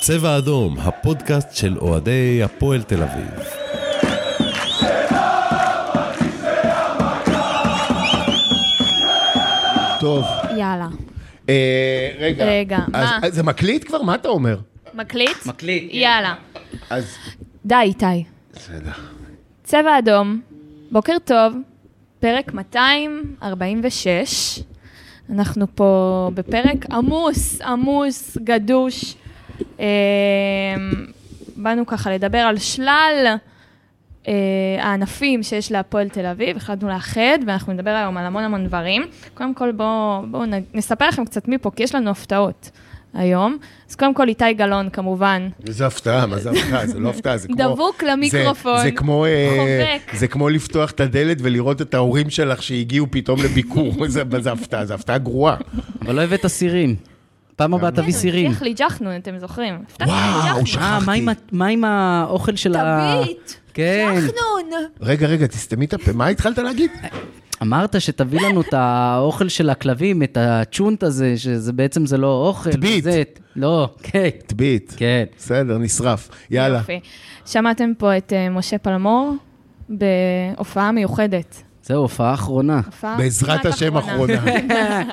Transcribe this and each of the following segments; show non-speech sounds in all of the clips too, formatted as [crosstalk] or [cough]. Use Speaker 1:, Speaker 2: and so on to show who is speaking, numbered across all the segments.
Speaker 1: צבע אדום, הפודקאסט של אוהדי הפועל תל אביב.
Speaker 2: טוב.
Speaker 3: יאללה.
Speaker 2: אה, רגע.
Speaker 3: רגע,
Speaker 2: אז-
Speaker 3: מה?
Speaker 2: אז זה מקליט כבר? מה אתה אומר?
Speaker 3: מקליט?
Speaker 4: מקליט.
Speaker 3: יאללה.
Speaker 2: אז...
Speaker 3: די, איתי.
Speaker 2: בסדר.
Speaker 3: צבע אדום, בוקר טוב, פרק 246. אנחנו פה בפרק עמוס, עמוס, גדוש. אה, באנו ככה לדבר על שלל אה, הענפים שיש להפועל תל אביב, החלטנו לאחד, ואנחנו נדבר היום על המון המון דברים. קודם כל בואו בוא נספר לכם קצת מפה, כי יש לנו הפתעות היום. אז קודם כל איתי גלאון כמובן,
Speaker 2: איזה הפתעה, מה זה הפתעה? זה לא הפתעה, זה כמו...
Speaker 3: דבוק למיקרופון.
Speaker 2: זה, זה כמו... אה,
Speaker 3: חובק.
Speaker 2: זה כמו לפתוח את הדלת ולראות את ההורים שלך שהגיעו פתאום לביקור. [laughs] זה, מה זה הפתעה? זה הפתעה גרועה.
Speaker 4: אבל לא הבאת סירים. פעם הבאה תביא סירים.
Speaker 3: הבטיח לי ג'חנון, אתם זוכרים? הבטחתי לי
Speaker 2: וואו,
Speaker 3: ג'חנון.
Speaker 4: אה, מה עם ה- מה עם האוכל של ה...
Speaker 3: תביט,
Speaker 4: כן.
Speaker 3: ג'חנון.
Speaker 2: רגע, רגע, תסתמי את הפה. מה התחלת להגיד?
Speaker 4: אמרת שתביא לנו את האוכל של הכלבים, את הצ'ונט הזה, שזה בעצם זה לא אוכל.
Speaker 2: טבית.
Speaker 4: זה- לא, כן.
Speaker 2: טבית.
Speaker 4: כן.
Speaker 2: בסדר, נשרף. יאללה.
Speaker 3: יופי. שמעתם פה את אה, משה פלמור בהופעה מיוחדת.
Speaker 4: זהו, הופעה אחרונה.
Speaker 3: הופעה
Speaker 2: בעזרת
Speaker 3: כמעט
Speaker 2: השם אחרונה.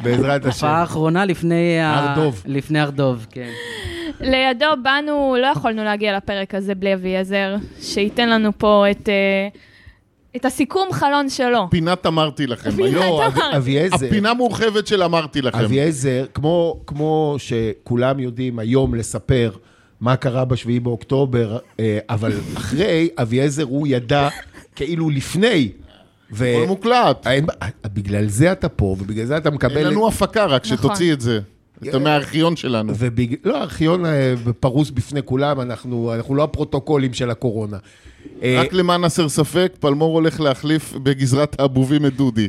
Speaker 2: בעזרת השם.
Speaker 4: הופעה אחרונה לפני... ה-
Speaker 2: הר דוב.
Speaker 4: לפני הר דוב, כן.
Speaker 3: [laughs] לידו באנו, לא יכולנו להגיע לפרק הזה בלי אביעזר, שייתן לנו פה את, אה, את הסיכום חלון שלו.
Speaker 5: פינת אמרתי לכם.
Speaker 3: פינת
Speaker 5: היום,
Speaker 3: אמרתי.
Speaker 2: אב- אביעזר.
Speaker 5: הפינה מורחבת של אמרתי לכם.
Speaker 2: אביעזר, כמו, כמו שכולם יודעים היום לספר מה קרה בשביעי באוקטובר, אה, אבל אחרי, אביעזר הוא ידע כאילו לפני. ו...
Speaker 5: הכל מוקלט.
Speaker 2: האם- בגלל זה אתה פה, ובגלל זה אתה מקבל...
Speaker 5: אין לנו הפקה רק,
Speaker 3: נכון.
Speaker 5: שתוציא את זה. אתה מהארכיון שלנו.
Speaker 2: ובג... לא, הארכיון אה, פרוס בפני כולם, אנחנו, אנחנו לא הפרוטוקולים של הקורונה. אה,
Speaker 5: רק למען הסר ספק, פלמור הולך להחליף בגזרת האבובים את דודי.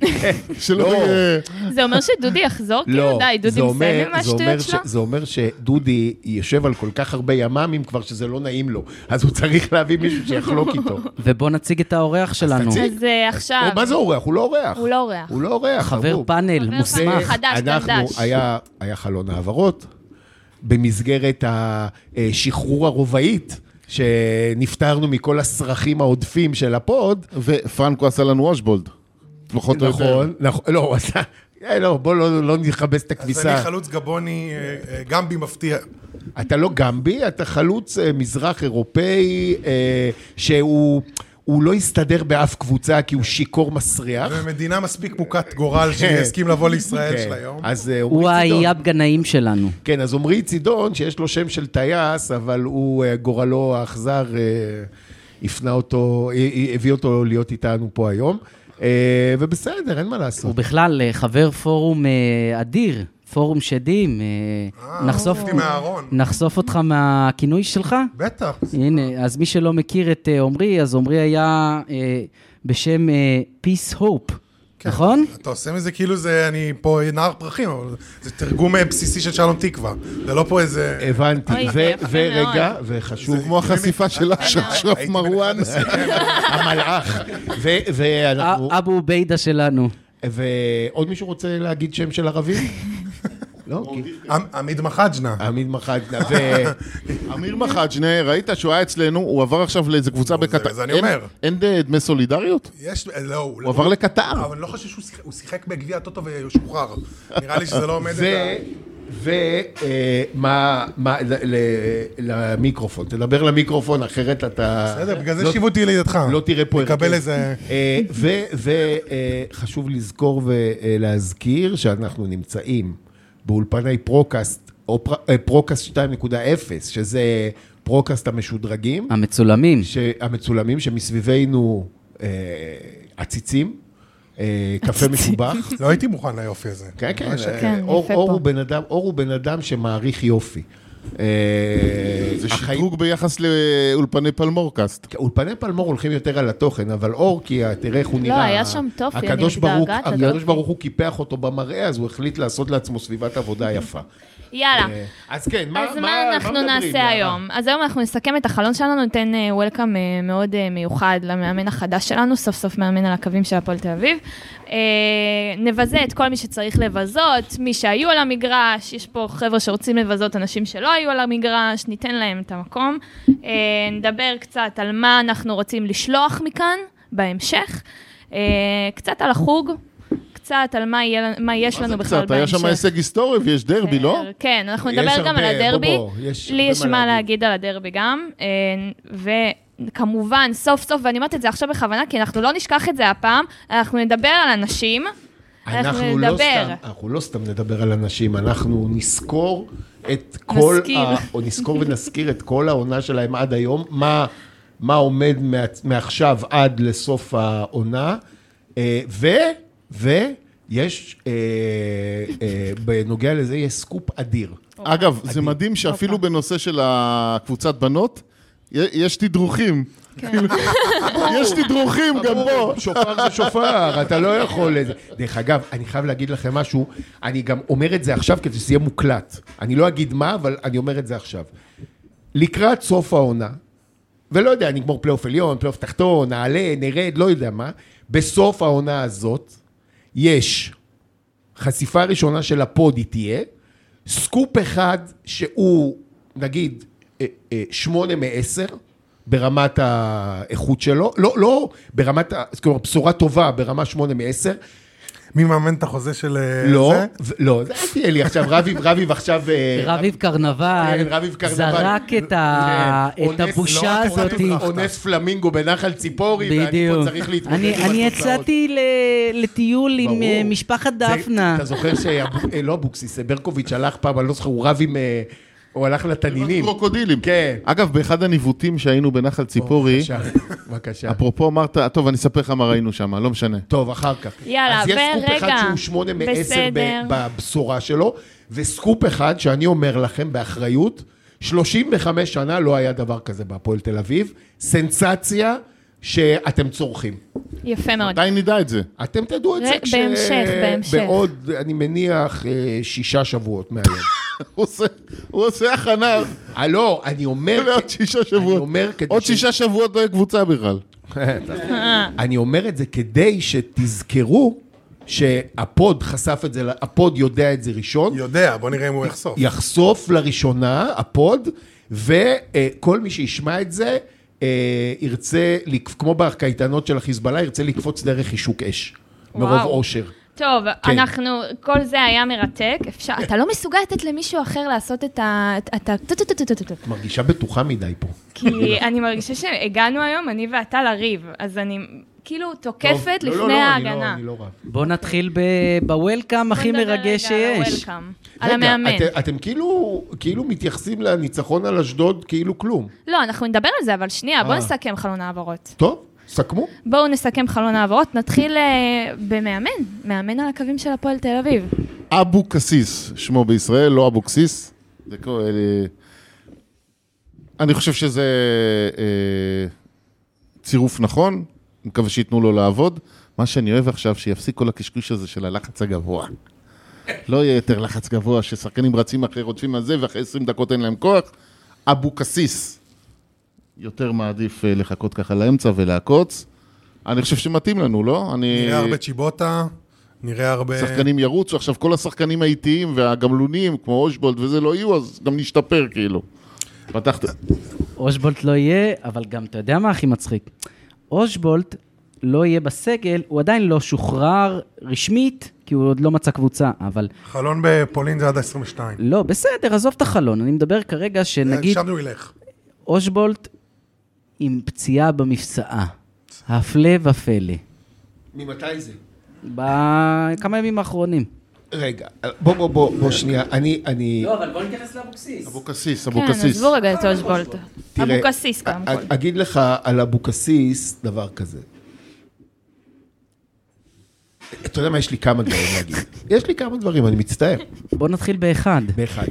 Speaker 5: שלא
Speaker 2: לא.
Speaker 5: יהיה...
Speaker 3: זה אומר שדודי יחזור? כאילו, די,
Speaker 2: זה
Speaker 3: דודי מסיים
Speaker 2: אומר-
Speaker 3: עם
Speaker 2: זה אומר
Speaker 3: השטויות
Speaker 2: ש-
Speaker 3: שלו?
Speaker 2: זה אומר שדודי יושב על כל כך הרבה ימ"מים כבר שזה לא נעים לו, אז הוא צריך להביא מישהו
Speaker 3: [laughs]
Speaker 2: שיחלוק איתו.
Speaker 3: כן.
Speaker 4: ובואו נציג את האורח שלנו.
Speaker 2: תציג.
Speaker 3: אז אה, עכשיו,
Speaker 2: מה זה אורח? הוא לא אורח.
Speaker 3: הוא לא אורח.
Speaker 2: הוא לא אורח.
Speaker 4: חבר
Speaker 2: חבוב.
Speaker 4: פאנל,
Speaker 3: חבר
Speaker 4: מוסמך.
Speaker 3: פאנל חדש,
Speaker 2: אנחנו,
Speaker 3: דנדש.
Speaker 2: היה, היה חלון העברות במסגרת השחרור הרובעית. שנפטרנו מכל הסרחים העודפים של הפוד.
Speaker 5: ופרנקו עשה לנו וושבולד. פחות או יותר.
Speaker 2: נכון, נכון, לא, הוא עשה, אה, לא, בוא לא לא נכבס את
Speaker 6: אז אני
Speaker 2: הכביסה.
Speaker 6: חלוץ גבוני, אה, אה, גמבי מפתיע.
Speaker 2: אתה לא גמבי, אתה חלוץ אה, מזרח אירופאי, אה, שהוא הוא לא הסתדר באף קבוצה כי הוא שיכור מסריח.
Speaker 6: ומדינה מספיק מוכת גורל שיסכים לבוא לישראל של
Speaker 2: אה? כן.
Speaker 6: היום.
Speaker 2: אז אה,
Speaker 4: הוא
Speaker 2: עמרי צידון,
Speaker 4: האייב גנאים שלנו.
Speaker 2: כן, אז עמרי צידון, שיש לו שם של טייס, אבל הוא, אה, גורלו האכזר, אה, הפנה אותו, אה, אה, הביא אותו להיות איתנו פה היום. אה, ובסדר, אין מה
Speaker 4: הוא
Speaker 2: לעשות.
Speaker 4: בכלל אה, חבר פורום אה, אדיר, פורום שדים. אה, נחשוף-
Speaker 6: הוצאתי מהארון.
Speaker 4: נחשוף אותך מהכינוי שלך?
Speaker 6: בטח.
Speaker 4: הנה, אז מי שלא מכיר את אה, עמרי, אז עמרי היה אה, בשם אה, Peace Hope,
Speaker 2: כן.
Speaker 4: נכון?
Speaker 6: אתה עושה מזה כאילו זה, אני פה נער פרחים, אבל זה תרגום אה, בסיסי של שלום תקווה. זה לא פה
Speaker 2: אה,
Speaker 6: איזה...
Speaker 2: הבנתי.
Speaker 3: אוי,
Speaker 2: ו-
Speaker 3: זה יפה
Speaker 2: ורגע, וחשוב...
Speaker 5: כמו החשיפה של אשרף
Speaker 6: הייתי
Speaker 5: מרואן.
Speaker 2: [laughs] המלאך. ו- ואנחנו...
Speaker 4: א- אבו עוביידה שלנו.
Speaker 2: ועוד מישהו רוצה להגיד שם של ערבים? לא, כי-
Speaker 6: עמ- עמיד מחג'נה.
Speaker 2: עמיד מחג'נה, ו...
Speaker 5: אמיר מחאג'נה, ראית שהוא היה אצלנו, הוא עבר עכשיו לאיזה קבוצה בקטר.
Speaker 6: זה אני
Speaker 5: אין-
Speaker 6: אומר.
Speaker 5: אין אה, דמי סולידריות?
Speaker 6: יש, אה, לא,
Speaker 5: הוא עבר לקטר.
Speaker 6: אבל אני לא חושב שהוא שיחק- הוא שיחק בגביע הטוטו ושוחרר. נראה לי שזה לא עומד...
Speaker 2: ו... אה, ומה, למיקרופון, תדבר למיקרופון, אחרת אתה...
Speaker 6: בסדר, בגלל
Speaker 2: לא-
Speaker 6: זה שיבו אותי לידך.
Speaker 2: לא תראה פה
Speaker 6: הרכב.
Speaker 2: הרכב.
Speaker 6: נקבל איזה...
Speaker 2: אה, ו- וחשוב לזכור ולהזכיר שאנחנו נמצאים באולפני פרוקאסט, או פר- אה, פרוקאסט 2.0, שזה פרוקאסט המשודרגים.
Speaker 4: אמ- המצולמים.
Speaker 2: המצולמים שמסביבנו אה, עציצים, אה, קפה משובח.
Speaker 6: לא הייתי מוכן ליופי הזה.
Speaker 2: כן, כן, אה,
Speaker 3: כן,
Speaker 2: אור-
Speaker 3: יפה
Speaker 2: אור
Speaker 3: פה.
Speaker 2: הוא בן אדם- אור הוא בן אדם שמעריך יופי. אה,
Speaker 5: זה
Speaker 2: החיים-
Speaker 5: שדרוג ביחס לאולפני פלמורקאסט.
Speaker 2: אולפני פלמור הולכים יותר על התוכן, אבל אור, כי ה- תראה איך הוא נראה.
Speaker 3: לא, היה שם טופי, אני
Speaker 2: הקדוש ברוך-
Speaker 3: מתגעגעת
Speaker 2: הקדוש
Speaker 3: לדעתי.
Speaker 2: ברוך הוא קיפח אותו במראה, אז הוא החליט לעשות לעצמו סביבת עבודה יפה.
Speaker 3: יאללה.
Speaker 2: אה, אז כן, מה
Speaker 3: אז מה,
Speaker 2: מה- מה
Speaker 3: אנחנו
Speaker 2: מדברים,
Speaker 3: נעשה
Speaker 2: יאללה?
Speaker 3: היום? אז היום אנחנו נסכם את החלון שלנו, ניתן וולקאם מאוד אה, מיוחד למאמן החדש שלנו, סוף סוף מאמן על הקווים של הפועל תל אביב. אה, נבזה את כל מי שצריך לבזות, מי שהיו על המגרש, יש פה חבר'ה שרוצים לבזות אנשים שלא היו על המגרש, ניתן להם את המקום. אה, נדבר קצת על מה אנחנו רוצים לשלוח מכאן בהמשך. אה, קצת על החוג, קצת על מה, יהיה, מה יש
Speaker 5: מה
Speaker 3: לנו
Speaker 5: זה
Speaker 3: בכלל
Speaker 5: קצת? היה
Speaker 3: בהמשך.
Speaker 5: שם הישג היסטורי ויש דרבי, לא?
Speaker 3: כן, אנחנו
Speaker 2: יש
Speaker 3: נדבר גם
Speaker 2: הרבה,
Speaker 3: על הדרבי.
Speaker 2: בוא, בוא, יש
Speaker 3: לי
Speaker 2: הרבה
Speaker 3: יש
Speaker 2: מה
Speaker 3: מה
Speaker 2: להגיד.
Speaker 3: להגיד על הדרבי גם. אה, וכמובן, סוף סוף, ואני אומרת את זה עכשיו בכוונה, כי אנחנו לא נשכח את זה הפעם, אנחנו נדבר על אנשים.
Speaker 2: אנחנו לא סתם, אנחנו לא סתם נדבר על אנשים, אנחנו נזכור את כל,
Speaker 3: נזכיר.
Speaker 2: ה, או נזכור ונזכיר את כל העונה שלהם עד היום, מה, מה עומד מה, מעכשיו עד לסוף העונה, אה, ו, ו, יש, אה, אה, בנוגע לזה, יש סקופ אדיר.
Speaker 5: אגב, זה מדהים שאפילו בנושא של הקבוצת בנות, י- יש תדרוכים.
Speaker 3: כן.
Speaker 5: כאילו, יש תדרוכים גם פה.
Speaker 2: שופר זה שופר, אתה לא יכול... לזה. דרך אגב, אני חייב להגיד לכם משהו, אני גם אומר את זה עכשיו כדי שזה יהיה מוקלט. אני לא אגיד מה, אבל אני אומר את זה עכשיו. לקראת סוף העונה, ולא יודע, נגמור פלייאוף עליון, פלייאוף תחתון, נעלה, נרד, לא יודע מה, בסוף העונה הזאת יש חשיפה ראשונה של הפוד היא תהיה, סקופ אחד שהוא נגיד אה, אה, שמונה מעשר ברמת האיכות שלו, לא, לא ברמת, ה- כלומר בשורה טובה ברמה שמונה מעשר,
Speaker 6: מי מממן את החוזה של אה,
Speaker 2: לא,
Speaker 6: זה?
Speaker 2: ו- לא, זה אל תהיה לי עכשיו, רביב, רביב עכשיו, אה,
Speaker 4: רביב קרנבל,
Speaker 2: כן, רביב קרנבל.
Speaker 4: זרק את ה-
Speaker 2: כן,
Speaker 4: את
Speaker 2: אונס-
Speaker 4: הבושה
Speaker 6: לא,
Speaker 4: הזאת.
Speaker 6: אונס-
Speaker 2: אונס פלמינגו בנחל ציפורי, ואני פה
Speaker 4: בדיוק.
Speaker 2: צריך להתמודד עם
Speaker 4: אני-
Speaker 2: התוצאות.
Speaker 4: אני יצאתי ל- לטיול עם
Speaker 2: ברור.
Speaker 4: אה, משפחת
Speaker 2: זה-
Speaker 4: דפנה.
Speaker 2: אתה זוכר שלא אבוקסיס, אה, ברקוביץ' הלך פעם, אני לא זוכר, הוא רב עם... אה, הוא הלך לתנינים.
Speaker 5: קרוקודילים.
Speaker 2: כן.
Speaker 5: אגב, באחד הניווטים שהיינו בנחל ציפורי,
Speaker 2: בבקשה, בבקשה.
Speaker 5: אפרופו אמרת, טוב, אני אספר לך מה ראינו שם, לא משנה.
Speaker 2: טוב, אחר כך.
Speaker 3: יאללה,
Speaker 2: אז יש סקופ אחד
Speaker 3: ורגע,
Speaker 2: שהוא שמונה מעשר ב-
Speaker 3: בסדר.
Speaker 2: בבשורה שלו, וסקופ אחד, שאני אומר לכם באחריות, 35 שנה לא היה דבר כזה בהפועל תל אביב. סנסציה שאתם צורכים.
Speaker 3: יפה מאוד.
Speaker 5: מתי נדע את זה?
Speaker 2: אתם תדעו את זה
Speaker 3: ר- בהמשך, בהמשך.
Speaker 2: בעוד, אני מניח, אה, שישה שבועות מהיום.
Speaker 5: הוא עושה- הוא עושה
Speaker 2: [laughs]
Speaker 5: הכנה
Speaker 2: אה, לא, אני
Speaker 5: [laughs]
Speaker 2: אומר...
Speaker 5: לעוד שישה
Speaker 2: אני
Speaker 5: שבועות.
Speaker 2: אומר כדי
Speaker 5: עוד
Speaker 2: ש-
Speaker 5: שישה שבועות לא יהיה קבוצה בכלל.
Speaker 2: אני אומר את זה כדי שתזכרו שהפוד חשף את זה, הפוד יודע את זה ראשון,
Speaker 6: יודע, בוא נראה אם הוא יחשוף.
Speaker 2: יחשוף לראשונה הפוד, וכל מי שישמע את זה אה, ירצה, לק- כמו בקייטנות של החיזבאללה, ירצה לקפוץ דרך חישוק אש. מרוב
Speaker 3: וואו.
Speaker 2: אושר.
Speaker 3: טוב,
Speaker 2: כן.
Speaker 3: כן. אנחנו, כל זה היה מרתק. אפשר, אתה לא מסוגל לתת למישהו אחר לעשות את ה... את- את ה... טו- טו- טו- טו- טו- טו- טו.
Speaker 2: את מרגישה בטוחה מדי פה.
Speaker 3: כי
Speaker 2: [laughs]
Speaker 3: אני מרגישה שהגענו היום, אני ואתה לריב, אז אני כאילו
Speaker 2: טוב,
Speaker 3: תוקפת
Speaker 2: לא, לא,
Speaker 3: לפני
Speaker 2: לא, אני לא-
Speaker 3: ההגנה.
Speaker 2: אני לא רב.
Speaker 4: בוא נתחיל ב- בוולקאם הכי
Speaker 3: בוא נדבר
Speaker 4: מרגש
Speaker 3: רגע על
Speaker 4: שיש.
Speaker 3: ה-welcome, על
Speaker 2: רגע,
Speaker 3: המאמן.
Speaker 2: את, אתם כאילו, כאילו מתייחסים לניצחון על אשדוד כאילו כלום.
Speaker 3: לא, אנחנו נדבר על זה, אבל שנייה, בואו
Speaker 2: אה.
Speaker 3: נסכם חלון העברות.
Speaker 2: טוב, סכמו.
Speaker 3: בואו נסכם חלון העברות, נתחיל אה, במאמן, מאמן על הקווים של הפועל תל אביב.
Speaker 5: אבוקסיס, שמו בישראל, לא אבוקסיס. זה כל... אה, אני חושב שזה אה, צירוף נכון, מקווה שייתנו לו לעבוד. מה שאני אוהב עכשיו, שיפסיק כל הקשקוש הזה של הלחץ הגבוה. לא יהיה יותר לחץ גבוה, ששחקנים רצים אחרי, רודפים על זה, ואחרי 20 דקות אין להם כוח. אבוקסיס. יותר מעדיף אה, לחכות ככה לאמצע ולעקוץ. אני חושב שמתאים לנו, לא? אני...
Speaker 6: נראה הרבה צ'יבוטה, נראה הרבה...
Speaker 5: שחקנים ירוצו, עכשיו כל השחקנים האיטיים והגמלונים, כמו אושבולד וזה, לא יהיו, אז גם נשתפר, כאילו. פתחת...
Speaker 4: אושבולט לא יהיה, אבל גם, אתה יודע מה הכי מצחיק? אושבולט לא יהיה בסגל, הוא עדיין לא שוחרר רשמית, כי הוא עוד לא מצא קבוצה, אבל
Speaker 6: חלון בפולין זה עד ה-22.
Speaker 4: לא, בסדר, עזוב את החלון, אני מדבר כרגע שנגיד
Speaker 6: שם הוא ילך.
Speaker 4: אושבולט עם פציעה במפסעה. הפלא ופלא.
Speaker 2: ממתי זה?
Speaker 4: בכמה ימים האחרונים.
Speaker 2: רגע, בוא, בוא, בוא, בוא שנייה, אני, אני,
Speaker 4: לא, אבל בוא נתייחס לאבוקסיס.
Speaker 5: אבוקסיס,
Speaker 3: כן,
Speaker 5: אבוקסיס.
Speaker 3: עזבו רגע את אושבולט.
Speaker 2: תראה,
Speaker 3: אבוקסיס קודם
Speaker 6: אה,
Speaker 3: כל.
Speaker 2: א- אגיד לך על אבוקסיס דבר כזה. אתה יודע מה, יש לי כמה דברים להגיד. יש לי כמה דברים, אני מצטער.
Speaker 4: בוא נתחיל באחד.
Speaker 2: באחד.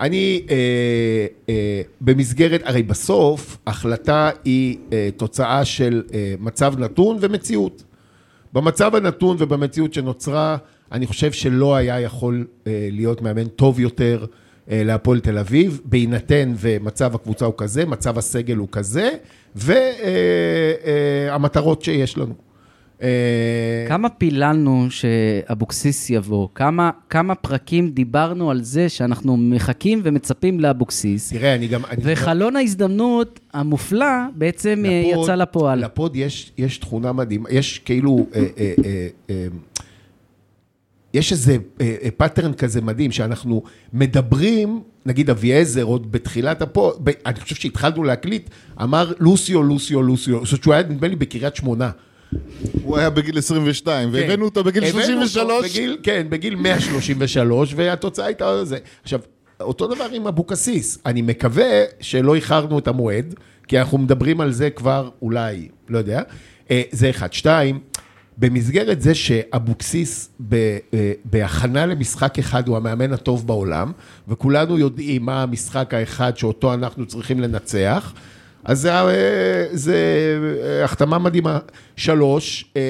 Speaker 2: אני, אה, אה, במסגרת, הרי בסוף, החלטה היא אה, תוצאה של אה, מצב נתון ומציאות. במצב הנתון ובמציאות שנוצרה, אני חושב שלא היה יכול אה, להיות מאמן טוב יותר אה, להפועל תל אביב, בהינתן ומצב הקבוצה הוא כזה, מצב הסגל הוא כזה, והמטרות אה, שיש לנו. אה,
Speaker 4: כמה פיללנו שאבוקסיס יבוא? כמה, כמה פרקים דיברנו על זה שאנחנו מחכים ומצפים לאבוקסיס?
Speaker 2: תראה, אני גם... אני-
Speaker 4: וחלון ההזדמנות המופלא בעצם אה,
Speaker 2: לפוד-
Speaker 4: יצא לפועל.
Speaker 2: לפוד יש, יש תכונה מדהימה, יש כאילו, אה, אה, אה, אה, יש איזה אה, אה, פאטרן כזה מדהים, שאנחנו מדברים, נגיד אביעזר, עוד בתחילת הפוד, ב- אני חושב שהתחלנו להקליט, אמר לוסיו, לוסיו, לוסיו, זאת אומרת שהוא היה נדמה לי בקריית שמונה.
Speaker 5: הוא היה בגיל 22,
Speaker 2: כן.
Speaker 5: והבאנו אותו בגיל
Speaker 2: הבאנו אותו
Speaker 5: 33.
Speaker 2: בגיל, כן, בגיל 133, והתוצאה הייתה זה. עכשיו, אותו דבר עם אבוקסיס. אני מקווה שלא איחרנו את המועד, כי אנחנו מדברים על זה כבר אולי, לא יודע. אה, זה אחד. שתיים, במסגרת זה שאבוקסיס ב- אה, בהכנה למשחק אחד הוא המאמן הטוב בעולם, וכולנו יודעים מה המשחק האחד שאותו אנחנו צריכים לנצח, אז זה, אה, זה אה, החתמה מדהימה. שלוש, אה,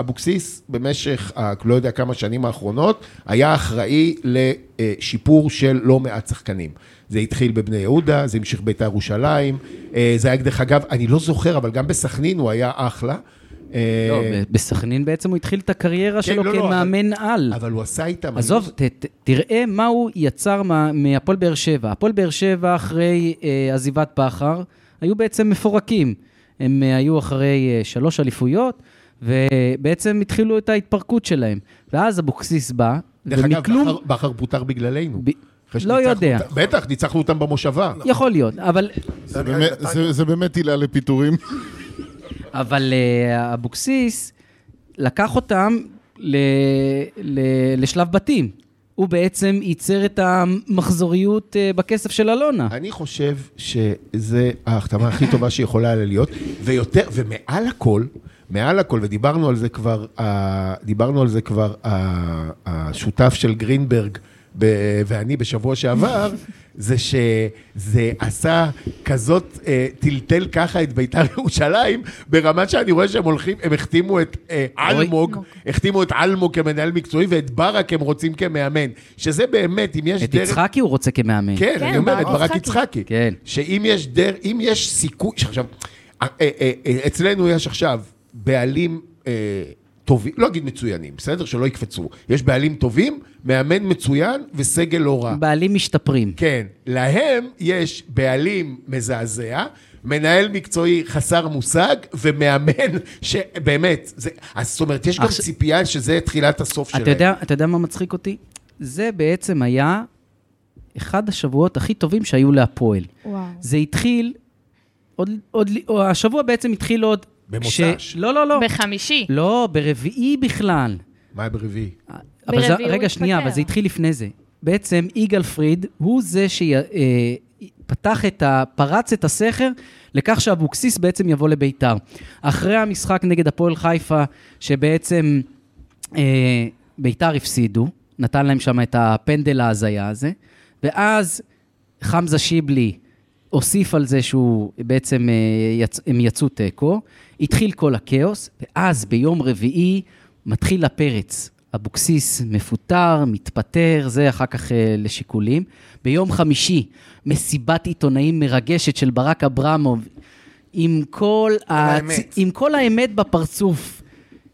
Speaker 2: אבוקסיס במשך, ה- לא יודע כמה שנים האחרונות, היה אחראי לשיפור של לא מעט שחקנים. זה התחיל בבני יהודה, זה המשיך בית"ר ירושלים, אה, זה היה, דרך אגב, אני לא זוכר, אבל גם בסכנין הוא היה אחלה. אה,
Speaker 4: לא, ב- בסכנין בעצם הוא התחיל את הקריירה
Speaker 2: כן,
Speaker 4: שלו
Speaker 2: לא, לא,
Speaker 4: כמאמן על.
Speaker 2: אבל הוא עשה איתם...
Speaker 4: עזוב, ת, ת, תראה מה הוא יצר מה- מהפועל באר שבע. הפועל באר שבע, אחרי אה, עזיבת בכר, היו בעצם מפורקים. הם אה, היו אחרי אה, שלוש אליפויות, ובעצם התחילו את ההתפרקות שלהם. ואז אבוקסיס בא,
Speaker 2: לא דרך אגב,
Speaker 4: ומכלום...
Speaker 2: בכר- בכר פוטר בגללנו.
Speaker 4: ב...
Speaker 2: אחרי
Speaker 4: לא
Speaker 2: שניצחנו
Speaker 4: יודע.
Speaker 2: אותם- בטח, ניצחנו אותם במושבה.
Speaker 4: יכול להיות, אבל,
Speaker 5: זה באמת- זה- זה באמת עילה
Speaker 2: [laughs]
Speaker 5: לפיטורים.
Speaker 4: אבל אה, אבוקסיס לקח אותם ל, ל, לשלב בתים. הוא בעצם ייצר את המחזוריות אה, בכסף של אלונה.
Speaker 2: אני חושב שזה ההחתמה הכי טובה שיכולה היה להיות, ויותר, ומעל הכל, מעל הכל, ודיברנו על זה כבר, אה, דיברנו על זה כבר, אה, השותף של גרינברג ב- ואני בשבוע שעבר, זה שזה עשה כזאת, אה, טלטל ככה את בית"ר ירושלים, ברמה שאני רואה שהם הולכים, הם החתימו את אה,
Speaker 4: רועי.
Speaker 2: אלמוג, החתימו את אלמוג כמנהל מקצועי, ואת ברק הם רוצים כמאמן, שזה באמת, אם יש
Speaker 4: את
Speaker 2: דרך...
Speaker 4: יצחקי הוא רוצה כמאמן.
Speaker 2: כן,
Speaker 3: כן,
Speaker 2: אני אומר, את
Speaker 3: ברק
Speaker 2: ברק
Speaker 3: יצחקי.
Speaker 2: יצחקי.
Speaker 4: כן.
Speaker 2: שאם יש דר... אם יש סיכוי... עכשיו, אה, אה, אה, אצלנו יש עכשיו בעלים אה, טובים, לא אגיד מצוינים, בסדר? שלא יקפצו. יש בעלים טובים, מאמן מצוין וסגל לא רע.
Speaker 4: בעלים משתפרים.
Speaker 2: כן, להם יש בעלים מזעזע, מנהל מקצועי חסר מושג ומאמן [laughs] שבאמת, זה, אז זאת אומרת, יש גם
Speaker 4: עכשיו-
Speaker 2: ציפייה שזה תחילת הסוף שלהם.
Speaker 4: אתה יודע, אתה יודע מה מצחיק אותי? זה בעצם היה אחד השבועות הכי טובים שהיו להפועל.
Speaker 3: וואו.
Speaker 4: זה התחיל, עוד, עוד, או השבוע בעצם התחיל עוד...
Speaker 2: במוצ"ש.
Speaker 4: לא, לא, לא.
Speaker 3: בחמישי.
Speaker 4: לא, ברביעי בכלל.
Speaker 2: מה ברביעי?
Speaker 4: אבל זה,
Speaker 3: ברביעי הוא
Speaker 4: רגע, שנייה,
Speaker 3: התפטר.
Speaker 4: אבל זה התחיל לפני זה. בעצם יגאל פריד הוא זה שפתח את ה... פרץ את הסכר לכך שאבוקסיס בעצם יבוא לביתר. אחרי המשחק נגד הפועל חיפה, שבעצם אה, ביתר הפסידו, נתן להם שם את הפנדל ההזיה הזה, ואז חמזה שיבלי הוסיף על זה שהוא בעצם, אה, יצ... הם יצאו תיקו, התחיל כל הכאוס, ואז ביום רביעי מתחיל הפרץ. אבוקסיס מפוטר, מתפטר, זה אחר כך אה, לשיקולים. ביום חמישי, מסיבת עיתונאים מרגשת של ברק אברמוב, עם כל,
Speaker 6: האמת.
Speaker 4: הצ- עם כל האמת בפרצוף.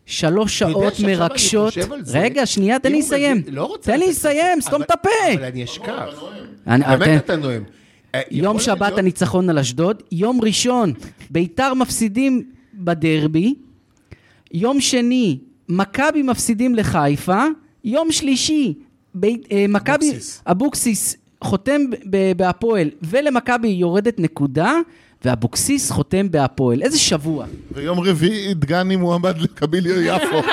Speaker 4: שלוש
Speaker 2: אתה יודע
Speaker 4: שעות
Speaker 2: שעכשיו אני
Speaker 4: מרגשות.
Speaker 2: חושב על זה.
Speaker 4: רגע, שנייה, תן
Speaker 2: אם
Speaker 4: לי
Speaker 2: הוא
Speaker 4: לסיים.
Speaker 2: מביא- לא רוצה
Speaker 4: תן לי
Speaker 2: לתת-
Speaker 4: לסיים, סתום
Speaker 2: אבל-
Speaker 4: את הפה.
Speaker 2: אבל אני אשכח.
Speaker 4: אני-
Speaker 2: באמת
Speaker 4: אתם-
Speaker 2: לא, אתה נואם. אה,
Speaker 4: יום
Speaker 2: יכול
Speaker 4: שבת
Speaker 2: להיות-
Speaker 4: הניצחון על אשדוד, יום ראשון, ביתר מפסידים בדרבי, יום שני, מכבי מפסידים לחיפה, יום שלישי, בית- אה, מכבי,
Speaker 6: אבוקסיס.
Speaker 4: אבוקסיס חותם ב- בהפועל, ולמכבי יורדת נקודה, ואבוקסיס חותם בהפועל. איזה שבוע.
Speaker 5: ויום רביעי דגני מועמד לקביל יפו.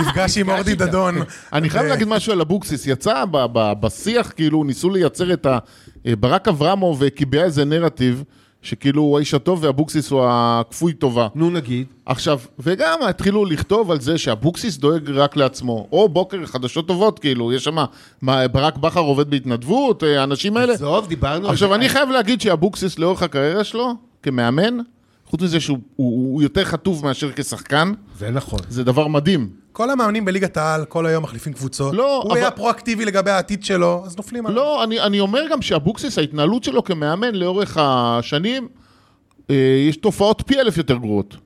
Speaker 6: נפגש
Speaker 5: [laughs]
Speaker 6: עם אורדי דדון.
Speaker 5: כן. אני חייב
Speaker 6: ו-
Speaker 5: להגיד משהו על אבוקסיס, יצא ב- ב- בשיח, כאילו, ניסו לייצר את ה... אה, ברק אברמוב קיבע איזה נרטיב, שכאילו הוא האיש הטוב ואבוקסיס הוא הכפוי טובה.
Speaker 2: נו נגיד.
Speaker 5: עכשיו, וגם התחילו לכתוב על זה שאבוקסיס דואג רק לעצמו, או בוקר חדשות טובות, כאילו, יש שם, מה, ברק בכר עובד בהתנדבות, אה, האנשים האלה.
Speaker 2: עזוב, דיברנו על
Speaker 5: עכשיו,
Speaker 2: זה. לא- אה.
Speaker 5: אני חייב להגיד שאבוקסיס לאורך הקריירה שלו, כמאמן, חוץ מזה שהוא הוא- הוא יותר חטוב מאשר כשחקן,
Speaker 2: זה נכון.
Speaker 5: זה דבר מדהים.
Speaker 6: כל המאמנים בליגת העל כל היום מחליפים קבוצות.
Speaker 5: לא,
Speaker 6: הוא
Speaker 5: אבל-
Speaker 6: היה פרואקטיבי לגבי העתיד שלו, אז נופלים עליו.
Speaker 5: לא, אני, אני אומר גם שאבוקסיס, ההתנהלות שלו כמאמן לאורך השנים, אה, יש תופעות פי אלף יותר גרועות.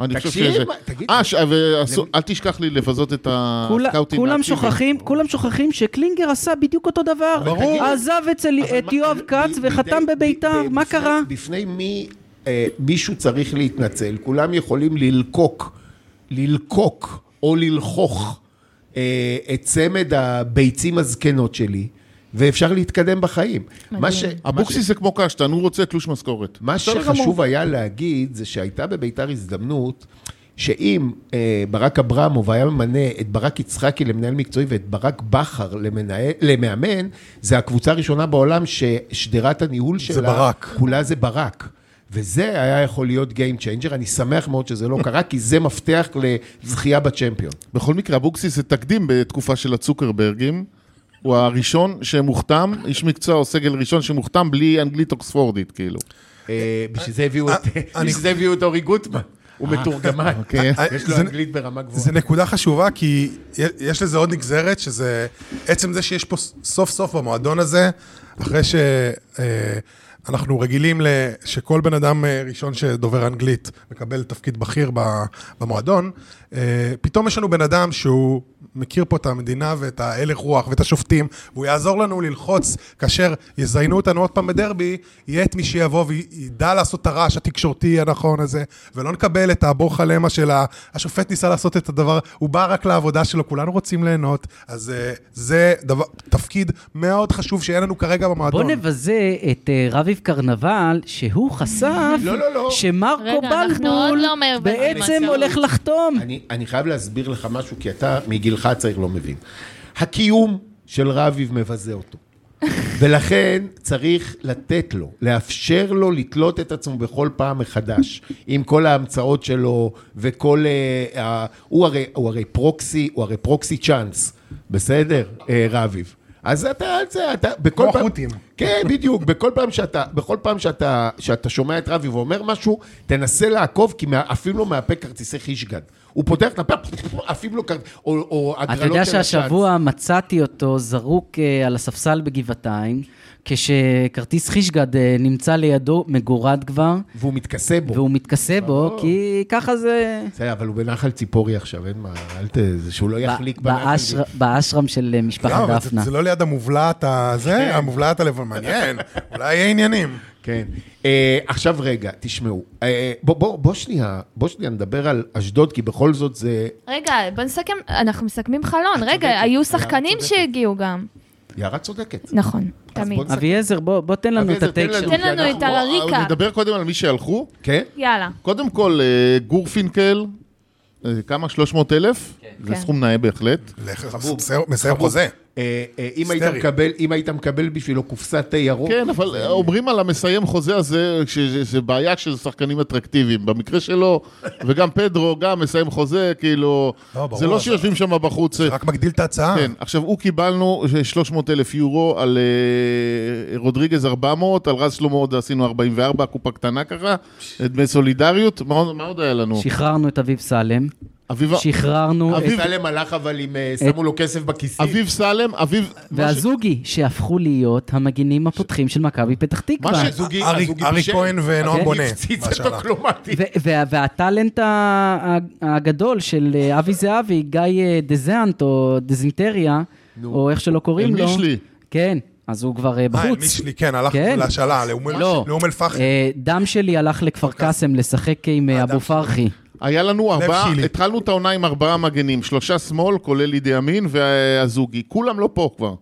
Speaker 5: אני חושב
Speaker 2: תקשיב,
Speaker 5: שזה...
Speaker 2: תגיד.
Speaker 5: אה, ש- ועשו- אל תשכח לי לבזות את
Speaker 4: כולה-
Speaker 5: הסקאוטים.
Speaker 4: כולם
Speaker 5: האקטיביים.
Speaker 4: שוכחים, כולם שוכחים שקלינגר עשה בדיוק אותו דבר.
Speaker 6: ברור.
Speaker 4: עזב אצל את יואב כץ וחתם בביתר, מה קרה?
Speaker 2: בפני מי אה, מישהו צריך להתנצל? כולם יכולים ללקוק, ללקוק או ללחוך אה, את צמד הביצים הזקנות שלי, ואפשר להתקדם בחיים. מה ש...
Speaker 5: אבוקסיס זה כמו קשטן, הוא רוצה תלוש משכורת.
Speaker 2: מה
Speaker 5: בסדר
Speaker 2: שחשוב
Speaker 5: גמור.
Speaker 2: היה להגיד זה שהייתה בביתר הזדמנות שאם אה, ברק אברמוב היה ממנה את ברק יצחקי למנהל מקצועי ואת ברק בכר למנהל, למאמן, זה הקבוצה הראשונה בעולם ששדרת הניהול שלה...
Speaker 6: ברק.
Speaker 2: כולה זה ברק. וזה היה יכול להיות Game Changer, אני שמח מאוד שזה לא קרה, כי זה מפתח לזכייה בצ'מפיון.
Speaker 5: בכל מקרה, אבוקסיס זה תקדים בתקופה של הצוקרברגים. הוא הראשון שמוכתם, איש מקצוע או סגל ראשון שמוכתם בלי אנגלית אוקספורדית, כאילו.
Speaker 2: אה, בשביל זה הביאו את-
Speaker 6: אני- אה,
Speaker 2: בשביל זה הביאו את אורי גוטמן, הוא מתורגמן,
Speaker 5: אוקיי.
Speaker 2: יש לו
Speaker 6: זה-
Speaker 2: אנגלית ברמה גבוהה.
Speaker 6: זה נקודה חשובה, כי יש לזה עוד נגזרת, שזה עצם זה שיש פה סוף סוף במועדון הזה, אחרי שאנחנו רגילים ל- שכל בן אדם אה, ראשון שדובר אנגלית מקבל תפקיד בכיר ב- במועדון, אה, פתאום יש לנו בן אדם שהוא מכיר פה את המדינה ואת ההלך רוח ואת השופטים, והוא יעזור לנו ללחוץ כאשר יזיינו אותנו עוד פעם בדרבי, יהיה את מי שיבוא וידע לעשות את הרעש התקשורתי הנכון הזה, ולא נקבל את הבור חלמה של ה- השופט ניסה לעשות את הדבר, הוא בא רק לעבודה שלו, כולנו רוצים ליהנות, אז אה, זה דבר, תפקיד מאוד חשוב שאין לנו כרגע
Speaker 4: בוא
Speaker 6: במועדון.
Speaker 4: נבזה את אה, רביב קרנבל, שהוא חשף
Speaker 2: לא, לא, לא.
Speaker 4: שמרקו
Speaker 3: רגע, אנחנו עוד
Speaker 4: בלבול
Speaker 3: לא מערבבים
Speaker 4: בעצם
Speaker 3: מצב.
Speaker 4: הולך לחתום.
Speaker 2: אני, אני חייב להסביר לך משהו, כי אתה מגילך צריך לא מבין. הקיום של רביב מבזה אותו. ולכן צריך לתת לו, לאפשר לו לתלות את עצמו בכל פעם מחדש, עם כל ההמצאות שלו וכל... אה, ה... הוא, הרי, הוא הרי פרוקסי, הוא הרי פרוקסי צ'אנס, בסדר, אה, רביב? אז אתה, על זה, אתה, בכל
Speaker 6: כמו
Speaker 2: פעם...
Speaker 6: החות'ים.
Speaker 2: כן, בדיוק. בכל פעם שאתה, בכל פעם שאתה, שאתה שומע את רביב ואומר משהו, תנסה לעקוב, כי מה, עפים לו מהפה כרטיסי חישגד. הוא פותח את הפה, עפים לו כרטיסי... או, או הגרלות
Speaker 4: אתה יודע
Speaker 2: של השאנץ.
Speaker 4: שהשבוע מצאתי אותו זרוק אה, על הספסל בגבעתיים, כשכרטיס חישגד אה, נמצא לידו, מגורד כבר,
Speaker 2: והוא מתכסה בו.
Speaker 4: והוא מתכסה בו, כי ככה זה...
Speaker 2: בסדר, אבל הוא בנחל ציפורי עכשיו, אין מה, אל ת... זה שהוא לא יחליק
Speaker 4: ב-
Speaker 2: בנחל.
Speaker 4: באשר- באשרם של אה,
Speaker 6: לא,
Speaker 4: משפחת
Speaker 6: אבל זה-
Speaker 4: דפנה.
Speaker 6: זה לא ליד המובלעת הזה, המובלעת הלבן, מעניין, אולי יהיה עניינים.
Speaker 2: כן. אה, עכשיו רגע, תשמעו. אה, בוא, בוא, בוא שנייה, בוא שנייה נדבר על אשדוד, כי בכל זאת זה...
Speaker 3: רגע, בוא נסכם, אנחנו מסכמים חלון. רגע,
Speaker 2: צודקת,
Speaker 3: היו
Speaker 2: יערה
Speaker 3: שחקנים
Speaker 2: צודקת.
Speaker 3: שהגיעו גם.
Speaker 2: יערה צודקת.
Speaker 3: נכון,
Speaker 2: אז
Speaker 3: תמיד.
Speaker 2: בוא נס-
Speaker 4: אביעזר, בוא בוא תן לנו את
Speaker 2: לא- אביעזר, תן
Speaker 4: הטייק
Speaker 2: לנו.
Speaker 4: שלך.
Speaker 3: תן לנו את
Speaker 2: אנחנו-
Speaker 3: הריקה.
Speaker 5: נדבר קודם על מי שהלכו.
Speaker 2: כן?
Speaker 3: יאללה.
Speaker 5: קודם כל, אה, גורפינקל, אה, כמה? 300 אלף? זה
Speaker 3: כן.
Speaker 5: סכום נאה בהחלט.
Speaker 6: לך, מסיים- מסיים חוזה.
Speaker 2: אה, אה, אם היית
Speaker 6: היסטרי.
Speaker 2: מקבל- אם היית מקבל בשבילו קופסת תה ירוק,
Speaker 5: כן, אבל אומרים על המסיים חוזה הזה, שזה בעיה של שחקנים אטרקטיביים. במקרה
Speaker 6: [laughs]
Speaker 5: שלו, וגם פדרו, גם מסיים חוזה, כאילו...
Speaker 6: לא, ברור,
Speaker 5: זה לא
Speaker 6: אז-
Speaker 5: שיושבים שם בחוץ.
Speaker 6: רק אה. מגדיל את ההצעה.
Speaker 5: כן, עכשיו הוא קיבלנו 300 אלף יורו על אה, רודריגז 400, על רז שלמה עוד עשינו 44, קופה קטנה ככה, דמי סולידריות, מה עוד- מה עוד היה לנו?
Speaker 4: שחררנו את אביב סלם,
Speaker 2: לא.
Speaker 5: אביב-
Speaker 4: שחררנו את...
Speaker 5: אביב-
Speaker 2: סלם הלך אבל עם, אה, שמו לו כסף בכיסים.
Speaker 5: אביב סלם, אביב...
Speaker 4: והזוגי, שהפכו להיות המגינים הפותחים של מכבי פתח תקווה.
Speaker 5: מה
Speaker 2: הזוגי-
Speaker 6: ארי-
Speaker 2: הזוגי
Speaker 6: ארי
Speaker 2: בישל.
Speaker 6: כהן ונועם
Speaker 2: הזוגי
Speaker 6: בונה.
Speaker 2: הפציץ
Speaker 6: מה
Speaker 2: אותו
Speaker 6: שהלך.
Speaker 2: כלומטי.
Speaker 4: ו- וה- והטאלנט ה- ה- הגדול של אה, אבי זהבי, גיא אה, דזנט או דזינטריה, או איך שלא קוראים לו.
Speaker 5: אלמישלי.
Speaker 4: כן, אז הוא כבר אה,
Speaker 6: אה,
Speaker 4: בחוץ.
Speaker 6: מישלי, כן, הלך
Speaker 4: כן.
Speaker 6: להשאלה, לאום-
Speaker 4: לא.
Speaker 6: לאום אל-פחם.
Speaker 4: אה, דם שלי הלך לכפר קאסם לשחק עם אה, אבו פרחי.
Speaker 5: היה לנו ארבעה,
Speaker 6: שילי.
Speaker 5: התחלנו את העונה עם ארבעה מגנים, שלושה שמאל, כולל ידי ימין, והזוגי. כולם לא פה כבר.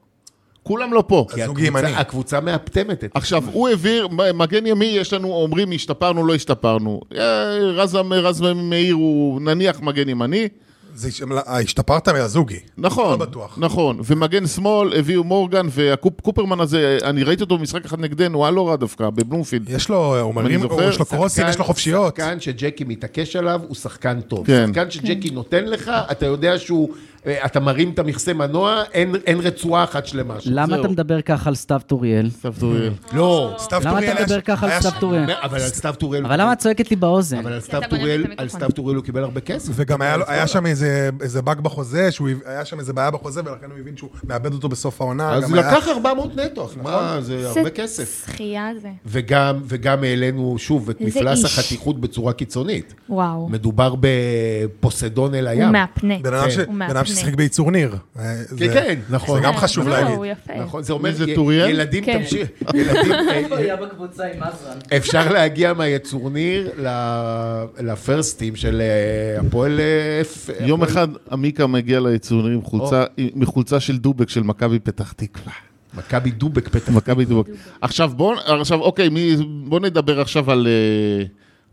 Speaker 5: כולם לא פה.
Speaker 6: הזוג
Speaker 2: הקבוצה-
Speaker 6: ימני.
Speaker 2: הקבוצה מאפטמת את...
Speaker 5: עכשיו, הוא העביר, מ- מגן ימי, יש לנו, אומרים, השתפרנו, לא השתפרנו. אה, רז רז מאיר הוא נניח מגן ימני,
Speaker 6: זה ש- אה, השתפרת מהזוגי.
Speaker 5: נכון,
Speaker 6: לא בטוח.
Speaker 5: נכון, ומגן שמאל הביאו מורגן, והקופרמן הזה, אני ראיתי אותו במשחק אחד נגדנו, הוא היה לא רע דווקא, בבלומפילד.
Speaker 6: יש לו, אומרים,
Speaker 5: זוכר,
Speaker 6: יש לו קרוסים, יש לו חופשיות.
Speaker 2: שחקן שג'קי מתעקש עליו הוא שחקן טוב.
Speaker 5: כן.
Speaker 2: שחקן שג'קי נותן לך, אתה יודע שהוא... אה, אתה מרים את המכסה מנוע, אין, אין רצועה אחת שלמה. שם.
Speaker 4: למה אתה מדבר ככה על סתיו טוריאל?
Speaker 5: סתיו טוריאל.
Speaker 2: לא,
Speaker 6: סתיו
Speaker 4: למה
Speaker 6: טוריאל
Speaker 4: אתה
Speaker 6: היה-
Speaker 4: מדבר ככה על
Speaker 6: היה-
Speaker 4: סתיו טוריאל?
Speaker 2: אבל על סתיו טוריאל...
Speaker 4: אבל למה את צועקת לי באוזן?
Speaker 2: אבל על
Speaker 3: כי
Speaker 2: סתיו
Speaker 3: אתה גונב את
Speaker 2: טוריאל, על
Speaker 3: המיקרופון.
Speaker 2: סתיו טוריאל הוא קיבל הרבה כסף.
Speaker 6: וגם היה, לו-
Speaker 5: נכון.
Speaker 6: היה שם איזה, איזה באג בחוזה, שהוא, הב- היה שם איזה בעיה בחוזה, ולכן הוא הבין שהוא מאבד אותו בסוף העונה.
Speaker 2: אז
Speaker 6: גם
Speaker 2: הוא
Speaker 6: היה- נכון.
Speaker 2: לקח 400 נטו, מה, זה הרבה כסף.
Speaker 3: שחייה זה.
Speaker 2: וגם, וגם העלינו שוב את
Speaker 3: איזה
Speaker 2: מפלס
Speaker 3: איש.
Speaker 2: החתיכות בצורה קיצונית.
Speaker 3: וואו.
Speaker 2: מדובר בפוסדון אל
Speaker 3: הוא
Speaker 2: הים.
Speaker 3: מהפנט.
Speaker 6: בן אדם ש-
Speaker 2: כן.
Speaker 3: הוא
Speaker 6: בן אדם
Speaker 3: מהפנט.
Speaker 6: ששיחק בייצור ניר. אה,
Speaker 2: כן,
Speaker 6: זה-
Speaker 2: כן, נכון.
Speaker 6: זה גם חשוב
Speaker 3: לא,
Speaker 6: להגיד.
Speaker 3: הוא יפה.
Speaker 2: נכון, זה אומר,
Speaker 5: מי זה,
Speaker 2: י-
Speaker 5: טוריאל?
Speaker 2: ילדים
Speaker 3: כן.
Speaker 6: [laughs]
Speaker 2: תמשיך, ילדים, אה,
Speaker 4: בקבוצה עם מזרן.
Speaker 2: אפשר להגיע מהיצורניר ל- לפרסטים של אה, הפועל אה, אפ-
Speaker 5: יום
Speaker 2: הפועל-
Speaker 5: אחד עמיקה מגיע ליצור עם חולצה, עם- מחולצה של דובק של מכבי פתח תקווה.
Speaker 2: מכבי דובק פתח.
Speaker 5: מכבי דובק. עכשיו בואו, עכשיו אוקיי, מי- בואו נדבר עכשיו על אה,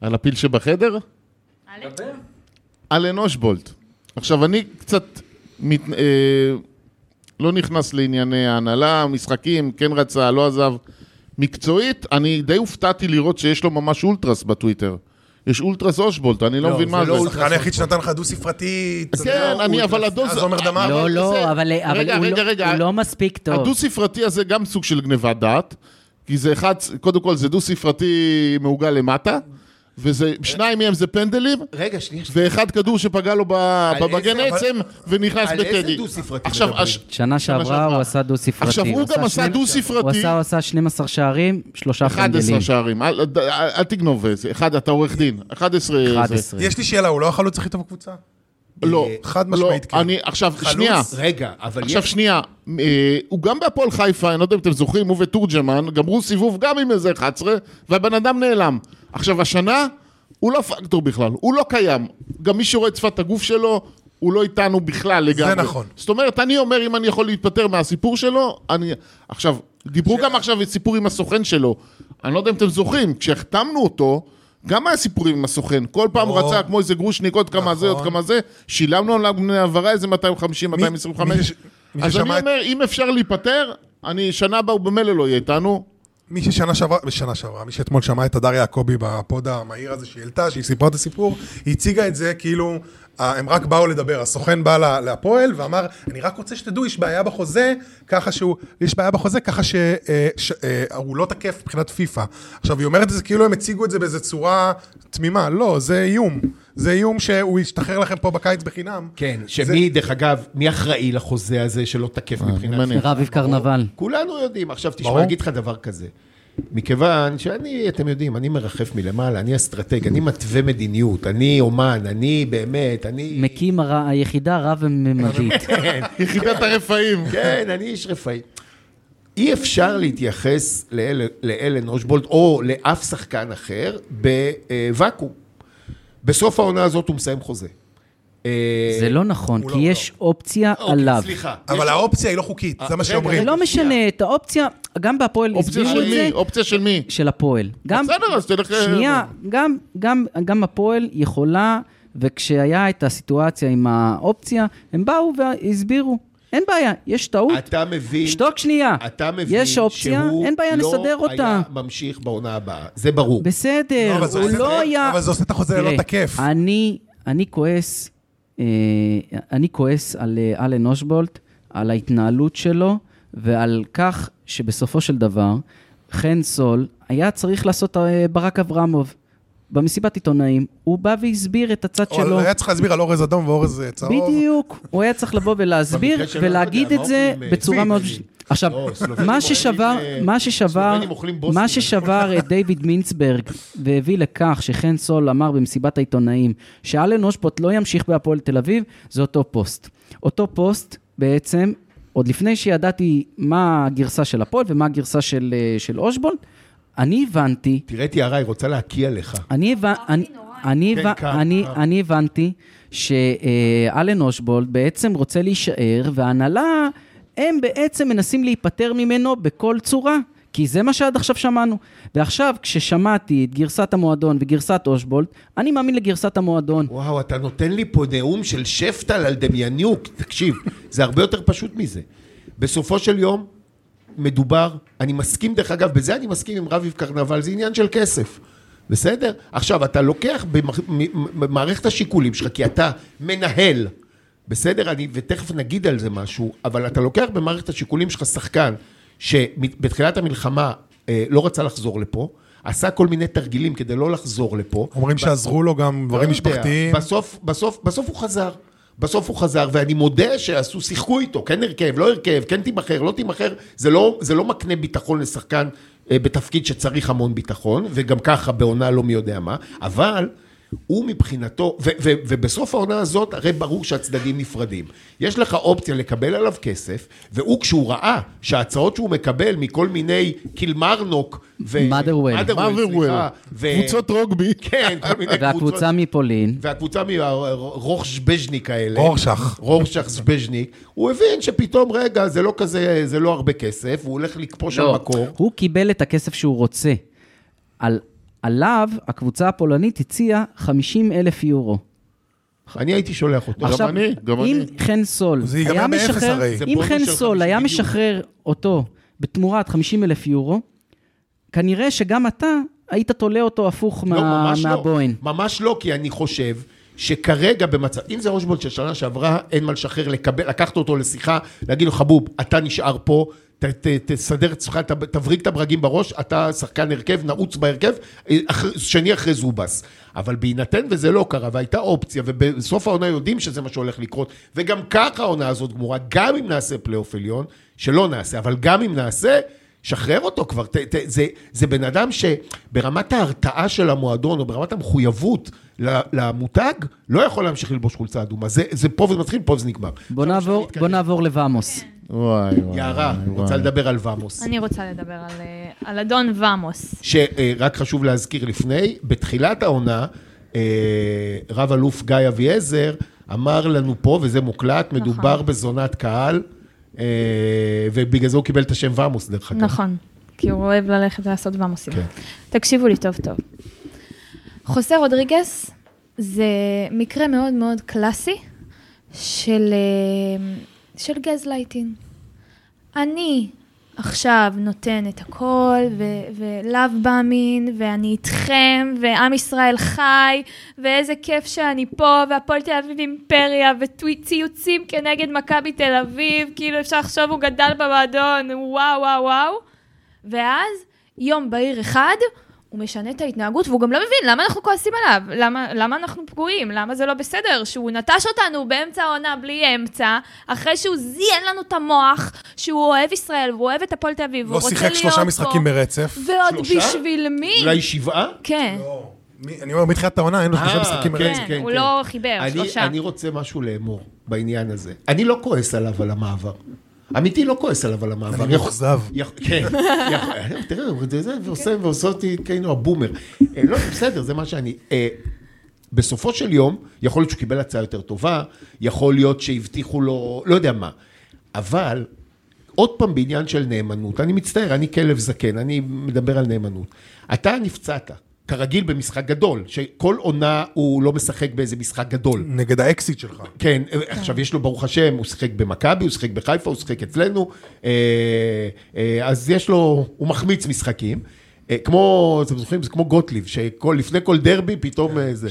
Speaker 5: על הפיל שבחדר. אלן אושבולט. עכשיו, אני קצת מת... אה, לא נכנס לענייני ההנהלה, משחקים, כן רצה, לא עזב. מקצועית, אני די הופתעתי לראות שיש לו ממש אולטרס בטוויטר. יש אולטרס אושבולט, אני לא,
Speaker 2: לא,
Speaker 5: מבין
Speaker 2: זה
Speaker 5: מה
Speaker 2: לא
Speaker 5: זה.
Speaker 2: אולטרס.
Speaker 6: השחקן היחיד שנתן לך דו-ספרתי. אתה יודע,
Speaker 5: כן,
Speaker 6: הוא-
Speaker 5: אני,
Speaker 6: הוא-
Speaker 5: אבל הדו- אה,
Speaker 6: אז עומר דמארי.
Speaker 4: לא,
Speaker 5: זה-
Speaker 4: לא, אבל אבל
Speaker 5: רגע,
Speaker 4: הוא
Speaker 5: רגע,
Speaker 4: לא-
Speaker 5: רגע.
Speaker 4: הוא לא מספיק טוב.
Speaker 5: הדו-ספרתי הזה גם סוג של גניבת דעת, כי זה אחד, קודם כל זה דו-ספרתי מעוגל למטה, וזה, שניים מהם זה פנדלים,
Speaker 2: רגע, שנייה. שנייה.
Speaker 5: ואחד כדור שפגע לו ב-
Speaker 2: על
Speaker 5: בבגן
Speaker 2: איזה-
Speaker 5: עצם, ונכנס
Speaker 2: על
Speaker 5: בטדי.
Speaker 2: איזה דו-ספרתי
Speaker 5: עכשיו,
Speaker 2: מדברים?
Speaker 5: הש-
Speaker 4: שנה שעברה
Speaker 5: שעברה.
Speaker 4: הוא עשה דו-ספרתי.
Speaker 5: עכשיו, הוא גם עשה
Speaker 4: שני-
Speaker 5: דו-ספרתי.
Speaker 4: הוא עשה- הוא עשה 12 שערים, שלושה
Speaker 5: 11
Speaker 4: פנדלים.
Speaker 5: שערים, אל, אל, אל, אל תגנוב את זה, אחד, אתה עורך דין, 11, זה.
Speaker 4: 11.
Speaker 6: יש לי שאלה, הוא לא החלוץ הכי טוב בקבוצה?
Speaker 5: לא,
Speaker 2: אה,
Speaker 6: חד משמעית,
Speaker 5: לא,
Speaker 6: כן.
Speaker 5: אני, עכשיו, שנייה,
Speaker 2: רגע, אבל
Speaker 5: עכשיו
Speaker 2: יש...
Speaker 5: שנייה, אה, הוא גם בהפועל חיפה, אני לא יודע אם אתם זוכרים, הוא ותורג'מן, גמרו סיבוב גם עם איזה 11, והבן אדם נעלם. עכשיו, השנה, הוא לא פקטור בכלל, הוא לא קיים. גם מי שרואה את שפת הגוף שלו, הוא לא איתנו בכלל לגמרי.
Speaker 6: נכון.
Speaker 5: זאת אומרת, אני אומר, אם אני יכול להיפטר מהסיפור שלו, אני... עכשיו, דיברו גם עכשיו את סיפור עם הסוכן שלו. אני לא יודע אם אתם זוכרים, כשהחתמנו אותו, גם היה סיפורים עם הסוכן. כל פעם הוא
Speaker 6: או.
Speaker 5: רצה כמו איזה גרושניק, עוד כמה זה, עוד
Speaker 6: נכון.
Speaker 5: כמה זה. שילמנו עליו בני העברה איזה 250,
Speaker 6: מי-
Speaker 5: 225.
Speaker 6: מי שש- מי
Speaker 5: אז אני
Speaker 6: ששמע את-
Speaker 5: אומר, אם אפשר להיפטר, אני, שנה הבאה הוא במילא לא יהיה איתנו.
Speaker 6: מי ששנה שעברה, בשנה שעברה, מי שאתמול שמע את הדר יעקבי בפוד המהיר הזה שהיא העלתה, שהיא סיפרה את הסיפור, היא הציגה את זה כאילו, אה, הם רק באו לדבר, הסוכן בא לה- להפועל ואמר, אני רק רוצה שתדעו, יש בעיה בחוזה, ככה שהוא, יש בעיה בחוזה, ככה שהוא אה, ש- אה, הוא לא תקף מבחינת פיפא. עכשיו, היא אומרת את זה כאילו הם הציגו את זה באיזו צורה תמימה, לא, זה איום. זה איום שהוא ישתחרר לכם פה בקיץ בחינם.
Speaker 2: כן,
Speaker 6: זה-
Speaker 2: שמי, דרך אגב, מי אחראי לחוזה הזה שלא תקף
Speaker 5: אה,
Speaker 2: מבחינת...
Speaker 5: מעניין.
Speaker 4: רביב קרנבל.
Speaker 2: כולנו יודעים. עכשיו
Speaker 6: ברור.
Speaker 2: תשמע, אגיד לך דבר כזה. מכיוון שאני, אתם יודעים, אני מרחף מלמעלה, אני אסטרטג, אני מתווה מדיניות, אני אומן, אני באמת, אני...
Speaker 4: מקים הר- היחידה רב-ממדית.
Speaker 5: [laughs] יחידת הרפאים.
Speaker 2: כן, אני איש רפאי. אי אפשר להתייחס לאל, לאלן אושבולט או לאף שחקן אחר בוואקום. בסוף העונה הזאת הוא מסיים חוזה. אה,
Speaker 4: זה לא נכון,
Speaker 6: הוא
Speaker 4: כי
Speaker 6: לא-
Speaker 4: יש אופציה
Speaker 2: אוקיי,
Speaker 4: עליו.
Speaker 2: סליחה.
Speaker 6: אבל האופציה היא לא חוקית, זה מה
Speaker 2: אה, רגע,
Speaker 4: זה
Speaker 6: שאומרים.
Speaker 4: לא משנה, את האופציה, גם בהפועל
Speaker 5: אוקיי, אופציה
Speaker 4: הסבירו
Speaker 5: של
Speaker 4: את זה,
Speaker 5: מי? אופציה של מי?
Speaker 4: של הפועל. גם-
Speaker 5: בסדר, אז תלך...
Speaker 2: אה,
Speaker 4: שנייה, גם, גם, גם הפועל יכולה, וכשהיה את הסיטואציה עם האופציה, הם באו והסבירו, אין בעיה, יש טעות,
Speaker 2: אתה מבין...
Speaker 4: שתוק שנייה.
Speaker 2: אתה מבין
Speaker 4: יש אופציה,
Speaker 2: שהוא
Speaker 4: אין בעיה,
Speaker 2: לא
Speaker 4: נסדר אותה.
Speaker 2: היה ממשיך בעונה הבאה, זה ברור.
Speaker 4: בסדר,
Speaker 6: לא, אבל זה
Speaker 4: הוא
Speaker 6: עושה-
Speaker 4: לא היה...
Speaker 6: אבל זה עושה את החוזה
Speaker 4: תראה,
Speaker 6: לא תקף.
Speaker 4: אני, אני כועס, אה, אני כועס על אה, אלן אושבולט, על ההתנהלות שלו, ועל כך שבסופו של דבר, חן סול היה צריך לעשות אה, ברק אברמוב. במסיבת עיתונאים, הוא בא והסביר את הצד שלו.
Speaker 6: או היה צריך להסביר על אורז אדום ואורז אה, צהוב.
Speaker 4: בדיוק, הוא היה צריך לבוא ולהסביר
Speaker 2: במקרה שלו,
Speaker 4: ולהגיד
Speaker 2: אתה יודע,
Speaker 4: את זה
Speaker 2: מה אוכלים, אה,
Speaker 4: בצורה מאוד...
Speaker 2: סלובנים?
Speaker 4: עכשיו,
Speaker 2: לא, סלובנים
Speaker 4: מה
Speaker 2: אוכלים,
Speaker 4: ששבר,
Speaker 2: אה,
Speaker 4: מה ששבר,
Speaker 2: סלובנים אוכלים בוסים.
Speaker 4: מה ששבר את דיוויד מינצברג והביא לכך שחן סול אמר במסיבת העיתונאים שאלן אושבוט לא ימשיך בהפועל תל אביב, זה אותו פוסט. אותו פוסט בעצם, עוד לפני שידעתי מה הגרסה של הפועל ומה הגרסה של אה, של אושבולט, אני הבנתי
Speaker 2: תראה את יערה, היא רוצה להקיא עליך.
Speaker 4: אני, הבנ... אני, אני,
Speaker 2: כן,
Speaker 4: הבנ...
Speaker 2: קר,
Speaker 4: אני,
Speaker 2: קר.
Speaker 4: אני הבנתי שאלן אושבולד בעצם רוצה להישאר, וההנהלה, הם בעצם מנסים להיפטר ממנו בכל צורה. כי זה מה שעד עכשיו שמענו. ועכשיו, כששמעתי את גרסת המועדון וגרסת אושבולד, אני מאמין לגרסת המועדון.
Speaker 2: וואו, אתה נותן לי פה נאום של שפטל על דמיאניוק. תקשיב, זה הרבה יותר פשוט מזה. בסופו של יום, מדובר, אני מסכים, דרך אגב, בזה אני מסכים עם רביב קרנבל, זה עניין של כסף. בסדר? עכשיו, אתה לוקח במערכת השיקולים שלך, כי אתה מנהל בסדר, אני, ותכף נגיד על זה משהו, אבל אתה לוקח במערכת השיקולים שלך שחקן שבתחילת המלחמה אה, לא רצה לחזור לפה, עשה כל מיני תרגילים כדי לא לחזור לפה.
Speaker 6: אומרים
Speaker 2: ב-
Speaker 6: שעזרו לו גם דברים
Speaker 2: לא
Speaker 6: משפחתיים.
Speaker 2: יודע, בסוף, בסוף, בסוף הוא חזר. בסוף הוא חזר, ואני מודה שעשו, שיחקו איתו, כן הרכב, לא הרכב, כן תימכר, לא תימכר, זה לא, זה לא מקנה ביטחון לשחקן אה, בתפקיד שצריך המון ביטחון, וגם ככה בעונה לא מי יודע מה, אבל הוא מבחינתו, ו, ו, ובסוף העונה הזאת, הרי ברור שהצדדים נפרדים. יש לך אופציה לקבל עליו כסף, והוא כשהוא ראה שההצעות שהוא מקבל מכל מיני קילמרנוק, ו...
Speaker 4: Motherwell.
Speaker 5: Motherwell.
Speaker 2: סליחה, ו...
Speaker 5: קבוצות רוגבי.
Speaker 2: כן, כל מיני קבוצות.
Speaker 4: והקבוצה מפולין,
Speaker 2: והקבוצה מהרוכשבז'ניק האלה,
Speaker 6: רורשך.
Speaker 2: רורשך זבז'ניק, הוא הבין שפתאום, רגע, זה לא כזה, זה לא הרבה כסף, הוא הולך לכפוש על
Speaker 4: לא,
Speaker 2: מקור.
Speaker 4: הוא קיבל את הכסף שהוא רוצה. על, עליו הקבוצה הפולנית הציעה 50 אלף יורו.
Speaker 2: אני הייתי שולח אותו.
Speaker 4: עכשיו,
Speaker 5: אני, גם
Speaker 4: אם
Speaker 5: אני.
Speaker 4: חן סול
Speaker 6: זה ייגמר
Speaker 4: היה
Speaker 6: באפס
Speaker 4: משחרר,
Speaker 6: הרי. זה
Speaker 4: אם
Speaker 2: בונוס
Speaker 4: חן
Speaker 2: של
Speaker 4: סול
Speaker 2: 50
Speaker 4: היה
Speaker 2: יורו.
Speaker 4: משחרר אותו בתמורת 50 אלף יורו, כנראה שגם אתה היית תולה אותו הפוך
Speaker 2: לא,
Speaker 4: מה-
Speaker 2: ממש לא.
Speaker 4: מהבוהן.
Speaker 2: ממש לא, כי אני חושב שכרגע במצב, אם זה רושבולד של שנה שעברה, אין מה לשחרר, לקבל, לקחת אותו לשיחה, להגיד לו, חבוב, אתה נשאר פה. ת, ת, תסדר את עצמך, ת- תבריג את הברגים בראש, אתה שחקן הרכב, נעוץ בהרכב, אח, שני אחרי זובס. אבל בהינתן וזה לא קרה, והייתה אופציה, ובסוף העונה יודעים שזה מה שהולך לקרות, וגם ככה העונה הזאת גמורה, גם אם נעשה פלייאוף עליון, שלא נעשה, אבל גם אם נעשה, שחרר אותו כבר, ת, ת, זה, זה בן אדם שברמת ההרתעה של המועדון או ברמת המחויבות ל- למותג, לא יכול להמשיך ללבוש חולצה אדומה. זה, זה פה זה מתחיל, פה זה נגמר.
Speaker 4: בוא נעבור, בוא נעבור לוואמוס.
Speaker 5: וואי, וואי.
Speaker 2: יערה,
Speaker 5: וואי.
Speaker 2: רוצה לדבר על ואמוס.
Speaker 3: אני רוצה לדבר על, אה, על אדון ואמוס.
Speaker 2: שרק אה, חשוב להזכיר לפני, בתחילת העונה, אה, רב אלוף גיא אביעזר אמר לנו פה, וזה מוקלט,
Speaker 3: נכון.
Speaker 2: מדובר בזונת קהל, אה, ובגלל זה הוא קיבל את השם ואמוס, דרך אגב.
Speaker 3: נכון, כי הוא אוהב ללכת לעשות ואמוסים.
Speaker 2: כן.
Speaker 3: תקשיבו לי טוב טוב. חוסה רודריגס זה מקרה מאוד מאוד קלאסי של, אה, של גזלייטינג. אני עכשיו נותן את הכל, ו- ולאו מאמין, ואני איתכם, ועם ישראל חי, ואיזה כיף שאני פה, והפועל תל אביב אימפריה, וציוצים כנגד מכבי תל אביב, כאילו אפשר לחשוב הוא גדל במועדון, וואו וואו וואו. ואז, יום בהיר אחד, הוא משנה את ההתנהגות, והוא גם לא מבין למה אנחנו כועסים עליו, למה, למה אנחנו פגועים, למה זה לא בסדר, שהוא נטש אותנו באמצע העונה בלי אמצע, אחרי שהוא זיין לנו את המוח, שהוא אוהב ישראל, והוא אוהב את הפועל תל אביב,
Speaker 6: לא
Speaker 3: והוא רוצה
Speaker 6: שיחק
Speaker 3: להיות פה.
Speaker 6: שלושה משחקים ברצף.
Speaker 3: ועוד
Speaker 2: שלושה?
Speaker 3: בשביל מי?
Speaker 2: אולי שבעה?
Speaker 3: כן,
Speaker 6: לא, מי- אני אומר, מתחילת העונה, אין לו שלושה
Speaker 2: אה,
Speaker 6: משחקים
Speaker 2: כן.
Speaker 6: ברצף.
Speaker 3: כן, הוא לא חיבר,
Speaker 2: אני,
Speaker 3: שלושה.
Speaker 2: אני רוצה משהו לאמור בעניין הזה. אני לא כועס עליו על המעבר. אמיתי לא כועס עליו על המעבר.
Speaker 6: אני
Speaker 2: יכול-
Speaker 6: מאוכזב.
Speaker 2: יכול- כן, יכול- [laughs] תראה, הוא זה- זה
Speaker 3: כן.
Speaker 2: ועושה ועושה אותי כאילו הבומר. אה, לא, בסדר, זה מה שאני... אה, בסופו של יום, יכול להיות שהוא קיבל הצעה יותר טובה, יכול להיות שהבטיחו לו, לא יודע מה. אבל, עוד פעם בעניין של נאמנות, אני מצטער, אני כלב זקן, אני מדבר על נאמנות. אתה נפצעת, כרגיל במשחק גדול, שכל עונה הוא לא משחק באיזה משחק גדול.
Speaker 6: נגד האקסיט שלך.
Speaker 2: כן, עכשיו יש לו, ברוך השם, הוא שיחק במכבי, הוא שיחק בחיפה, הוא שיחק אצלנו, אה, אה, אז יש לו, הוא מחמיץ משחקים. אה, כמו, אתם זוכרים, זה כמו גוטליב, שלפני כל דרבי פתאום אה, זה.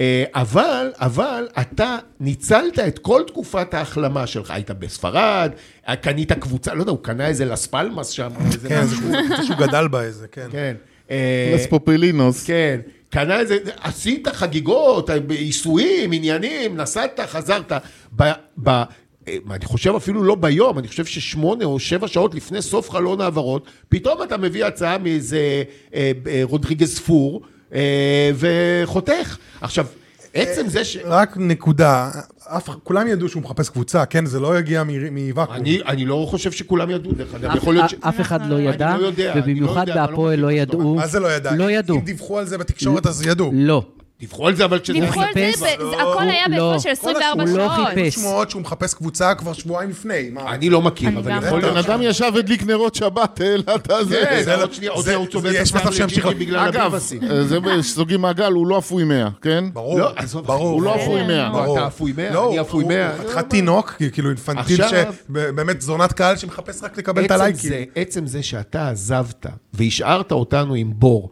Speaker 2: אה, אבל, אבל אתה ניצלת את כל תקופת ההחלמה שלך, היית בספרד, אה, קנית קבוצה, לא יודע, הוא קנה איזה לס פלמס שם, או איזה
Speaker 6: כן, זה
Speaker 2: משהו,
Speaker 6: זה שהוא גדל בה איזה, כן.
Speaker 2: כן. אה,
Speaker 5: לס פופלינוס.
Speaker 2: כן, קנה איזה, עשית חגיגות, עיסויים, עניינים, נסעת, חזרת. ב, ב, אה, אני חושב אפילו לא ביום, אני חושב ששמונה או שבע שעות לפני סוף חלון העברות, פתאום אתה מביא הצעה מאיזה אה, אה, רודריגז פור אה, וחותך. עכשיו, עצם זה ש...
Speaker 6: רק נקודה, אף, כולם ידעו שהוא מחפש קבוצה, כן? זה לא יגיע מ- מוואקום.
Speaker 2: אני, אני לא חושב שכולם ידעו, דרך אגב,
Speaker 4: אף-
Speaker 2: יכול להיות ש...
Speaker 4: אף אחד לא ידע,
Speaker 2: אני לא יודע, אני לא
Speaker 4: ובמיוחד
Speaker 2: יודע, אבל לא
Speaker 4: בהפועל לא
Speaker 2: מכיר את
Speaker 4: ידעו.
Speaker 6: מה זה לא ידע?
Speaker 4: לא ידעו.
Speaker 6: אם דיווחו על זה בתקשורת, אז ידעו.
Speaker 4: לא. [laughs]
Speaker 2: דיווחו על זה, אבל כשזה...
Speaker 3: דיווחו על זה,
Speaker 4: חיפש-
Speaker 3: ב- זה- הכל היה
Speaker 4: לא.
Speaker 3: בהפרש של
Speaker 6: כל
Speaker 3: 24
Speaker 6: השמועות-
Speaker 4: הוא לא
Speaker 3: שעות.
Speaker 4: חיפש.
Speaker 6: שמועות שהוא מחפש קבוצה כבר שבועיים לפני. מה?
Speaker 2: אני לא מכיר,
Speaker 3: אני
Speaker 2: אבל
Speaker 3: גם
Speaker 2: יכול
Speaker 5: בן
Speaker 2: להיות...
Speaker 5: אדם ישב הדליק נרות שבת, העלת הזה.
Speaker 2: כן,
Speaker 6: זה לא-
Speaker 2: עוד שנייה, עוד
Speaker 6: זה-
Speaker 2: שנייה הוא צובע את
Speaker 6: יש
Speaker 2: עצמו
Speaker 6: מצב שימשיך-
Speaker 2: לג'יקי בגלל
Speaker 5: אגב,
Speaker 2: הביבסים.
Speaker 5: אה, זה סוגי מעגל, הוא לא אפוי מאה, כן?
Speaker 6: ברור,
Speaker 2: לא, עזוב,
Speaker 6: ברור.
Speaker 5: הוא לא
Speaker 6: ברור.
Speaker 5: אפוי מאה.
Speaker 2: לא,
Speaker 6: ברור.
Speaker 2: אתה אפוי מאה,
Speaker 6: לא,
Speaker 2: אני
Speaker 6: הוא-
Speaker 2: אפוי
Speaker 6: הוא-
Speaker 2: מאה.
Speaker 6: הוא חתיכת תינוק, כאילו אינפנטיל,
Speaker 2: עכשיו-
Speaker 6: שבאמת זונת קהל שמחפש רק לקבל את
Speaker 2: עצם
Speaker 6: הלייקים.
Speaker 2: זה, עצם זה שאתה עזבת והשארת אותנו עם בור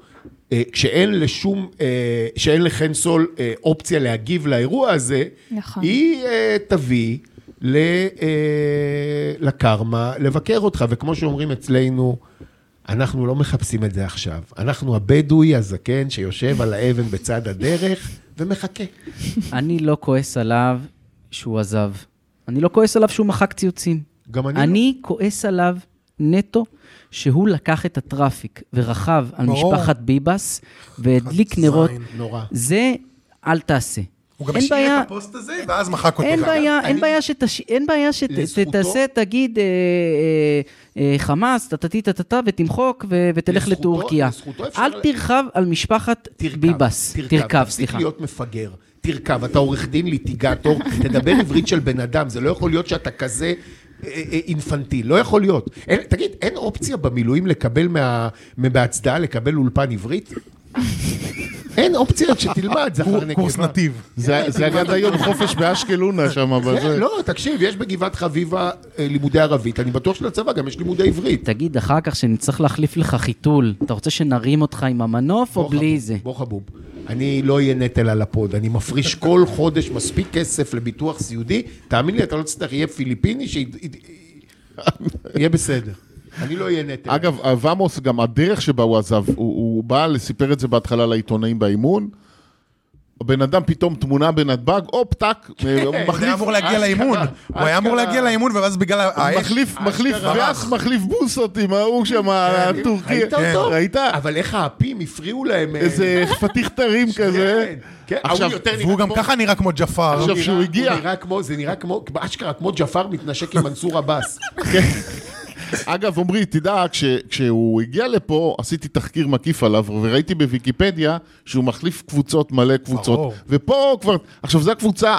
Speaker 2: אה, כשאין לשום, אה, כשאין לחן סול אה, אופציה להגיב לאירוע הזה,
Speaker 3: נכון.
Speaker 2: היא אה, תביא ל, אה, לקרמה לבקר אותך. וכמו שאומרים אצלנו, אנחנו לא מחפשים את זה עכשיו. אנחנו הבדואי הזקן שיושב על האבן בצד הדרך ומחכה.
Speaker 4: אני לא כועס עליו שהוא עזב. אני לא כועס עליו שהוא מחק ציוצים.
Speaker 2: גם אני, לא
Speaker 4: אני כועס עליו נטו שהוא לקח את הטראפיק ורכב על
Speaker 6: ברור.
Speaker 4: משפחת ביבס והדליק
Speaker 6: חצי
Speaker 4: נרות.
Speaker 6: זין.
Speaker 2: נורא.
Speaker 4: זה אל תעשה.
Speaker 6: הוא גם
Speaker 4: אין
Speaker 6: השאיר
Speaker 4: בעיה-
Speaker 6: את הפוסט הזה, ואז מחק אותו.
Speaker 4: אין
Speaker 6: גם.
Speaker 4: בעיה, אין
Speaker 2: אני-
Speaker 4: בעיה שתש... אין בעיה
Speaker 2: לזכותו-
Speaker 4: שתעשה, תגיד אה, אה, אה, חמאס, טטטי טטטה, ותמחוק, ו- ותלך
Speaker 2: לזכותו-
Speaker 4: לטורקיה.
Speaker 2: לזכותו אפשר
Speaker 4: אל
Speaker 2: ל-
Speaker 4: תרחב על משפחת ביבס. תרכב,
Speaker 2: תפסיק
Speaker 4: סליחה.
Speaker 2: להיות מפגר. תרכב, אתה עורך דין ליטיגטור, [laughs] תדבר עברית של בן אדם, זה לא יכול להיות שאתה כזה אה, אה, אינפנטיל, לא יכול להיות. אין, תגיד, אין אופציה במילואים לקבל מה, מה- בהצדעה, לקבל אולפן עברית? [laughs] אין אופציה שתלמד, זכר
Speaker 6: קור-
Speaker 2: נקבה.
Speaker 6: קורס נתיב.
Speaker 5: זה זה היה עד היום חופש באשקלונה שם, אבל
Speaker 2: כן,
Speaker 5: זה...
Speaker 2: לא, תקשיב, יש בגבעת חביבה אה, לימודי ערבית, אני בטוח שלצבא גם יש לימודי עברית.
Speaker 4: תגיד אחר כך שנצטרך להחליף לך חיתול, אתה רוצה שנרים אותך עם המנוף או
Speaker 2: בוא חבוב,
Speaker 4: בלי זה?
Speaker 2: בוא חבוב. אני לא אהיה נטל על הפוד, אני מפריש כל חודש מספיק כסף לביטוח סיעודי, תאמין לי, אתה לא תצטרך, יהיה פיליפיני ש... [laughs] יהיה בסדר. אני לא אהיה נטל.
Speaker 5: אגב, ועמוס, גם הדרך שבה הוא עזב, הוא, הוא בא, סיפר את זה בהתחלה לעיתונאים באימון, הבן אדם פתאום תמונה בנתב"ג, הופ, טאק, אה,
Speaker 6: הוא היה
Speaker 5: מחליף,
Speaker 6: אמור להגיע
Speaker 2: אשכרה,
Speaker 6: לאימון. הוא היה אמור
Speaker 2: אשכרה.
Speaker 6: להגיע לאימון, ואז בגלל
Speaker 2: אה,
Speaker 6: האש...
Speaker 5: מחליף, מחליף,
Speaker 6: אשכרה.
Speaker 5: ואז מחליף בוסות עם ההוא שם, הטורקי.
Speaker 2: כן. ראית אותו?
Speaker 5: כן,
Speaker 2: אה, כן.
Speaker 5: ראית?
Speaker 2: אבל איך האפים הפריעו להם... אה,
Speaker 5: איזה פתיח תרים כזה.
Speaker 2: כן, כן,
Speaker 5: עכשיו,
Speaker 2: ההוא יותר נראה
Speaker 6: והוא גם
Speaker 2: כמו-
Speaker 6: ככה נראה כמו ג'פר. לא,
Speaker 5: עכשיו,
Speaker 2: הוא נראה-
Speaker 5: שהוא הגיע.
Speaker 2: הוא נראה כמו, זה נראה כמו, אשכרה, כמו ג'פר מתנשק עם
Speaker 5: [laughs]
Speaker 2: מנסור עבאס.
Speaker 5: אגב, עמרי, תדע, כש, כשהוא הגיע לפה, עשיתי תחקיר מקיף עליו, וראיתי בוויקיפדיה שהוא מחליף קבוצות, מלא קבוצות.
Speaker 6: ברור.
Speaker 5: ופה הוא כבר... עכשיו, זו הקבוצה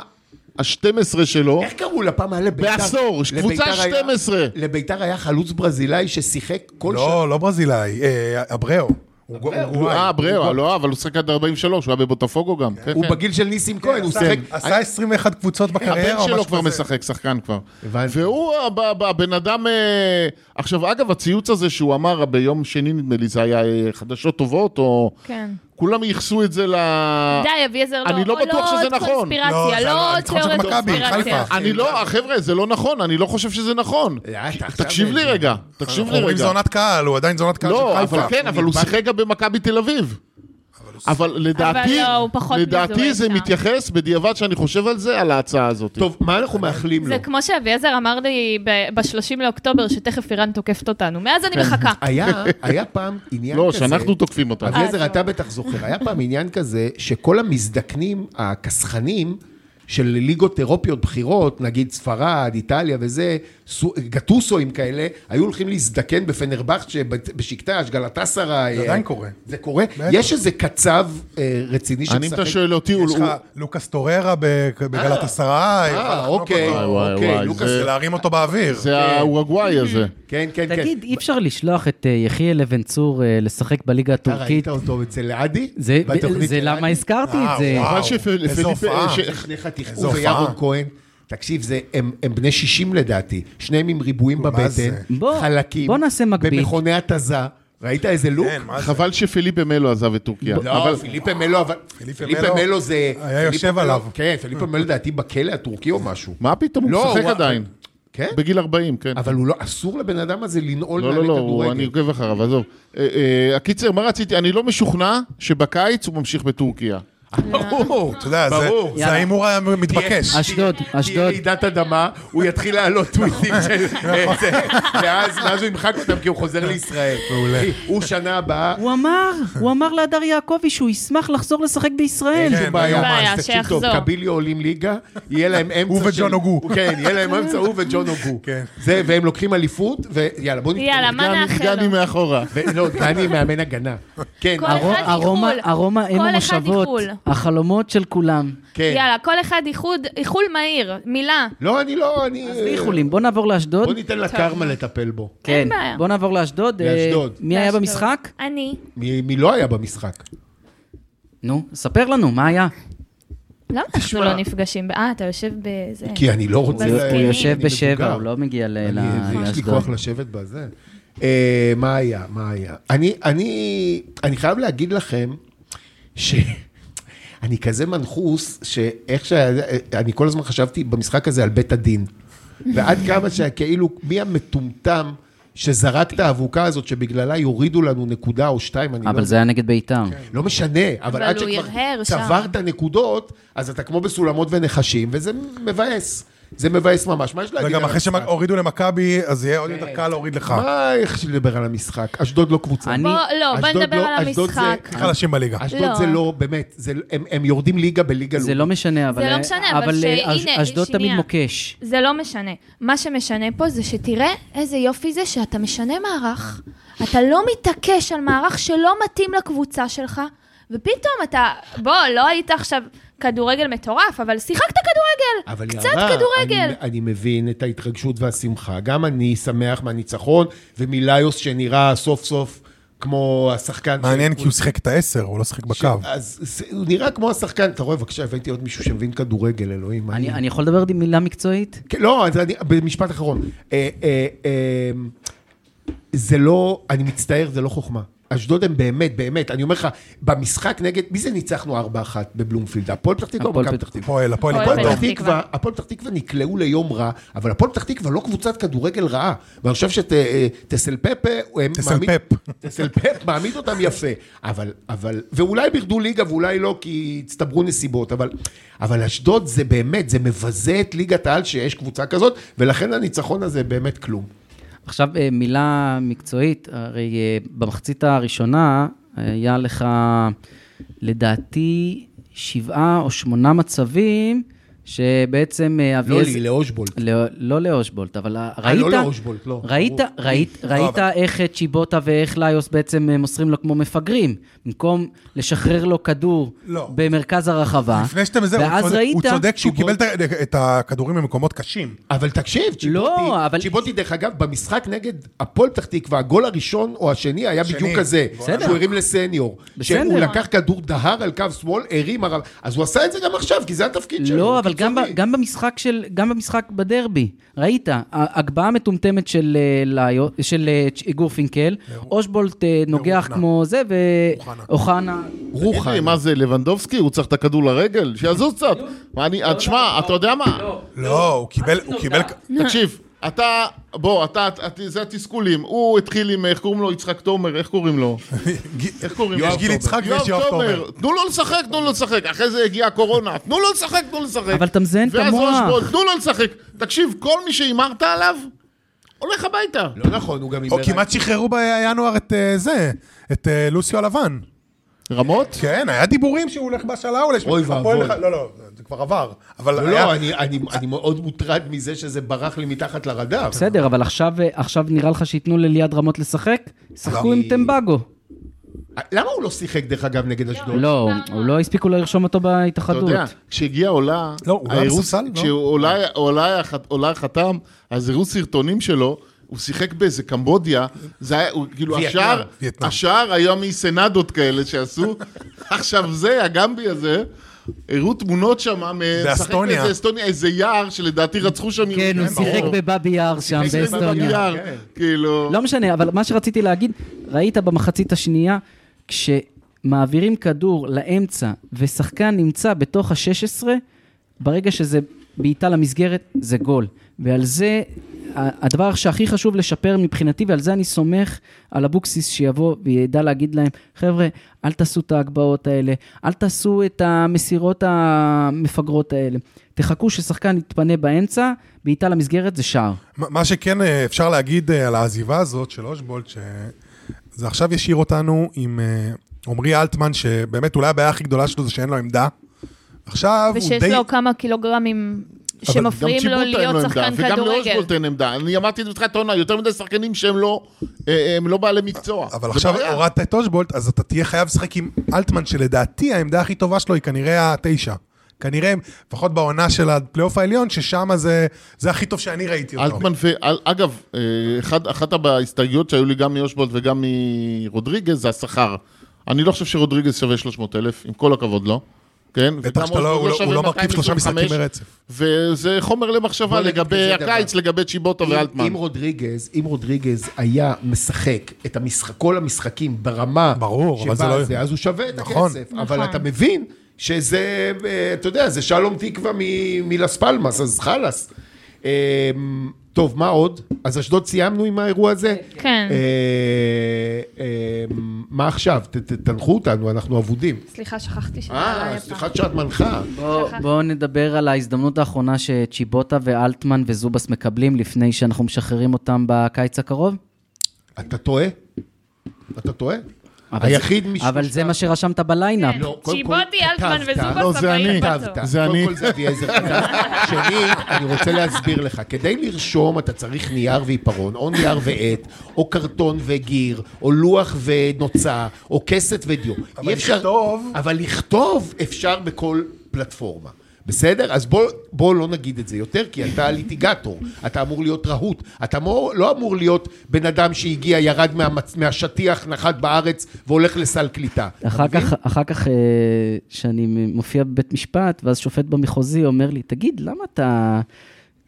Speaker 5: ה-12 שלו.
Speaker 2: איך קראו לה פעם? היה לביתר...
Speaker 5: בעשור,
Speaker 2: לביתר
Speaker 5: קבוצה
Speaker 2: היה-
Speaker 5: 12.
Speaker 2: לביתר היה חלוץ ברזילאי ששיחק כל שנה.
Speaker 6: לא, לא ברזילאי, אה, אבריאו. הוא גו- הוא גוואי.
Speaker 5: אה, בריאו, לא, אבל הוא שחק עד 43, הוא היה בבוטפוגו גם. כן,
Speaker 2: הוא
Speaker 5: כן.
Speaker 2: בגיל של ניסים כהן, הוא שיחק...
Speaker 6: עשה 21 קבוצות
Speaker 5: הבן
Speaker 6: בקריירה או
Speaker 5: שלו
Speaker 6: משהו
Speaker 5: כבר
Speaker 6: כזה.
Speaker 5: משחק, שחקן כבר.
Speaker 2: הבנתי.
Speaker 5: והוא הב- הבן אדם... אה, עכשיו, אגב, הציוץ הזה שהוא אמר ביום שני, נדמה לי, זה היה אה, חדשות טובות, או...
Speaker 3: כן.
Speaker 5: כולם ייחסו את זה ל...
Speaker 3: די, אביעזר, לא.
Speaker 5: אני לא
Speaker 3: או
Speaker 5: בטוח שזה
Speaker 3: עוד
Speaker 5: נכון.
Speaker 6: לא, זה
Speaker 3: קונספירציה,
Speaker 6: היה
Speaker 3: לא עוד
Speaker 6: הניצחון של
Speaker 3: תיאוריית
Speaker 6: מכבי,
Speaker 3: קונספירציה.
Speaker 6: חיפה.
Speaker 5: אני לא, חבר'ה, זה לא נכון, אני לא חושב שזה נכון.
Speaker 2: אה, אתה עכשיו-
Speaker 5: תקשיב לי רגע, תקשיב
Speaker 6: אנחנו
Speaker 5: לי
Speaker 6: אומרים זה
Speaker 5: רגע.
Speaker 6: עונת קהל, הוא עדיין זה עונת קהל של
Speaker 5: לא,
Speaker 6: חיפה.
Speaker 5: אבל כן, אבל הוא
Speaker 2: נדבק.
Speaker 5: שיחק גם במכבי תל אביב. אבל לדעתי,
Speaker 3: לא, הוא פחות
Speaker 5: לדעתי
Speaker 3: מזוהה
Speaker 5: זה
Speaker 3: איתם.
Speaker 5: מתייחס בדיעבד שאני חושב על זה, על ההצעה הזאת.
Speaker 2: טוב, מה אנחנו מאחלים לו?
Speaker 3: זה כמו שאביעזר אמר לי ב-30 לאוקטובר, שתכף איראן תוקפת אותנו. מאז
Speaker 2: כן.
Speaker 3: אני מחכה.
Speaker 2: היה, היה פעם עניין
Speaker 5: לא,
Speaker 2: כזה...
Speaker 5: שאנחנו תוקפים אותה.
Speaker 2: אביעזר,
Speaker 3: אה,
Speaker 2: אתה בטח זוכר, היה פעם עניין כזה שכל המזדקנים, הכסחנים, של ליגות אירופיות בכירות, נגיד ספרד, איטליה וזה, סו- גטוסואים כאלה, היו הולכים להזדקן בפנרבכצ'ה, בת- בשקטש, גלטסרה.
Speaker 6: זה עדיין קורה.
Speaker 2: זה קורה?
Speaker 6: בטח.
Speaker 2: יש איזה קצב אה, רציני
Speaker 5: אני, אם אתה
Speaker 2: שמשחק
Speaker 5: שואל אותי, הוא... לא-
Speaker 6: יש לך לוקאס טוררה בג- בגלת עשרה.
Speaker 2: אה, אוקיי,
Speaker 5: וואי, וואי,
Speaker 2: אוקיי,
Speaker 5: וואי,
Speaker 2: לוקאס,
Speaker 5: זה-
Speaker 6: זה להרים אותו באוויר.
Speaker 5: זה האורוגוואי הזה.
Speaker 2: כן, כן, כן.
Speaker 4: תגיד, אי אפשר לשלוח את אה, יחיאל אבן צור אה, לשחק בליגה
Speaker 2: אתה
Speaker 4: הטורקית?
Speaker 2: ראית אותו אצל עדי?
Speaker 4: זה-
Speaker 2: בתוכנית אה,
Speaker 4: זה
Speaker 2: של
Speaker 4: למה
Speaker 2: עדי?
Speaker 4: הזכרתי את
Speaker 6: וואו,
Speaker 4: זה.
Speaker 6: אה, וואו,
Speaker 5: אבל שפליפ-
Speaker 6: איזו
Speaker 2: אה,
Speaker 6: הופעה.
Speaker 5: ש-
Speaker 2: שניך
Speaker 6: איזו
Speaker 2: תכעו
Speaker 6: הופעה.
Speaker 2: וירון כהן. תקשיב, זה, הם, הם בני 60 לדעתי, שניהם עם ריבועים
Speaker 6: מה
Speaker 2: בבטן,
Speaker 6: זה?
Speaker 4: בוא-
Speaker 2: חלקים,
Speaker 4: בוא נעשה מקביל.
Speaker 2: במכוני התזה. ראית איזה לוק?
Speaker 6: כן, מה זה?
Speaker 5: חבל שפיליפה מלו עזב את טורקיה.
Speaker 2: לא, אבל פיליפה מלו, אבל...
Speaker 6: פיליפה
Speaker 2: פיליפה
Speaker 6: מלו
Speaker 2: מלו זה...
Speaker 6: היה
Speaker 2: פיליפה
Speaker 6: יושב
Speaker 2: מלו-
Speaker 6: עליו.
Speaker 2: כן, פיליפה מלו לדעתי בכלא הטורקי או משהו.
Speaker 5: מה פתאום, הוא
Speaker 2: לא,
Speaker 5: משחק
Speaker 2: הוא-
Speaker 5: עדיין.
Speaker 2: כן?
Speaker 5: בגיל 40, כן.
Speaker 2: אבל הוא לא, אסור לבן אדם הזה לנעול
Speaker 5: לא, לא, לא, הוא- אני עוקב אחריו, עזוב. אה, אה, הקיצר, מה רציתי? אני לא משוכנע שבקיץ הוא ממשיך בטורקיה.
Speaker 6: [laughs]
Speaker 2: ברור,
Speaker 6: אתה יודע, זה-
Speaker 2: ברור.
Speaker 6: זה ההימור המתבקש.
Speaker 4: אשדוד,
Speaker 2: תהיה
Speaker 4: אשדוד.
Speaker 2: רעידת אדמה, הוא יתחיל לעלות טוויטים
Speaker 6: [laughs]
Speaker 2: של...
Speaker 6: נכון.
Speaker 2: [laughs] זה, ואז ואז הוא ימחק אותם כי הוא חוזר לישראל. מעולה. הוא שנה הבאה,
Speaker 4: הוא אמר, הוא אמר להדר יעקבי שהוא ישמח לחזור לשחק בישראל.
Speaker 6: כן.
Speaker 2: אין בעיה,
Speaker 3: אין בעיה,
Speaker 2: אז תקשיב טוב,
Speaker 3: שיחזור.
Speaker 2: קביליו עולים ליגה, יהיה להם אמצע
Speaker 6: הוא וג'ון
Speaker 2: של-
Speaker 6: הוגו.
Speaker 2: כן, יהיה להם אמצע, הוא וג'ון הוגו.
Speaker 6: כן.
Speaker 2: זה, והם לוקחים אליפות, ויאללה, בוא נתקדם.
Speaker 3: יאללה, מה נאחל
Speaker 5: גני
Speaker 3: לו?
Speaker 5: מאחורה.
Speaker 2: ו- לא, דני מאמן הגנה. כן,
Speaker 3: כל
Speaker 4: ארו-
Speaker 3: אחד איחול.
Speaker 4: ארומה, ארומה הם
Speaker 3: כל אחד
Speaker 4: המושבות,
Speaker 3: איחול.
Speaker 4: החלומות של כולם.
Speaker 2: כן.
Speaker 3: יאללה, כל אחד איחוד, איחול מהיר, מילה.
Speaker 2: לא, אני לא, אני...
Speaker 4: איחולים, בוא נעבור לאשדוד.
Speaker 2: בוא ניתן לקרמה לטפל בו.
Speaker 4: כן,
Speaker 3: בעיה.
Speaker 4: בוא נעבור לאשדוד. אה,
Speaker 2: לאשדוד.
Speaker 4: מי היה
Speaker 3: באשדוד.
Speaker 4: במשחק?
Speaker 3: אני.
Speaker 2: מ- מי לא היה במשחק?
Speaker 4: נו, ספר לנו, מה היה?
Speaker 3: למה אנחנו לא נפגשים? ב- אה, אתה יושב בזה.
Speaker 2: כי אני לא רוצה...
Speaker 3: הוא
Speaker 2: לה-
Speaker 4: הוא יושב
Speaker 2: אני
Speaker 4: בשבע,
Speaker 2: מבוגר.
Speaker 4: הוא לא מגיע ל-
Speaker 2: אני-
Speaker 4: ל-
Speaker 2: יש לי
Speaker 4: לאשדוד.
Speaker 2: כוח לשבת בזה. אה, מה היה? מה היה? אני, אני, אני חייב להגיד לכם [laughs] שאני כזה מנחוס, שאיך ש... אני כל הזמן חשבתי במשחק הזה על בית הדין. ועד
Speaker 4: [laughs]
Speaker 2: כמה שכאילו, מי המטומטם שזרק את האבוקה הזאת, שבגללה יורידו לנו נקודה או שתיים, אני לא...
Speaker 4: אבל זה היה נגד ביתר.
Speaker 2: לא משנה,
Speaker 3: אבל
Speaker 2: אבל עד
Speaker 3: הוא הרהר
Speaker 2: שכבר
Speaker 3: שם.
Speaker 2: צברת נקודות, אז אתה כמו בסולמות ונחשים, וזה מבאס. זה מבאס ממש. מה יש להגיד
Speaker 6: וגם
Speaker 2: על
Speaker 6: אחרי אוקיי.
Speaker 2: המשחק?
Speaker 6: שהורידו למכבי, אז יהיה עוד יותר קל להוריד לך.
Speaker 2: אה, מה, איך לדבר על המשחק? אשדוד לא קבוצה.
Speaker 4: אני-
Speaker 3: בוא, לא, בוא
Speaker 2: אשדוד
Speaker 3: נדבר
Speaker 2: לא-
Speaker 3: על
Speaker 2: אשדוד זה-
Speaker 3: המשחק.
Speaker 6: חלשים בליגה.
Speaker 2: אשדוד
Speaker 3: לא.
Speaker 2: זה לא, באמת, זה- הם- הם יורדים ליגה בליגה
Speaker 4: זה
Speaker 2: לאומית.
Speaker 4: לא משנה, אבל... אה,
Speaker 3: לא משנה, אבל שהנה,
Speaker 4: אש- אשדוד
Speaker 3: שנייה.
Speaker 4: תמיד מוקש.
Speaker 3: זה לא משנה. מה שמשנה פה זה שתראה איזה יופי זה שאתה משנה מערך, אתה לא מתעקש על מערך שלא מתאים לקבוצה שלך, ופתאום אתה, בוא, לא היית עכשיו כדורגל מטורף, אבל שיחקת
Speaker 6: לא-
Speaker 3: כדורגל.
Speaker 2: אבל
Speaker 3: קצת
Speaker 2: יערה,
Speaker 3: כדורגל.
Speaker 2: אני, אני מבין את ההתרגשות והשמחה. גם אני שמח מהניצחון, ומליוס שנראה סוף סוף כמו השחקן...
Speaker 6: מעניין
Speaker 2: ש-
Speaker 6: כי הוא שיחק את העשר, הוא לא שיחק בקו.
Speaker 2: אז זה- הוא נראה כמו השחקן, אתה רואה, בבקשה, הבאתי עוד מישהו שמבין כדורגל, אלוהים. מה
Speaker 4: אני
Speaker 2: אני-
Speaker 4: אני יכול לדבר עם מילה מקצועית?
Speaker 2: כן, לא, אז אני, במשפט אחרון. אה, אה, אה, זה לא, אני מצטער, זה לא חוכמה. אשדוד הם באמת, באמת, אני אומר לך, במשחק נגד, מי זה ניצחנו 4-1 בבלומפילד? הפועל פתח תקווה או
Speaker 4: הפועל
Speaker 2: מכבי
Speaker 4: פתח
Speaker 2: פתח תקווה?
Speaker 6: הפועל, הפועל,
Speaker 3: הפועל
Speaker 6: הפועל.
Speaker 2: הפועל
Speaker 6: טוב.
Speaker 2: פתח תקווה, הפועל פתח תקווה נקלעו ליום רע, אבל הפועל פתח תקווה לא קבוצת כדורגל רעה. ואני חושב אה, שטסלפפה,
Speaker 6: טסלפפ.
Speaker 2: טסלפפ מעמיד אותם יפה. אבל, אבל, ואולי הם ירדו ליגה ואולי לא, כי הצטברו נסיבות, אבל, אבל אשדוד זה באמת, זה מבזה את ליגת העל שיש קבוצה כזאת, ולכן הניצחון הזה באמת כלום.
Speaker 4: עכשיו אה, מילה מקצועית, הרי אה, במחצית הראשונה אה, היה לך, לדעתי, שבעה או שמונה מצבים, שבעצם אה,
Speaker 2: לא
Speaker 4: אביאז...
Speaker 2: לי, לאושבולט.
Speaker 4: לא, לא לאושבולט, אבל
Speaker 6: אה,
Speaker 4: ראית...
Speaker 2: לא לאושבולט, לא.
Speaker 4: ראית,
Speaker 2: ברור.
Speaker 4: ראית, ראית
Speaker 6: אבל-
Speaker 4: איך את צ'יבוטה ואיך ליוס בעצם אה, מוסרים לו כמו מפגרים. במקום לשחרר לו כדור
Speaker 6: לא.
Speaker 4: במרכז הרחבה.
Speaker 6: לפני שאתם זה, הוא
Speaker 4: ואז
Speaker 6: צודק-
Speaker 4: ראית...
Speaker 6: הוא צודק שהוא קיבל
Speaker 4: צ'יבוטה-
Speaker 6: את ה- את הכדורים במקומות קשים.
Speaker 2: אבל תקשיב, צ'יבוטי,
Speaker 4: לא, אבל-
Speaker 2: צ'יבוטי, דרך אגב, במשחק נגד הפועל פתח תקווה, הגול הראשון או השני היה
Speaker 6: השני.
Speaker 2: בדיוק כזה,
Speaker 6: בסדר.
Speaker 2: שהוא הרים לסניור.
Speaker 4: בסדר.
Speaker 2: שהוא לקח כדור דהר על קו שמאל, הרים הרב, אז הוא עשה את זה גם עכשיו, כי זה התפקיד שלו.
Speaker 4: לא,
Speaker 2: הוא
Speaker 4: אבל גם, ב,
Speaker 2: קיצוני.
Speaker 4: גם במשחק של, גם במשחק בדרבי, ראית, ה- הגבהה מטומטמת של, אה, ליו- של אה, צ'- גורפינקל, אושבולט אה, נוגח
Speaker 6: ואוחנה.
Speaker 4: כמו זה, ואוחנה,
Speaker 5: תגיד לי, מה זה, לבנדובסקי? הוא צריך את הכדור לרגל? שיזוז קצת. מה אני, אז שמע, אתה יודע מה?
Speaker 6: לא, הוא קיבל, הוא קיבל...
Speaker 5: אה, תקשיב, אתה, בוא, אתה, את- זה התסכולים. הוא התחיל עם, איך קוראים לו? יצחק תומר, איך קוראים לו? איך קוראים לו?
Speaker 6: יש גיל יצחק ויש יואב תומר.
Speaker 5: תנו לו לשחק, תנו לו לשחק. אחרי זה הגיעה הקורונה. תנו לו לשחק, תנו לו לשחק.
Speaker 4: אבל אתה מזיין את
Speaker 5: ואז
Speaker 4: המוח.
Speaker 5: רושבולד, תנו לו לשחק. תקשיב, כל מי שהימרת עליו, הולך הביתה.
Speaker 2: לא נכון, הוא גם
Speaker 6: או
Speaker 2: הימר...
Speaker 6: כמעט שחררו בינואר את אה, זה, את אה, לוסיו הלבן.
Speaker 5: רמות?
Speaker 6: כן, היה דיבורים שהוא הולך בשאלה אולי.
Speaker 2: אוי
Speaker 6: הפועל
Speaker 2: ואבוי.
Speaker 6: לח- לא, לא, זה כבר עבר. אבל
Speaker 2: לא,
Speaker 6: היה...
Speaker 2: לא, אני- אני אני מאוד מוטרד מזה שזה ברח לי מתחת לרדאר.
Speaker 4: בסדר, אבל עכשיו, אה, עכשיו נראה לך שייתנו לליעד רמות לשחק? שחקו עם
Speaker 2: אני-
Speaker 4: טמבגו.
Speaker 2: למה הוא לא שיחק, דרך אגב, נגד אשדוד?
Speaker 4: לא, הוא לא הספיקו לרשום אותו
Speaker 5: אתה
Speaker 4: בהתאחדות.
Speaker 5: יודע, כשהגיעה עולה,
Speaker 6: לא, הוא היה
Speaker 5: האירוס-
Speaker 6: בספסל, לא?
Speaker 5: כשעולה עולה- עולה חתם, אז הראו סרטונים שלו, הוא שיחק באיזה קמבודיה, זה היה, הוא כאילו,
Speaker 2: וייטנאם,
Speaker 5: השער,
Speaker 6: וייטנאם.
Speaker 5: השער היה מסנדות כאלה
Speaker 6: [laughs]
Speaker 5: שעשו, עכשיו זה, הגמבי הזה, הראו תמונות שם,
Speaker 6: באסטוניה.
Speaker 5: באיזה אסטוניה, איזה יער, שלדעתי רצחו שם
Speaker 4: כן, הוא
Speaker 6: ברור.
Speaker 4: שיחק בבאבי יאר שם,
Speaker 5: שיחק
Speaker 4: באסטוניה.
Speaker 5: ביער,
Speaker 2: כן.
Speaker 5: כאילו,
Speaker 4: לא משנה, אבל מה שרציתי להגיד, ראית במחצית השנייה, כשמעבירים כדור לאמצע ושחקן נמצא בתוך ה-16, ברגע שזה בעיטה למסגרת, זה גול. ועל זה ה- הדבר שהכי חשוב לשפר מבחינתי, ועל זה אני סומך על אבוקסיס שיבוא וידע להגיד להם, חבר'ה, אל תעשו את ההגבהות האלה, אל תעשו את המסירות המפגרות האלה. תחכו ששחקן יתפנה באמצע, בעיטה למסגרת זה שער.
Speaker 6: מה מה שכן אה, אפשר להגיד אה, על העזיבה הזאת של אושבולט, שזה עכשיו ישאיר אותנו עם אה, עמרי אלטמן, שבאמת אולי הבעיה הכי גדולה שלו זה שאין לו עמדה. עכשיו הוא די...
Speaker 3: ושיש לו כמה קילוגרמים שמפריעים לו להיות שחקן
Speaker 5: וגם
Speaker 3: כדורגל.
Speaker 5: לאושבולט אין עמדה. אני אמרתי את זה בתחילת העונה, יותר מדי שחקנים שהם לא, אה, הם לא בעלי מקצוע.
Speaker 6: אבל
Speaker 5: זה
Speaker 6: עכשיו
Speaker 5: בעיה.
Speaker 6: הורדת את אושבולט, אז אתה תהיה חייב לשחק עם אלטמן, שלדעתי העמדה הכי טובה שלו היא כנראה התשע. כנראה, לפחות בעונה של הפלייאוף העליון, ששם זה, זה הכי טוב שאני ראיתי אותו.
Speaker 5: אלטמן, ו... אל... אגב, אה, אחד, אחת ההסתייגויות שהיו לי גם מיושבולט וגם מרודריגז זה השכר. אני לא חושב שרודריגז שווה 300 אלף, עם כל הכבוד לו. כן?
Speaker 6: בטח
Speaker 5: וגם
Speaker 6: שאתה לא-
Speaker 5: אוסבורג
Speaker 6: הוא לא- הוא
Speaker 5: שווה
Speaker 6: לא מרכיב שלושה
Speaker 5: 225,
Speaker 6: משחקים ברצף.
Speaker 5: וזה חומר
Speaker 2: בוא
Speaker 5: למחשבה
Speaker 2: נגיד
Speaker 5: לגבי
Speaker 2: כזה דבר.
Speaker 5: הקיץ, לגבי צ'יבוטו
Speaker 2: אם-
Speaker 5: ואלטמן.
Speaker 2: אם רודריגז, אם רודריגז היה משחק את המשחק, כל המשחקים ברמה
Speaker 6: ברור, אבל זה לא-
Speaker 2: זה, אז הוא שווה את
Speaker 6: נכון.
Speaker 2: הכסף.
Speaker 3: נכון.
Speaker 2: אבל אתה מבין שזה, אה, אתה יודע, זה שלום תקווה מ- מלס פלמס, אז חלאס. אה, טוב, מה עוד? אז אשדוד סיימנו עם האירוע הזה?
Speaker 3: כן.
Speaker 2: אה, אה, מה עכשיו? ת- ת- תנחו אותנו, אנחנו אבודים.
Speaker 3: סליחה, שכחתי שזה
Speaker 2: אה,
Speaker 3: עלה
Speaker 2: סליחה שאת מנחה.
Speaker 4: בואו
Speaker 3: שכחתי.
Speaker 4: בוא נדבר על ההזדמנות האחרונה שצ'יבוטה ואלטמן וזובס מקבלים לפני שאנחנו משחררים אותם בקיץ הקרוב.
Speaker 2: אתה טועה? אתה טועה?
Speaker 4: אבל
Speaker 2: היחיד
Speaker 4: זה-
Speaker 2: משלושת
Speaker 4: אבל זה מה שרשמת בליינאפ.
Speaker 3: כן.
Speaker 2: לא, קודם כל,
Speaker 3: צ'יבוטי, אלטמן
Speaker 2: כתבת.
Speaker 3: וזובס
Speaker 5: לא, זה
Speaker 3: הבאים
Speaker 5: אני.
Speaker 3: בתור.
Speaker 2: כתבת.
Speaker 5: זה
Speaker 2: קודם
Speaker 5: אני.
Speaker 2: כל זה אביעזר כתב. שני, אני רוצה להסביר לך. כדי לרשום אתה צריך נייר ועיפרון, או נייר ועט, או קרטון וגיר, או לוח ונוצה, או כסת ודיו.
Speaker 6: אבל
Speaker 2: אי אפשר-
Speaker 6: לכתוב-
Speaker 2: אבל לכתוב אפשר בכל פלטפורמה. בסדר? אז בוא, בוא לא נגיד את זה יותר, כי אתה ליטיגטור, אתה אמור להיות רהוט, אתה אמור, לא אמור להיות בן אדם שהגיע, ירד מהמצ... מהשטיח, נחת בארץ והולך לסל קליטה. אתה
Speaker 4: אחר
Speaker 2: מבין?
Speaker 4: כך, אחר כך אה, שאני מופיע בבית משפט, ואז שופט במחוזי אומר לי, תגיד, למה אתה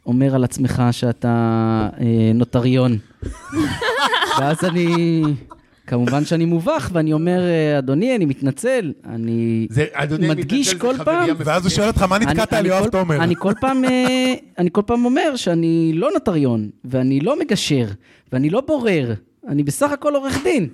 Speaker 4: אומר על עצמך שאתה אה, נוטריון? [laughs] ואז אני, כמובן שאני מובך, ואני אומר, "אה, אדוני, אני מתנצל, אני
Speaker 2: זה, אדוני, אני
Speaker 4: מדגיש
Speaker 2: מתנצל, זה
Speaker 4: כל
Speaker 2: חברי
Speaker 4: פעם,
Speaker 2: המפקד.
Speaker 6: ואז הוא שואל אותך, מה נתקעת לא על יואב
Speaker 4: כל-
Speaker 6: תומר?
Speaker 4: אני כל פעם, אה, אני כל פעם אומר שאני לא נוטריון, ואני לא מגשר, ואני לא בורר, אני בסך הכל עורך דין.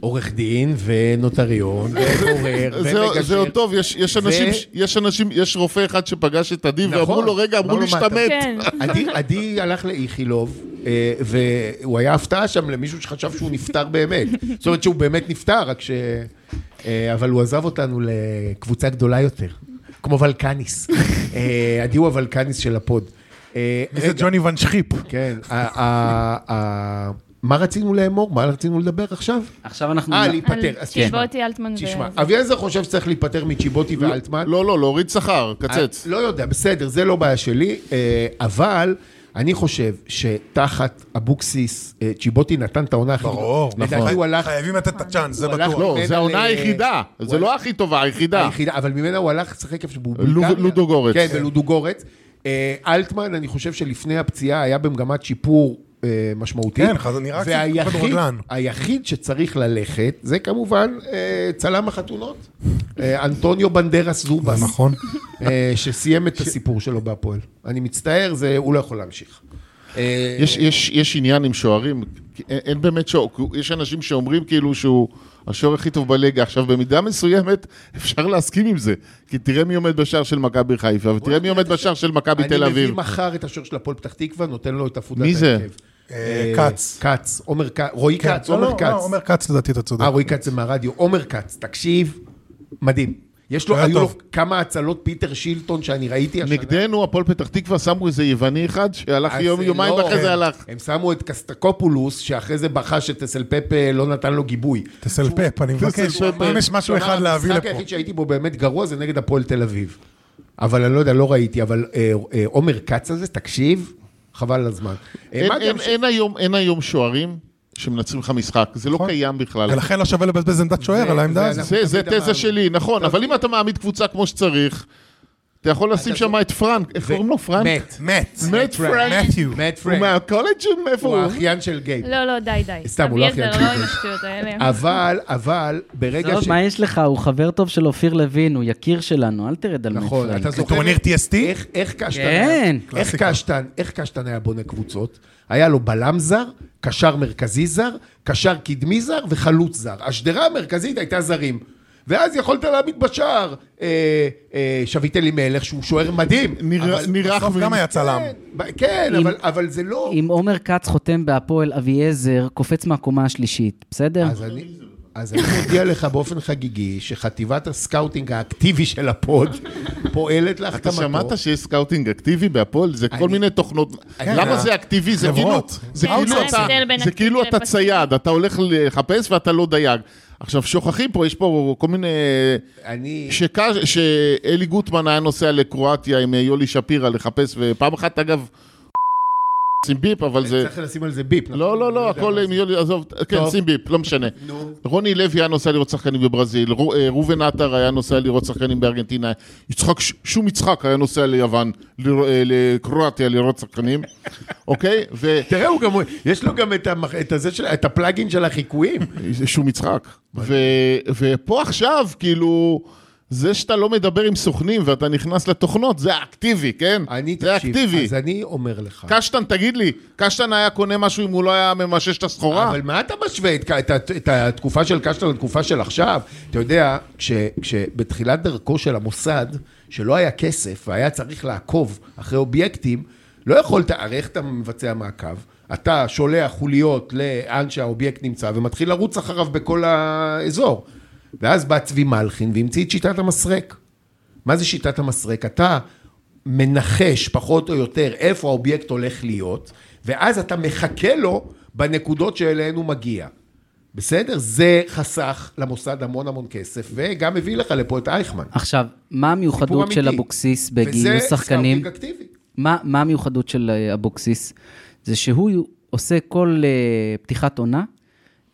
Speaker 2: עורך דין
Speaker 5: [laughs]
Speaker 2: ונוטריון ובורר
Speaker 5: זה-
Speaker 2: ומגשר.
Speaker 5: זה עוד טוב, יש- יש אנשים,
Speaker 2: ו-
Speaker 5: ש- יש אנשים, יש רופא אחד שפגש את עדי, ואמרו
Speaker 2: נכון.
Speaker 5: לו, רגע, אמרו
Speaker 2: אמר
Speaker 5: לי
Speaker 2: לו, "מה,
Speaker 5: שאתה
Speaker 2: אתה
Speaker 5: מת.
Speaker 3: כן.
Speaker 2: עדי- עדי הלך לאיכילוב, אה, והוא היה הפתעה שם למישהו שחשב שהוא נפטר
Speaker 4: [laughs]
Speaker 2: באמת. זאת אומרת שהוא באמת נפטר, רק ש... אה, אבל הוא עזב אותנו לקבוצה גדולה יותר, כמו
Speaker 4: [laughs]
Speaker 2: ולקניס. אה, עדי הוא הוולקניס של הפוד. אה,
Speaker 6: מי זה
Speaker 2: רגע,
Speaker 6: ג'וני ון שחיפ?
Speaker 2: כן, ה- ה- ה- מה רצינו לאמור? מה רצינו לדבר עכשיו?
Speaker 4: עכשיו אנחנו...
Speaker 2: אה, להיפטר.
Speaker 3: על
Speaker 2: אז תשמע,
Speaker 3: צ'יבוטי, אלטמן
Speaker 4: כן,
Speaker 3: ו-
Speaker 2: תשמע, אביעזר חושב שצריך להיפטר מצ'יבוטי ואלטמן.
Speaker 5: לא, לא, להוריד שכר, קצץ.
Speaker 2: אני לא יודע, בסדר, זה לא בעיה שלי, אה, אבל אני חושב שתחת אבוקסיס, אה, צ'יבוטי נתן את העונה הכי...
Speaker 6: ברור. נכון.
Speaker 2: לדעתי הוא הלך...
Speaker 6: חייבים לתת את הצ'אנס, זה
Speaker 2: הוא הלך-
Speaker 6: בטוח.
Speaker 5: לא,
Speaker 2: ממנה
Speaker 5: זו העונה
Speaker 2: ל-
Speaker 5: היחידה.
Speaker 2: הוא
Speaker 5: זה לא הכי טובה, היחידה.
Speaker 2: היחידה, אבל ממנה הוא הלך לשחק איפה שבובלגריה.
Speaker 5: לוד- לודוגורץ.
Speaker 2: כן, בלודוגורץ. אה, אלטמן, אני חושב שלפני הפציעה היה במגמת שיפור אה, משמעותית.
Speaker 6: כן, חז- נראה קצת
Speaker 2: והיחיד-
Speaker 6: כדורגלן.
Speaker 2: היחיד שצריך ללכת, זה כמובן אה, צלם החתונות. אה, אנטוניו בנדרס זובס.
Speaker 6: זה נכון.
Speaker 2: אה, שסיים את הסיפור שלו בהפועל. אני מצטער, זה, הוא לא יכול להמשיך. אה,
Speaker 5: יש- יש יש עניין עם שוערים, כי אין- אין באמת שוער, כי יש אנשים שאומרים כאילו שהוא השוער הכי טוב בליגה. עכשיו, במידה מסוימת [laughs] אפשר להסכים עם זה, כי תראה מי עומד בשער של מכבי חיפה, ותראה מי עומד בשער של מכבי תל
Speaker 2: אני מביא
Speaker 5: אביב.
Speaker 2: מחר את השוער של הפועל פתח תקווה, נותן לו את עפודת
Speaker 5: מי זה?
Speaker 2: ההרכב.
Speaker 6: אה,
Speaker 2: אה,
Speaker 6: כץ.
Speaker 2: כץ, עומר כץ, רועי
Speaker 6: כן,
Speaker 2: כץ,
Speaker 6: לא,
Speaker 2: עומר
Speaker 6: לא, לא,
Speaker 2: כץ.
Speaker 6: עומר כץ לדעתי, אתה צודק.
Speaker 2: אה, רועי כץ זה מהרדיו. עומר כץ, תקשיב, מדהים. יש לו,
Speaker 6: היה
Speaker 2: היו לו
Speaker 6: טוב.
Speaker 2: כמה הצלות פיטר שילטון שאני ראיתי השנה.
Speaker 5: נגדנו, הפועל פתח תקווה, שמו איזה יווני אחד שהלך
Speaker 2: אז
Speaker 5: יום,
Speaker 2: זה
Speaker 5: יומיים
Speaker 2: לא-
Speaker 5: ואחרי זה
Speaker 2: כן.
Speaker 5: הלך.
Speaker 2: הם שמו את קסטקופולוס, שאחרי זה בכה שטסלפפ אה, לא נתן לו גיבוי. [laughs]
Speaker 6: תסלפפ, אני מבקש.
Speaker 5: תסלפפ.
Speaker 6: אם יש משהו אחד להביא
Speaker 2: המשחק
Speaker 6: לפה.
Speaker 2: לא, היחיד שהייתי בו באמת גרוע זה נגד הפועל תל אביב. אבל אני לא יודע, לא ראיתי, אבל אה, אה, עומר כץ הזה, תקשיב, חבל על הזמן. אה,
Speaker 5: אין-
Speaker 2: מה גם
Speaker 5: אין-
Speaker 2: ש-
Speaker 5: אין היום- אין היום שוערים שמנצחים לך משחק, זה לא קיים בכלל.
Speaker 6: ולכן לא שווה לבזבז עמדת שוער
Speaker 2: זה-
Speaker 6: על העמדה
Speaker 2: זה-
Speaker 6: הזאת.
Speaker 5: זה, זה
Speaker 2: נכון. תמיד לא- אמרנו.
Speaker 5: תזה שלי, נכון, אבל אם אתה מעמיד קבוצה כמו שצריך, אתה יכול לשים
Speaker 2: לא-
Speaker 5: שם את פרנק, איך קוראים לו פרנק?
Speaker 2: מת.
Speaker 6: מת.
Speaker 5: מת פרנק.
Speaker 6: מתיו.
Speaker 2: מת
Speaker 5: הוא
Speaker 2: פרנק.
Speaker 5: מהקולג' שם, איפה
Speaker 2: הוא
Speaker 5: הוא?
Speaker 2: האחיין של גייב.
Speaker 3: לא, לא, די, די.
Speaker 2: סתם, הוא לא
Speaker 3: אביעזר,
Speaker 2: הכי
Speaker 3: לא
Speaker 2: אנטי.
Speaker 3: עם השטויות האלה.
Speaker 2: אבל, אבל, ברגע
Speaker 4: טוב,
Speaker 2: ש...
Speaker 4: מה יש לך? הוא חבר טוב של אופיר לוין, הוא יקיר שלנו, אל תרד על מטפלג.
Speaker 2: נכון, אתה זוכר...
Speaker 6: טורניר TST?
Speaker 2: איך- איך קשטן...
Speaker 4: כן.
Speaker 2: היה- איך קשטן, איך קשטן היה בונה קבוצות? היה לו בלם זר, קשר מרכזי זר, קשר קדמי זר וחלוץ זר. השדרה המרכזית הייתה זרים. ואז יכולת להעמיד בשער אה, אה, שביט אלימלך, שהוא שוער מדהים.
Speaker 5: נראה-
Speaker 2: אבל-
Speaker 5: נראה
Speaker 6: בסוף גם היה צלם.
Speaker 2: כן, ב- כן,
Speaker 4: אם-
Speaker 2: אבל- אבל זה לא...
Speaker 4: אם עומר כץ חותם בהפועל אביעזר, קופץ מהקומה השלישית, בסדר?
Speaker 2: אז אני... אז אני מודיע לך באופן חגיגי שחטיבת הסקאוטינג האקטיבי של הפוד פועלת
Speaker 5: אתה
Speaker 2: להחתמתו.
Speaker 5: שמעת שיש סקאוטינג אקטיבי בהפועל? זה כל
Speaker 2: אני-
Speaker 5: מיני תוכנות. למה
Speaker 6: אה,
Speaker 5: זה אקטיבי? זה כאילו-
Speaker 6: חברות.
Speaker 5: זה
Speaker 3: כן,
Speaker 5: כאילו
Speaker 3: מה
Speaker 5: אתה-
Speaker 3: ההבדל בין
Speaker 5: זה כאילו
Speaker 3: אקטיבי
Speaker 5: אתה
Speaker 3: לפסיבי?
Speaker 5: צייד, אתה הולך לחפש ואתה לא דייג. עכשיו, שוכחים פה, יש פה כל מיני...
Speaker 2: אני...
Speaker 5: שקש- שאלי גוטמן היה נוסע לקרואטיה עם יולי שפירא לחפש, ופעם אחת, אגב, שים ביפ, אבל זה...
Speaker 2: צריך לשים על זה ביפ. נכון?
Speaker 5: לא, לא, לא, הכל עם יולי, עזוב, כן,
Speaker 2: טוב.
Speaker 5: שים ביפ, לא משנה.
Speaker 2: [laughs] נו.
Speaker 5: רוני לוי היה נוסע לראות שחקנים בברזיל, רו- אה, ראובן עטר היה נוסע לראות שחקנים בארגנטינה, יצחק, ש- שום יצחק היה נוסע ליוון, ל- אה, לקרואטיה לראות
Speaker 2: [laughs]
Speaker 5: שחקנים, אוקיי?
Speaker 2: תראה, הוא גם, יש לו גם את, המח... את, הזה של... את הפלאגין
Speaker 5: [laughs]
Speaker 2: של החיקויים.
Speaker 5: ושום יצחק. ו... ופה עכשיו, כאילו... זה שאתה לא מדבר עם סוכנים ואתה נכנס לתוכנות, זה האקטיבי, כן?
Speaker 2: אני,
Speaker 5: זה
Speaker 2: תקשיב,
Speaker 5: אקטיבי.
Speaker 2: אז אני אומר לך.
Speaker 5: קשטן, תגיד לי, קשטן היה קונה משהו אם הוא לא היה ממשש את הסחורה?
Speaker 2: אבל מה אתה משווה את, את, את, את התקופה של קשטן לתקופה של עכשיו? אתה יודע, כש, כשבתחילת דרכו של המוסד, שלא היה כסף והיה צריך לעקוב אחרי אובייקטים, לא יכולת, הרי איך אתה מבצע מעקב? אתה שולח חוליות לאן שהאובייקט נמצא ומתחיל לרוץ אחריו בכל האזור. ואז בא צבי מלחין והמציא את שיטת המסרק. מה זה שיטת המסרק? אתה מנחש פחות או יותר איפה האובייקט הולך להיות, ואז אתה מחכה לו בנקודות שאליהן הוא מגיע. בסדר? זה חסך למוסד המון המון כסף, וגם הביא לך לפה את אייכמן.
Speaker 4: עכשיו, מה
Speaker 2: סיפור
Speaker 4: המיוחדות
Speaker 2: אמיתי.
Speaker 4: של אבוקסיס
Speaker 2: וזה
Speaker 4: בגיוס שחקנים?
Speaker 2: סקאוטינג אקטיבי.
Speaker 4: מה, מה המיוחדות של אה, אבוקסיס? זה שהוא עושה כל אה, פתיחת עונה,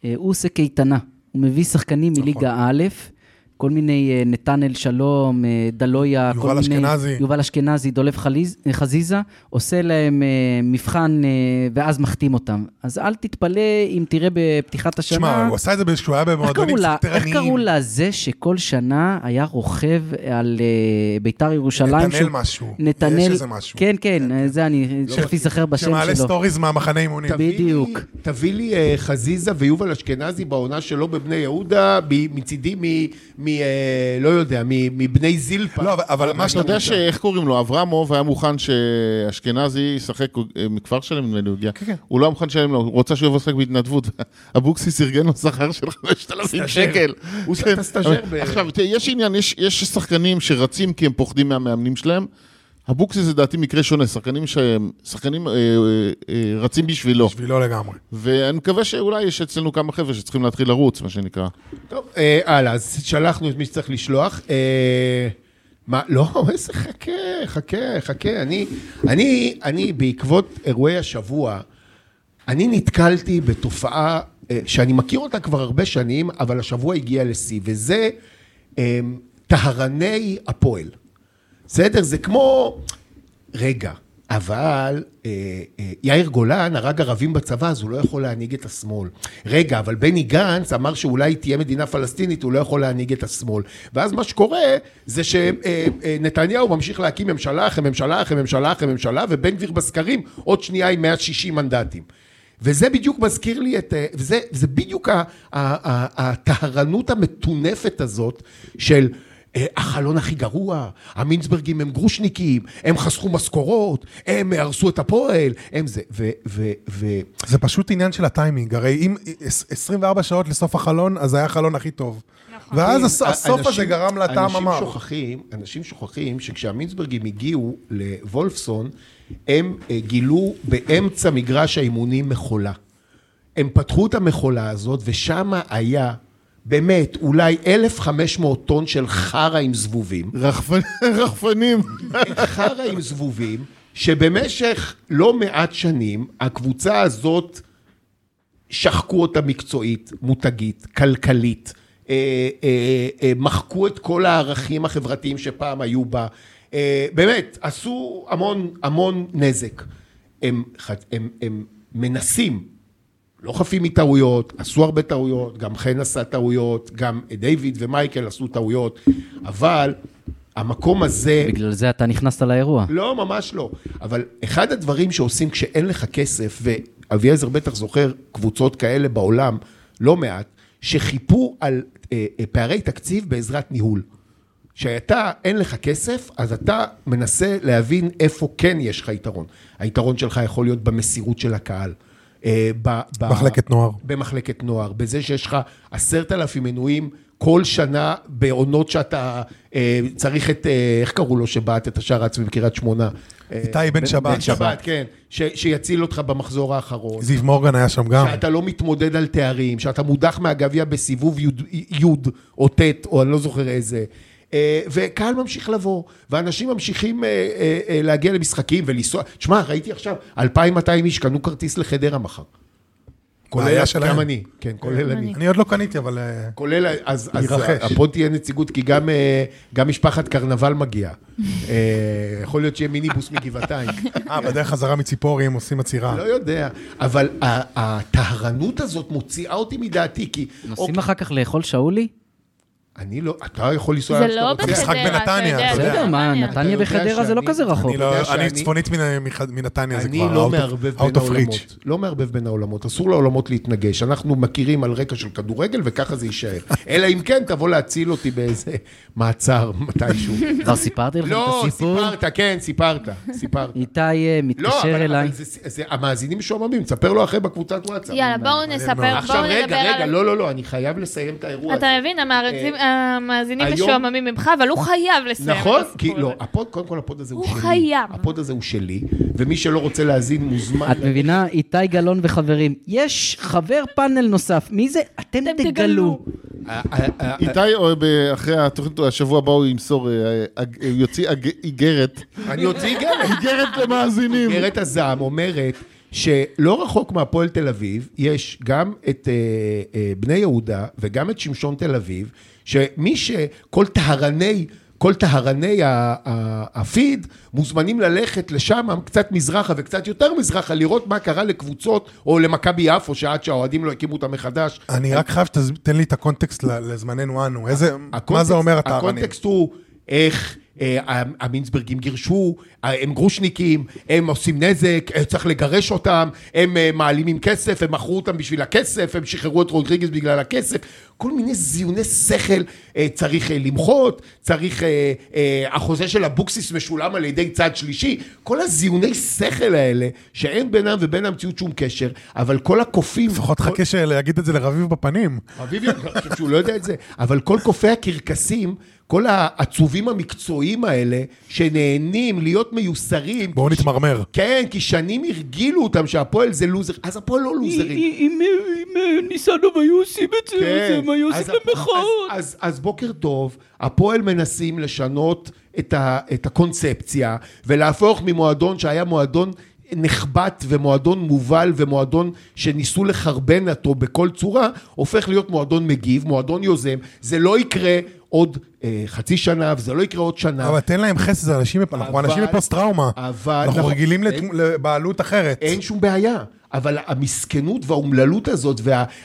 Speaker 4: אה, הוא עושה קייטנה. הוא מביא שחקנים מליגה
Speaker 6: נכון.
Speaker 4: א', כל מיני אה, נתנאל שלום, אה, דלויה,
Speaker 6: יובל
Speaker 4: כל מיני...
Speaker 6: אשכנזי.
Speaker 4: יובל אשכנזי, דולב חליז, אה, חזיזה, עושה להם אה, מבחן אה, ואז מחתים אותם. אז אל תתפלא אם תראה בפתיחת השנה...
Speaker 6: תשמע, הוא עשה את זה כשהוא היה
Speaker 4: איך קראו
Speaker 6: במועדונים
Speaker 4: לה- איך
Speaker 6: סטרניים.
Speaker 4: קראו לזה שכל שנה היה רוכב על אה, ביתר ירושלים?
Speaker 6: נתנאל
Speaker 4: שהוא-
Speaker 6: משהו.
Speaker 4: נתנאל...
Speaker 6: יש איזה משהו.
Speaker 4: כן, כן, אה, זה אני, שכפי להיזכר בשם
Speaker 6: שמעלה
Speaker 4: שלו.
Speaker 6: סטוריז מהמחנה אימונים.
Speaker 2: תביא לי-
Speaker 4: בדיוק.
Speaker 2: תביא לי אה, חזיזה ויובל אשכנזי בעונה שלו בבני יהודה, ב- מצידי מ... מ... אה, לא יודע, מ- מבני זילפה.
Speaker 6: לא, אבל- אבל מה
Speaker 5: אתה
Speaker 6: שאתה...
Speaker 5: יודע שאיך קוראים לו, אברמוב היה מוכן שאשכנזי ישחק אה, מכפר שלם, נדמה לי, הוא הגיע. הוא לא היה מוכן לשלם לו, הוא רוצה שהוא יבוא לשחק בהתנדבות. [laughs] אבוקסיס ארגן לו שכר של 5,000 שקל.
Speaker 2: הוא
Speaker 5: כן.
Speaker 2: אתה סטאז'ר ב-
Speaker 5: עכשיו, תראה, יש עניין, יש- יש שחקנים שרצים כי הם פוחדים מהמאמנים שלהם. אבוקסיס זה דעתי מקרה שונה, שחקנים שהם, שחקנים אה, אה, אה, רצים בשבילו.
Speaker 6: בשבילו לגמרי.
Speaker 5: ואני מקווה שאולי יש אצלנו כמה חבר'ה שצריכים להתחיל לרוץ, מה שנקרא.
Speaker 2: טוב, אה, הלאה, אז שלחנו את מי שצריך לשלוח. אה, מה, לא, [laughs] איזה חכה, חכה, חכה. אני, אני, אני, בעקבות אירועי השבוע, אני נתקלתי בתופעה אה, שאני מכיר אותה כבר הרבה שנים, אבל השבוע הגיע לשיא, וזה אה, טהרני הפועל. בסדר? זה כמו... רגע, אבל אה, אה, יאיר גולן הרג ערבים בצבא, אז הוא לא יכול להנהיג את השמאל. רגע, אבל בני גנץ אמר שאולי תהיה מדינה פלסטינית, הוא לא יכול להנהיג את השמאל. ואז מה שקורה זה שנתניהו ממשיך להקים ממשלה אחרי ממשלה אחרי ממשלה אחרי ממשלה, ובן גביר בסקרים עוד שנייה עם 160 מנדטים. וזה בדיוק מזכיר לי את... אה, וזה זה בדיוק ה- ה- ה- הטהרנות המטונפת הזאת של... אה, החלון הכי גרוע, המינצברגים הם גרושניקים, הם חסכו משכורות, הם הרסו את הפועל, הם זה, ו... ו, ו
Speaker 6: זה פשוט עניין של הטיימינג, הרי אם 24 שעות לסוף החלון, אז היה החלון הכי טוב. ואז הס- הסוף
Speaker 2: אה, אנשים-
Speaker 6: הזה גרם לטעם
Speaker 2: אנשים
Speaker 6: המר.
Speaker 2: שוכחים, אנשים שוכחים שכשהמינצברגים הגיעו לוולפסון, הם אה, גילו באמצע מגרש האימונים מכולה. הם פתחו את המכולה הזאת, ושם היה באמת אולי 1,500 טון של חרא עם זבובים.
Speaker 5: רחפ- רחפנים.
Speaker 2: חרא עם זבובים, שבמשך לא מעט שנים, הקבוצה הזאת, שחקו אותה מקצועית, מותגית, כלכלית, אה, אה, אה, מחקו את כל הערכים החברתיים שפעם היו בה. אה, באמת, עשו המון המון נזק. הם, ח- הם, הם מנסים לא חפים מטעויות, עשו הרבה טעויות, גם חן עשה טעויות, גם דיוויד ומייקל עשו טעויות, אבל המקום הזה...
Speaker 4: בגלל זה אתה נכנסת לאירוע.
Speaker 2: לא, ממש לא. אבל אחד הדברים שעושים כשאין לך כסף, ואביעזר בטח זוכר קבוצות כאלה בעולם, לא מעט, שחיפו על אה, אה, פערי תקציב בעזרת ניהול. כשאתה, אין לך כסף, אז אתה מנסה להבין איפה כן יש לך יתרון. היתרון שלך יכול להיות במסירות של הקהל. אה, ב- ב-
Speaker 6: מחלקת נוער.
Speaker 2: במחלקת נוער, בזה שיש לך עשרת אלפים מנויים כל שנה בעונות שאתה אה, צריך את, אה, איך קראו לו שבעט את השער העצמי בקריית שמונה? אה,
Speaker 6: איתי בן שבת.
Speaker 2: בן שבת, כן. ש, שיציל אותך במחזור האחרון.
Speaker 6: זיו מורגן היה שם גם.
Speaker 2: שאתה לא מתמודד על תארים, שאתה מודח מהגביע בסיבוב י' י' או ט' או אני לא זוכר איזה. אה, וקהל ממשיך לבוא, ואנשים ממשיכים אה, אה, אה, להגיע למשחקים ולנסוע. תשמע, ראיתי עכשיו, 2,200 איש קנו כרטיס לחדרה מחר. כולל
Speaker 6: בעיה שלהם.
Speaker 2: גם אני, כן, כולל אני.
Speaker 6: אני עוד לא קניתי, אבל... אה,
Speaker 2: כולל, אז, אז
Speaker 6: להירכש.
Speaker 2: הפוד תהיה נציגות, כי גם, אה, גם משפחת קרנבל מגיעה. אה, יכול להיות שיהיה מיניבוס מגבעתיים. [laughs]
Speaker 6: אה, בדרך חזרה מציפורים עושים עצירה.
Speaker 2: לא יודע, אבל ה- הטהרנות הזאת מוציאה אותי מדעתי, כי...
Speaker 4: נוסעים
Speaker 2: אוקיי,
Speaker 4: אחר כך לאכול שאולי?
Speaker 2: אני לא... אתה יכול לנסוע...
Speaker 3: זה
Speaker 2: לאן שאתה
Speaker 3: לא
Speaker 2: רוצה.
Speaker 6: משחק
Speaker 3: בחדרה, אתה
Speaker 6: בנתניה,
Speaker 3: יודע.
Speaker 6: אתה יודע.
Speaker 4: בסדר, מה,
Speaker 3: בנתניה.
Speaker 4: נתניה
Speaker 2: אתה יודע
Speaker 4: וחדרה זה לא
Speaker 2: שאני-
Speaker 4: כזה רחוק.
Speaker 6: אני לא-
Speaker 2: יודע
Speaker 6: אני
Speaker 2: שאני-
Speaker 6: צפונית מן- מח- מנתניה, זה
Speaker 2: אני
Speaker 6: כבר...
Speaker 2: לא
Speaker 6: out of-
Speaker 2: מערבב
Speaker 6: out
Speaker 2: בין
Speaker 6: of reach.
Speaker 2: העולמות. לא מערבב בין העולמות. אסור לעולמות להתנגש. אנחנו מכירים על רקע של כדורגל, וככה זה
Speaker 6: [laughs]
Speaker 2: יישאר. אלא אם כן, תבוא להציל אותי באיזה מעצר
Speaker 6: [laughs]
Speaker 2: מתישהו.
Speaker 4: כבר סיפרתי לך
Speaker 2: לא,
Speaker 4: את הסיפור?
Speaker 2: סיפרת, כן, סיפרת. סיפרת.
Speaker 4: איתי אה,
Speaker 2: לא, אבל-
Speaker 4: מתקשר אליי.
Speaker 2: אבל זה- זה- המאזינים משוממים, תספר לו אחרי בקבוצת וואטסאפ.
Speaker 3: יאללה, בואו נספר, בואו נדבר על...
Speaker 2: עכשיו, רגע, רגע, לא, לא, לא, אני חייב לסיים את האירוע
Speaker 3: אתה
Speaker 2: הזה.
Speaker 3: מבין, המאזינים- אה, המאזינים
Speaker 2: היום-
Speaker 3: משועממים ממך, אבל הוא חייב לסיים את
Speaker 2: נכון?
Speaker 3: הסיפור
Speaker 2: כי לא,
Speaker 3: הזה.
Speaker 2: הפוד, קודם כל הפוד הזה הוא שלי.
Speaker 3: הוא חייב.
Speaker 2: הפוד הזה הוא שלי, ומי שלא רוצה להאזין מוזמן.
Speaker 4: את מבינה, איתי גלאון וחברים, יש חבר פאנל נוסף, מי זה? אתם תגלו.
Speaker 2: אה, אה, אה,
Speaker 5: איתי, או ב- אחרי התוכנית, השבוע הבא הוא ימסור, אה, אה, אה, הוא יוציא אג- איגרת,
Speaker 2: אני אוציא איגרת.
Speaker 5: איגרת למאזינים.
Speaker 2: איגרת הזעם אומרת שלא רחוק מהפועל תל אביב, יש גם את אה, אה, בני יהודה וגם את שמשון תל אביב, שמי ש... כל טהרני... כל טהרני ה- ה- הפיד מוזמנים ללכת לשם, קצת מזרחה וקצת יותר מזרחה, לראות מה קרה לקבוצות, או למכבי יפו, שעד שהאוהדים לא הקימו אותה מחדש,
Speaker 6: אני רק חייב שתיתן לי את הקונטקסט ל- לזמננו אנו. איזה... מה
Speaker 2: הקונטקסט-
Speaker 6: זה אומר הטהרנים?
Speaker 2: הקונטקסט הוא איך אה, המ- המינצברגים גירשו, אה, הם גרושניקים, הם עושים נזק, אה, צריך לגרש אותם, הם אה, מעלימים כסף, הם מכרו אותם בשביל הכסף, הם שחררו את רודריגז בגלל הכסף, כל מיני זיוני שכל, אה, צריך אה, למחות, צריך, אה, אה, החוזה של אבוקסיס משולם על ידי צד שלישי, כל הזיוני שכל האלה, שאין בינם ובין המציאות שום קשר, אבל כל הקופים...
Speaker 6: לפחות
Speaker 2: כל-
Speaker 6: חכה שיגיד את זה לרביב בפנים.
Speaker 2: רביבי, אני חושב שהוא לא יודע את זה, אבל כל קופי הקרקסים, כל העצובים המקצועיים האלה, שנהנים להיות מיוסרים,
Speaker 6: בואו נתמרמר.
Speaker 2: כן, כי שנים הרגילו אותם שהפועל זה לוזר, אז הפועל לא לוזרים.
Speaker 4: אם ניסנוב היו עושים את
Speaker 2: כן, אז- אז- אז- אז בוקר טוב, הפועל מנסים לשנות את ה- את הקונספציה, ולהפוך ממועדון שהיה מועדון נחבט ומועדון מובל ומועדון שניסו לחרבן אותו בכל צורה, הופך להיות מועדון מגיב, מועדון יוזם, זה לא יקרה עוד אה, חצי שנה, וזה לא יקרה עוד שנה.
Speaker 6: אבל תן להם חסד, זה אנשים, אנחנו
Speaker 2: אבל-
Speaker 6: אנשים בפוסט טראומה.
Speaker 2: אבל-
Speaker 6: אנחנו
Speaker 2: נכון.
Speaker 6: רגילים לת-
Speaker 2: אין-
Speaker 6: לבעלות אחרת.
Speaker 2: אין שום בעיה, אבל המסכנות והאומללות הזאת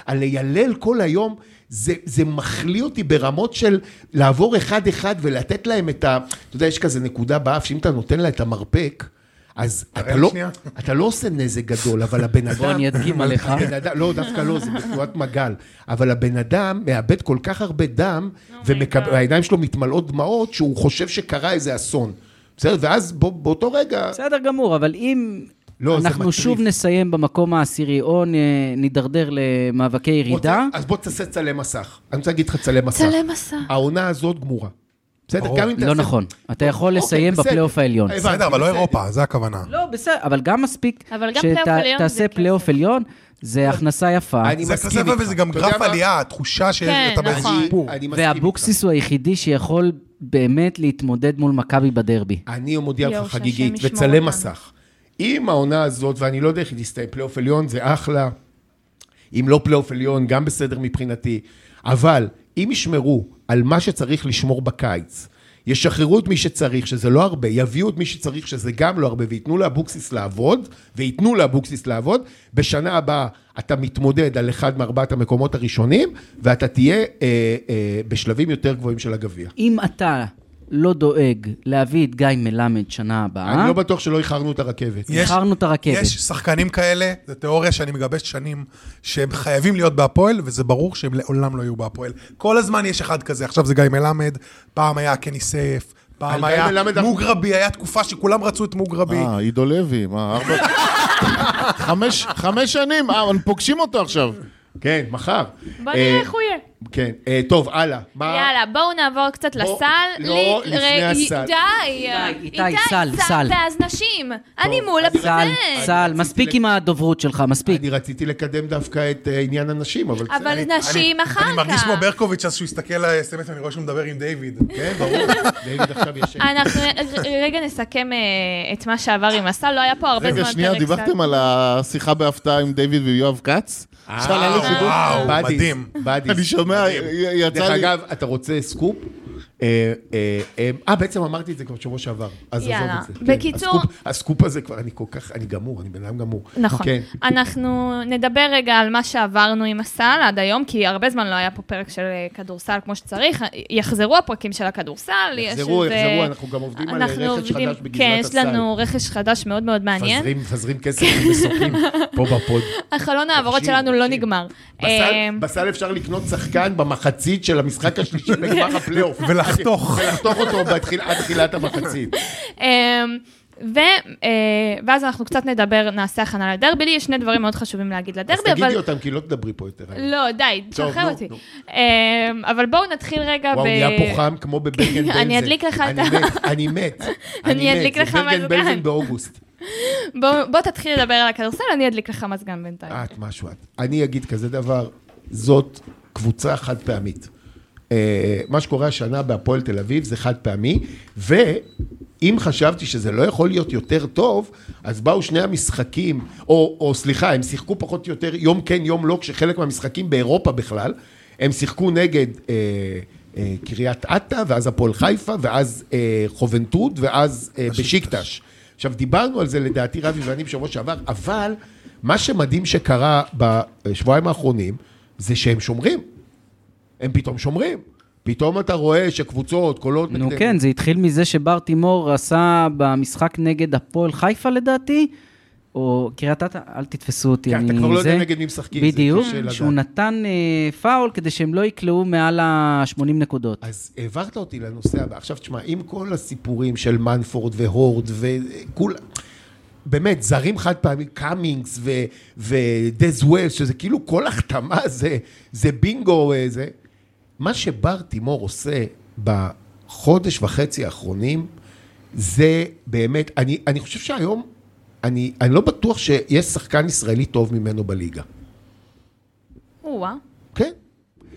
Speaker 2: והלילל כל היום, זה, זה מחליא אותי ברמות של לעבור אחד-אחד ולתת להם את ה... אתה יודע, יש כזה נקודה באף, שאם אתה נותן לה את המרפק, אז אתה
Speaker 6: לי
Speaker 2: לא,
Speaker 6: שנייה.
Speaker 2: אתה לא עושה נזק גדול, אבל הבן אדם...
Speaker 4: בוא אני אדגים עליך.
Speaker 2: הבן אדם, לא, דווקא לא, זה בתנועת מגל. אבל הבן אדם מאבד כל כך הרבה דם,
Speaker 3: God.
Speaker 2: והעיניים שלו מתמלאות דמעות, שהוא חושב שקרה איזה אסון. בסדר? ואז בו- באותו רגע...
Speaker 4: בסדר גמור, אבל אם
Speaker 2: לא, זה
Speaker 4: אנחנו
Speaker 2: מטריף.
Speaker 4: שוב נסיים במקום העשירי או נ- נידרדר למאבקי ירידה,
Speaker 2: רוצה- אז בוא תעשה צלם מסך. אני רוצה להגיד לך צלם מסך.
Speaker 3: צלם מסע.
Speaker 2: העונה הזאת גמורה. בסדר?
Speaker 6: ברור.
Speaker 2: גם אם תעשה...
Speaker 4: לא נכון. אתה יכול
Speaker 2: אוקיי,
Speaker 4: לסיים
Speaker 2: בסדר.
Speaker 4: בפלייאוף העליון.
Speaker 2: הבנתי,
Speaker 6: בסדר, אבל לא
Speaker 2: בסדר.
Speaker 6: אירופה, זה הכוונה.
Speaker 4: לא, בסדר, אבל גם מספיק
Speaker 3: אבל גם פלייאוף עליון זה
Speaker 4: שתעשה
Speaker 3: כסף.
Speaker 4: פלייאוף עליון, זה הכנסה יפה.
Speaker 2: אני
Speaker 6: זה
Speaker 2: מסכים
Speaker 6: כסף
Speaker 2: איתך.
Speaker 6: וזה גם
Speaker 2: אתה יודע
Speaker 6: גרף
Speaker 2: מה?
Speaker 6: עלייה, התחושה
Speaker 3: כן,
Speaker 6: שאתה באיזה
Speaker 3: נכון.
Speaker 6: שיפור.
Speaker 2: אני מסכים
Speaker 4: והאבוקסיס הוא היחידי שיכול באמת להתמודד מול מכבי בדרבי.
Speaker 2: איתך. אני מודיע
Speaker 3: יואו,
Speaker 2: לך
Speaker 3: שהשם
Speaker 2: חגיגית,
Speaker 3: ישמור
Speaker 2: וצלם
Speaker 3: אותנו.
Speaker 2: מסך. אם העונה הזאת, ואני לא יודע איך היא תסתיים, פלייאוף עליון זה אחלה. אם לא פלייאוף עליון, גם בסדר מבחינתי. אבל אם ישמרו על מה שצריך לשמור בקיץ, ישחררו את מי שצריך, שזה לא הרבה, יביאו את מי שצריך, שזה גם לא הרבה, וייתנו לאבוקסיס לעבוד, וייתנו לאבוקסיס לעבוד, בשנה הבאה אתה מתמודד על אחד מארבעת המקומות הראשונים, ואתה תהיה אה, אה, בשלבים יותר גבוהים של הגביע.
Speaker 4: אם אתה לא דואג להביא את גיא מלמד שנה
Speaker 2: אני
Speaker 4: הבאה,
Speaker 2: לא בטוח שלא איחרנו את הרכבת.
Speaker 6: יש-
Speaker 4: איחרנו את הרכבת.
Speaker 6: יש שחקנים כאלה, זו תיאוריה שאני מגבש שנים, שהם חייבים להיות בהפועל, וזה ברור שהם לעולם לא יהיו בהפועל. כל הזמן יש אחד כזה, עכשיו זה גיא מלמד, פעם היה קני סייף, פעם
Speaker 2: על גיא
Speaker 6: היה
Speaker 2: מלמד אנחנו-
Speaker 6: מוגרבי, היה תקופה שכולם רצו את מוגרבי.
Speaker 5: אה, עידו לוי, מה, ארבע... חמש, חמש שנים, אה, אבל פוגשים אותו עכשיו.
Speaker 2: כן, מחר.
Speaker 3: בוא
Speaker 2: אה,
Speaker 3: נראה איך הוא יהיה.
Speaker 2: כן, אה, טוב, הלאה. מה-
Speaker 3: יאללה, בואו נעבור קצת
Speaker 2: בוא-
Speaker 3: לסל.
Speaker 2: לא,
Speaker 3: לי-
Speaker 2: לפני
Speaker 3: ר-
Speaker 2: הסל.
Speaker 3: די,
Speaker 4: איתי, סל, סל.
Speaker 3: ואז נשים. אני מול
Speaker 4: צה"ל,
Speaker 3: הפרזנט.
Speaker 4: צה"ל, מספיק עם הדוברות שלך, מספיק.
Speaker 2: אני רציתי לקדם דווקא את אה, עניין הנשים, אבל...
Speaker 3: אבל
Speaker 2: אני-
Speaker 3: נשים אחר כך.
Speaker 6: אני מרגיש כמו ברקוביץ', אז שהוא הסתכל על האס.אם.אס, אני רואה שהוא מדבר עם דיוויד.
Speaker 2: כן, ברור. דיוויד עכשיו ישן.
Speaker 3: אנחנו רגע נסכם אה, את מה שעבר עם הסל, לא היה פה הרבה זמן
Speaker 5: רגע, שנייה,
Speaker 3: פרק
Speaker 5: דיווחתם
Speaker 3: סל.
Speaker 5: על השיחה בהפתעה עם דיוויד ויואב כץ?
Speaker 2: אה.
Speaker 5: לא, שעלה לו שידור?
Speaker 3: אה,
Speaker 6: וואו,
Speaker 2: בדיס,
Speaker 6: מדהים.
Speaker 2: בדיס.
Speaker 5: אני שומע, יצא
Speaker 2: דרך
Speaker 5: לי...
Speaker 2: אגב, אתה רוצה סקופ? אה, אה, אה, אה, בעצם אמרתי את זה כבר בשבוע שעבר, אז עזוב
Speaker 3: יאללה.
Speaker 2: את זה. כן,
Speaker 3: בקיצור-
Speaker 2: הסקופ- הסקופ הזה כבר, אני כל כך, אני גמור, אני בן אדם גמור.
Speaker 3: נכון.
Speaker 2: כן.
Speaker 3: אנחנו נדבר רגע על מה שעברנו עם הסל עד היום, כי הרבה זמן לא היה פה פרק של אה, כדורסל כמו שצריך. יחזרו הפרקים של הכדורסל. יש
Speaker 2: יחזרו,
Speaker 3: איזה-
Speaker 2: יחזרו, אנחנו גם עובדים על
Speaker 3: אנחנו
Speaker 2: רכש
Speaker 3: עובדים-
Speaker 2: חדש בגזרת
Speaker 3: כן, יש
Speaker 2: הסל.
Speaker 3: לנו רכש חדש מאוד מאוד מעניין. כן.
Speaker 2: מפזרים- מפזרים כסף ומסוקים פה בפוד.
Speaker 3: החלון ההעברות
Speaker 2: תקשיב,
Speaker 3: שלנו לא
Speaker 2: תקשיב.
Speaker 3: נגמר.
Speaker 2: בסל-
Speaker 3: אה,
Speaker 2: בסל אפשר לקנות שחקן במחצית של המשחק השלישי בגמר הפלייאוף.
Speaker 6: ולחתוך.
Speaker 2: ולחתוך אותו בתחיל- עד תחילת המחצית.
Speaker 3: אמ, ו, אה, ואז אנחנו קצת נדבר, נעשה הכנה לדרבי. לי יש שני דברים מאוד חשובים להגיד
Speaker 2: אז
Speaker 3: לדרבי, אבל...
Speaker 2: תגידי אותם, כי לא תדברי פה יותר.
Speaker 3: לא, די,
Speaker 2: טוב,
Speaker 3: תשחרר
Speaker 2: נו,
Speaker 3: אותי.
Speaker 2: נו.
Speaker 3: אמ, אבל בואו נתחיל רגע ב...
Speaker 2: וואו, נהיה פה חם כמו בברגן בלזן.
Speaker 3: אני אדליק לך את
Speaker 2: אני
Speaker 3: ה-
Speaker 2: מת, אני מת.
Speaker 3: [laughs] אני אדליק לך
Speaker 2: ברגן
Speaker 3: מזגן.
Speaker 2: בלזן באוגוסט.
Speaker 3: בוא, בוא תתחיל לדבר על הכדורסל, אני אדליק לך מזגן בינתיים.
Speaker 2: את משהו את. אני אגיד כזה דבר, זאת קבוצה חד פעמית. אה, מה שקורה השנה בהפועל תל אביב זה חד פעמי, ואם חשבתי שזה לא יכול להיות יותר טוב, אז באו שני המשחקים, או, או סליחה, הם שיחקו פחות או יותר יום כן יום לא, כשחלק מהמשחקים באירופה בכלל, הם שיחקו נגד אה, אה, קריית אתא, ואז הפועל חיפה, ואז אה, חובנטוד, ואז אה, בשיקטש. עכשיו, דיברנו על זה לדעתי רבי ואני בשבוע שעבר, אבל מה שמדהים שקרה בשבועיים האחרונים, זה שהם שומרים. הם פתאום שומרים. פתאום אתה רואה שקבוצות, קולות...
Speaker 4: נו
Speaker 2: נגדם.
Speaker 4: כן, זה התחיל מזה שבר תימור עשה במשחק נגד הפועל חיפה לדעתי, או קריית אתא, אל תתפסו אותי.
Speaker 2: כן, אתה
Speaker 4: אני
Speaker 2: כבר לא יודע
Speaker 4: זה.
Speaker 2: נגד מי משחקים, זה
Speaker 4: בדיוק,
Speaker 2: קשה לדעת.
Speaker 4: שהוא נתן אה, פאול כדי שהם לא יקלעו מעל ה-80 נקודות.
Speaker 2: אז העברת אותי לנושא הבא. עכשיו תשמע, עם כל הסיפורים של מנפורד והורד וכולם, באמת, זרים חד פעמי, קאמינגס ו- ודז ווילס, שזה כאילו כל החתמה זה, זה בינגו אה, זה. מה שבר תימור עושה בחודש וחצי האחרונים, זה באמת, אני, אני חושב שהיום, אני, אני לא בטוח שיש שחקן ישראלי טוב ממנו בליגה.
Speaker 3: או-אה.
Speaker 2: כן?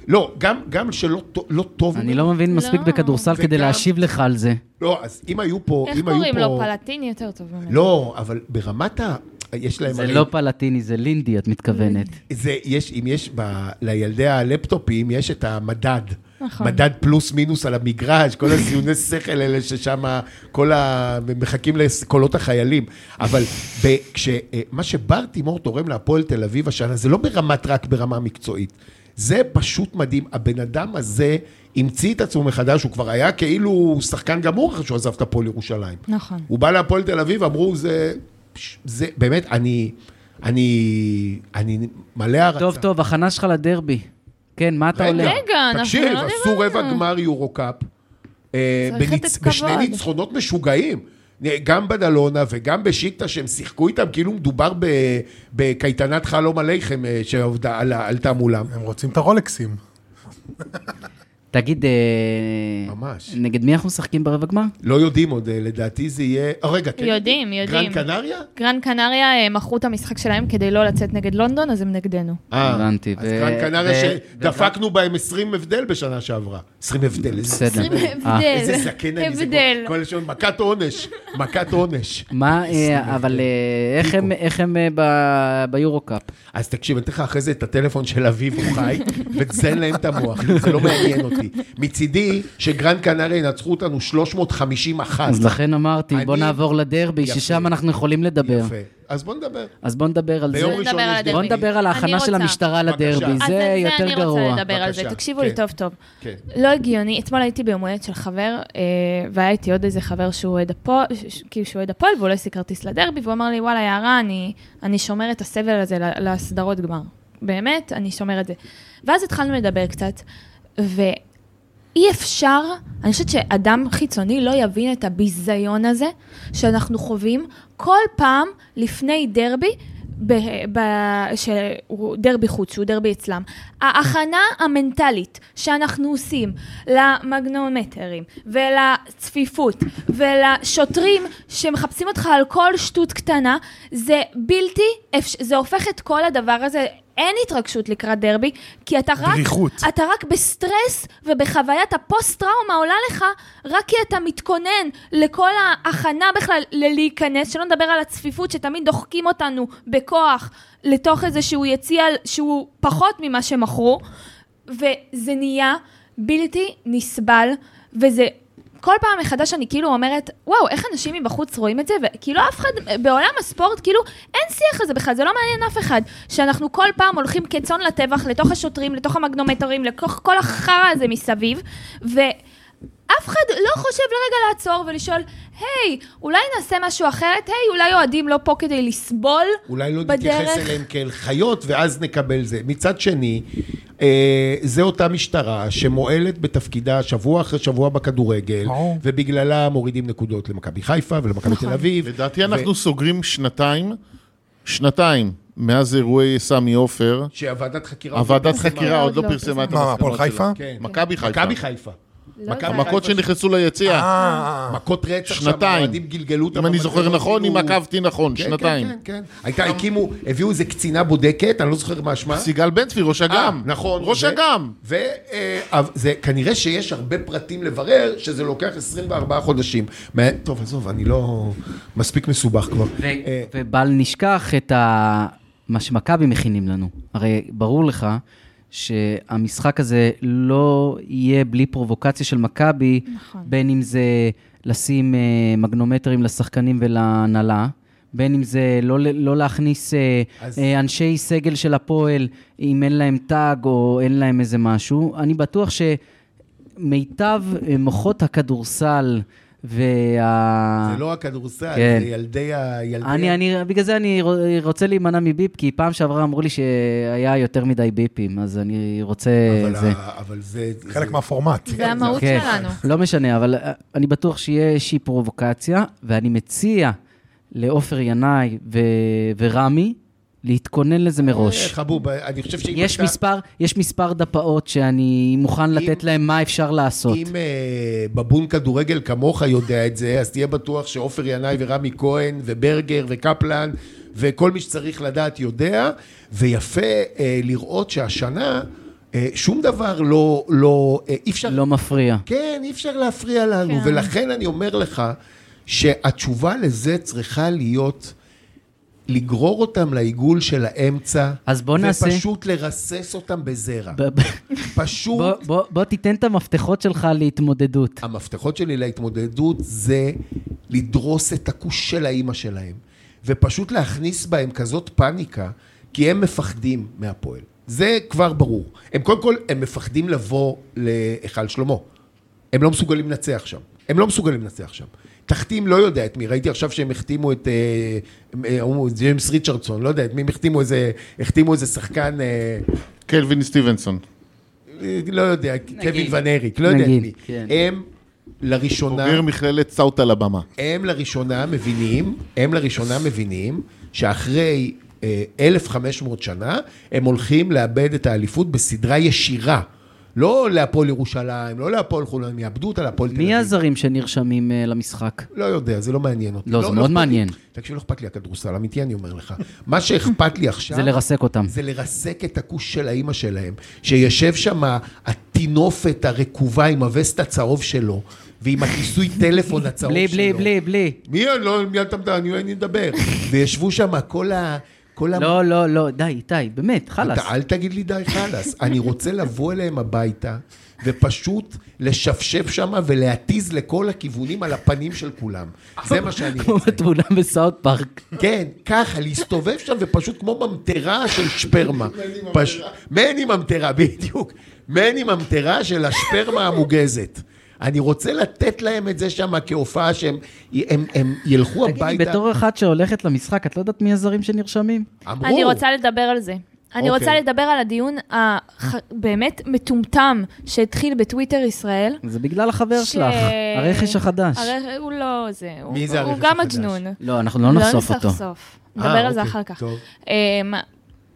Speaker 2: לא, גם, גם שלא טוב- לא טוב
Speaker 4: אני לא מבין מספיק
Speaker 3: לא.
Speaker 4: בכדורסל כדי
Speaker 2: וגם-
Speaker 4: להשיב לך על זה.
Speaker 2: לא, אז אם היו פה...
Speaker 3: איך
Speaker 2: אם היו
Speaker 3: קוראים
Speaker 2: פה...
Speaker 3: לו? פלטיני יותר טוב ממנו.
Speaker 2: לא, אבל ברמת ה... יש להם...
Speaker 4: זה
Speaker 2: הרי-
Speaker 4: לא פלטיני, זה לינדי, את מתכוונת.
Speaker 2: זה, יש, אם יש ב, לילדי הלפטופים, יש את המדד.
Speaker 3: נכון.
Speaker 2: מדד פלוס מינוס על המגרש, כל הזיוני שכל האלה ששם, כל ה... מחכים לקולות החיילים. אבל ב, כש, אה, מה שבר תימור תורם להפועל תל אביב השנה, זה לא ברמת רק ברמה מקצועית. זה פשוט מדהים. הבן אדם הזה המציא את עצמו מחדש, הוא כבר היה כאילו שחקן גמור אחרי שהוא עזב את הפועל ירושלים.
Speaker 3: נכון.
Speaker 2: הוא בא להפועל תל אביב, אמרו, זה... זה באמת, אני... אני... אני מלא הערצה.
Speaker 4: טוב, טוב, הכנה שלך לדרבי. כן, מה אתה
Speaker 2: רגע,
Speaker 4: עולה?
Speaker 3: רגע, אנחנו
Speaker 2: תקשיב,
Speaker 3: לא
Speaker 2: עשו
Speaker 3: דיברנו.
Speaker 2: רבע גמר יורו-קאפ. אה,
Speaker 3: צריך לתת
Speaker 2: בניצ-
Speaker 3: כבוד.
Speaker 2: בשני ניצחונות משוגעים. אה, גם בדלונה וגם בשיקטה, שהם שיחקו איתם כאילו מדובר ב- בקייטנת חלום עליכם אה, שעבדה- עלה- עלתה מולם.
Speaker 6: הם רוצים את הרולקסים.
Speaker 4: תגיד, אה,
Speaker 2: ממש.
Speaker 4: נגד מי אנחנו משחקים ברבע גמר?
Speaker 2: לא יודעים עוד, אה, לדעתי זה יהיה... אה, רגע, כן.
Speaker 3: יודעים, יודעים.
Speaker 2: גרן קנריה?
Speaker 3: גרן קנריה אה, מכרו את המשחק שלהם כדי לא לצאת נגד לונדון, אז הם נגדנו.
Speaker 2: אה,
Speaker 4: הבנתי,
Speaker 2: אז
Speaker 4: ו-
Speaker 2: גרן קנריה
Speaker 4: ו-
Speaker 2: שדפקנו בהם 20 הבדל בשנה שעברה. 20 הבדל, איזה
Speaker 4: בסדר.
Speaker 3: עשרים [laughs]
Speaker 4: אה,
Speaker 3: הבדל.
Speaker 2: איזה זקן אני, זה
Speaker 3: הבדל.
Speaker 2: כל- כל השעון, מכת עונש, מכת עונש.
Speaker 4: מה, אה, אבל אה, איך הם- איך הם אה, ב- ביורו-קאפ?
Speaker 2: אז תקשיב, אני אתן לך אחרי זה את הטלפון של אביב הוא חי, ותזן להם את המוח, זה לא מעניין אותי. מצידי, שגרן קנריה ינצחו אותנו 350 אחת.
Speaker 4: אז לכן אמרתי, בוא
Speaker 2: לא. אני-
Speaker 4: נעבור לדרבי,
Speaker 2: יפה.
Speaker 4: ששם אנחנו יכולים לדבר.
Speaker 2: יפה. אז בוא נדבר.
Speaker 4: אז בוא נדבר על זה.
Speaker 2: ביום ראשון
Speaker 3: נדבר על
Speaker 2: יש
Speaker 3: הדרבי.
Speaker 4: בוא
Speaker 2: דרבי.
Speaker 4: נדבר על
Speaker 3: אני
Speaker 4: ההכנה של
Speaker 3: רוצה.
Speaker 4: המשטרה לדרבי,
Speaker 2: בבקשה.
Speaker 3: אז על
Speaker 4: זה יותר
Speaker 3: אני רוצה
Speaker 4: גרוע.
Speaker 3: לדבר על זה,
Speaker 2: בבקשה,
Speaker 3: תקשיבו
Speaker 2: כן.
Speaker 3: לי טוב טוב.
Speaker 2: כן.
Speaker 3: לא הגיוני, אתמול הייתי ביום הולדת של חבר, אה, והיה איתי עוד איזה חבר שהוא אוהד הפועל, ש- ש- כאילו שהוא אוהד הפועל, והוא לא השיג כרטיס לדרבי, והוא אמר לי, וואלה, יערה, אני, אני שומר את הסבל הזה ל- לסדרות גמר. באמת, אני שומר את זה. ואז התחלנו לדבר קצת, ואי אפשר, אני חושבת שאדם חיצוני לא יבין את הביזיון הזה שאנחנו חווים כל פעם לפני דרבי. ב, ב, שהוא דרבי חוץ, שהוא דרבי אצלם. ההכנה המנטלית שאנחנו עושים למגנומטרים ולצפיפות ולשוטרים שמחפשים אותך על כל שטות קטנה, זה בלתי, אפש... זה הופך את כל הדבר הזה. אין התרגשות לקראת דרבי, כי אתה רק...
Speaker 6: דריכות.
Speaker 3: אתה רק בסטרס ובחוויית הפוסט-טראומה עולה לך, רק כי אתה מתכונן לכל ההכנה בכלל ללהיכנס, שלא נדבר על הצפיפות שתמיד דוחקים אותנו בכוח לתוך איזשהו יציע שהוא פחות ממה שמכרו, וזה נהיה בלתי נסבל, וזה... כל פעם מחדש אני כאילו אומרת, וואו, איך אנשים מבחוץ רואים את זה? וכאילו אף אחד, בעולם הספורט, כאילו, אין שיח על זה בכלל, זה לא מעניין אף אחד. שאנחנו כל פעם הולכים כצאן לטבח, לתוך השוטרים, לתוך המגנומטרים, לתוך כל החרא הזה מסביב, ואף אחד לא חושב לרגע לעצור ולשאול, היי, אולי נעשה משהו אחרת? היי, אולי אוהדים לא פה כדי לסבול
Speaker 2: אולי לא
Speaker 3: בדרך?
Speaker 2: נתייחס אליהם כאל חיות, ואז נקבל זה. מצד שני, אה, זה אותה משטרה שמועלת בתפקידה שבוע אחרי שבוע בכדורגל,
Speaker 6: ברור.
Speaker 2: ובגללה מורידים נקודות למכבי חיפה ולמכבי
Speaker 3: נכון.
Speaker 2: תל אביב.
Speaker 5: לדעתי אנחנו סוגרים שנתיים, שנתיים, מאז אירועי סמי עופר,
Speaker 2: אה. שהוועדת חקירה...
Speaker 5: הוועדת
Speaker 3: פרסמה.
Speaker 5: חקירה עוד לא
Speaker 3: לא
Speaker 5: פרסמה את
Speaker 2: אה.
Speaker 3: פרסמה.
Speaker 6: מה,
Speaker 5: המסקנות
Speaker 6: הפועל
Speaker 5: שלה.
Speaker 6: חיפה?
Speaker 2: כן.
Speaker 5: מכבי חיפה.
Speaker 2: מכבי חיפה.
Speaker 3: לא
Speaker 2: מכבי-
Speaker 3: יודעת.
Speaker 5: המכות שנכנסו ליציע,
Speaker 6: אה,
Speaker 2: מכות רצח
Speaker 5: שנתיים.
Speaker 2: שהמועדים גלגלו אותם.
Speaker 5: אם אני
Speaker 2: במצלמות,
Speaker 5: זוכר נכון, אם
Speaker 2: כאילו-
Speaker 5: עקבתי נכון,
Speaker 2: כן,
Speaker 5: שנתיים.
Speaker 2: כן, כן, כן. הייתה, הקימו, הביאו איזה קצינה בודקת, אני לא זוכר מה שמה.
Speaker 5: סיגל בן צבי, ראש אג"ם.
Speaker 2: אה, נכון.
Speaker 5: ראש
Speaker 2: ו-
Speaker 5: אג"ם.
Speaker 2: ו- אה, אבל זה כנראה שיש הרבה פרטים לברר, שזה לוקח 24 חודשים. מה- טוב, עזוב, אני לא... מספיק מסובך כבר.
Speaker 4: ו-
Speaker 2: אה,
Speaker 4: ובל נשכח את ה... מה שמכבי מכינים לנו. הרי ברור לך שהמשחק הזה לא יהיה בלי פרובוקציה של מכבי,
Speaker 3: נכון.
Speaker 4: בין אם זה לשים אה, מגנומטרים לשחקנים ולהנהלה. בין אם זה לא, ל- לא להכניס אה,
Speaker 2: אז-
Speaker 4: אה, אנשי סגל של הפועל, אם אין להם תג או אין להם איזה משהו, אני בטוח שמיטב אה, מוחות הכדורסל וה...
Speaker 2: זה לא הכדורסל,
Speaker 4: כן.
Speaker 2: זה ילדי ה... ילדי ה-
Speaker 4: אני, אני, בגלל זה אני רו- רוצה להימנע מביפ, כי פעם שעברה אמרו לי שהיה יותר מדי ביפים, אז אני רוצה...
Speaker 2: אבל
Speaker 4: זה.
Speaker 2: ה- אבל זה...
Speaker 6: אה, חלק
Speaker 2: זה-
Speaker 6: מהפורמט.
Speaker 3: זה המהות
Speaker 4: כן.
Speaker 3: שלנו.
Speaker 4: לא משנה, אבל אה, אני בטוח שיהיה איזושהי פרובוקציה, ואני מציע לעופר ינאי ו- ורמי להתכונן לזה
Speaker 2: אה,
Speaker 4: מראש.
Speaker 2: חבוב, אני חושב שאם
Speaker 4: יש מספר, יש מספר דפאות שאני מוכן לתת להם מה אפשר לעשות.
Speaker 2: אם אה, בבון כדורגל כמוך יודע את זה, אז תהיה בטוח שעופר ינאי ורמי כהן וברגר וקפלן וכל מי שצריך לדעת יודע, ויפה אה, לראות שהשנה אה, שום דבר לא, לא, אה, אי אפשר,
Speaker 4: לא מפריע.
Speaker 2: כן, אי אפשר להפריע לנו,
Speaker 3: כן.
Speaker 2: ולכן אני אומר לך שהתשובה לזה צריכה להיות לגרור אותם לעיגול של האמצע,
Speaker 4: אז בוא נעשה-
Speaker 2: ופשוט לרסס אותם בזרע,
Speaker 4: ב- ב-
Speaker 2: פשוט...
Speaker 4: בוא- בוא- בוא תיתן את המפתחות שלך להתמודדות.
Speaker 2: המפתחות שלי להתמודדות זה לדרוס את הכוש של האימא שלהם, ופשוט להכניס בהם כזאת פאניקה, כי הם מפחדים מהפועל. זה כבר ברור. הם קודם כל, הם מפחדים לבוא להיכל שלמה. הם לא מסוגלים לנצח שם. הם לא מסוגלים לנצח שם. תחתים לא יודע את מי, ראיתי עכשיו שהם החתימו את אה, אה, הוא- ג'יימס ריצ'רדסון, לא יודע את מי הם החתימו איזה, החתימו איזה שחקן, אה,
Speaker 5: קלווין סטיבנסון.
Speaker 2: אה, לא יודע, קווין ון אריק, לא יודע את
Speaker 4: נגיד,
Speaker 2: מי.
Speaker 4: כן.
Speaker 2: הם לראשונה...
Speaker 5: בוגר מכללת סאוט אלבמה.
Speaker 2: הם לראשונה מבינים, הם לראשונה מבינים שאחרי אה, 1,500 שנה הם הולכים לאבד את האליפות בסדרה ישירה. לא להפועל ירושלים, לא להפועל חולון, הם יאבדו אותה להפועל תל אביב.
Speaker 4: מי הזרים שנרשמים אה, למשחק?
Speaker 2: לא יודע, זה לא מעניין אותי.
Speaker 4: לא, זה מאוד
Speaker 2: אכפת לי.
Speaker 4: מעניין.
Speaker 2: תקשיב, לא אכפת לי הכדורסל, אמיתי אני אומר לך. מה שאכפת לי עכשיו...
Speaker 4: זה לרסק אותם.
Speaker 2: זה לרסק את הכוש של האימא שלהם, שיושב שם הטינופת הרקובה עם הווסט הצהוב שלו, ועם הכיסוי טלפון הצהוב
Speaker 4: בלי,
Speaker 2: לא שלו.
Speaker 4: בלי, בלי, בלי.
Speaker 2: מי לא, מי אתה מדבר, אני אין לי לדבר. [laughs] וישבו שם כל ה... כל ה...
Speaker 4: לא, לא, לא, די, איתי, באמת, חלאס.
Speaker 2: אתה, אל תגיד לי די חלאס. אני רוצה לבוא אליהם הביתה, ופשוט לשפשף שם ולהתיז לכל הכיוונים על הפנים של כולם. זה
Speaker 4: [laughs]
Speaker 2: מה
Speaker 4: [laughs]
Speaker 2: שאני
Speaker 4: כמו
Speaker 2: רוצה.
Speaker 4: בתמונה בסאוט פארק.
Speaker 2: כן, ככה, להסתובב שם ופשוט כמו ממטרה של [laughs] שפרמה. פש... מני ממטרה, בדיוק. מני ממטרה של השפרמה המוגזת. אני רוצה לתת להם את זה שם כהופעה שהם הם, הם ילכו
Speaker 4: תגידי,
Speaker 2: [laughs] הביתה.
Speaker 4: בתור אחת שהולכת למשחק, את לא יודעת מי הזרים שנרשמים?
Speaker 2: אמרו.
Speaker 3: אני רוצה לדבר על זה. אני רוצה
Speaker 2: אוקיי.
Speaker 3: לדבר על הדיון הבאמת מטומטם שהתחיל בטוויטר ישראל.
Speaker 4: זה בגלל החבר
Speaker 3: ש-
Speaker 4: שלך, הרכש החדש. אה,
Speaker 3: הר... הוא לא זה, הוא,
Speaker 2: מי זה
Speaker 3: הוא
Speaker 2: הרכש
Speaker 3: גם
Speaker 2: החדש?
Speaker 3: מג'נון.
Speaker 4: לא, אנחנו לא נחשוף אותו.
Speaker 3: נחשוף. נדבר על זה
Speaker 2: אוקיי,
Speaker 3: אחר כך.
Speaker 2: טוב.
Speaker 3: אמ,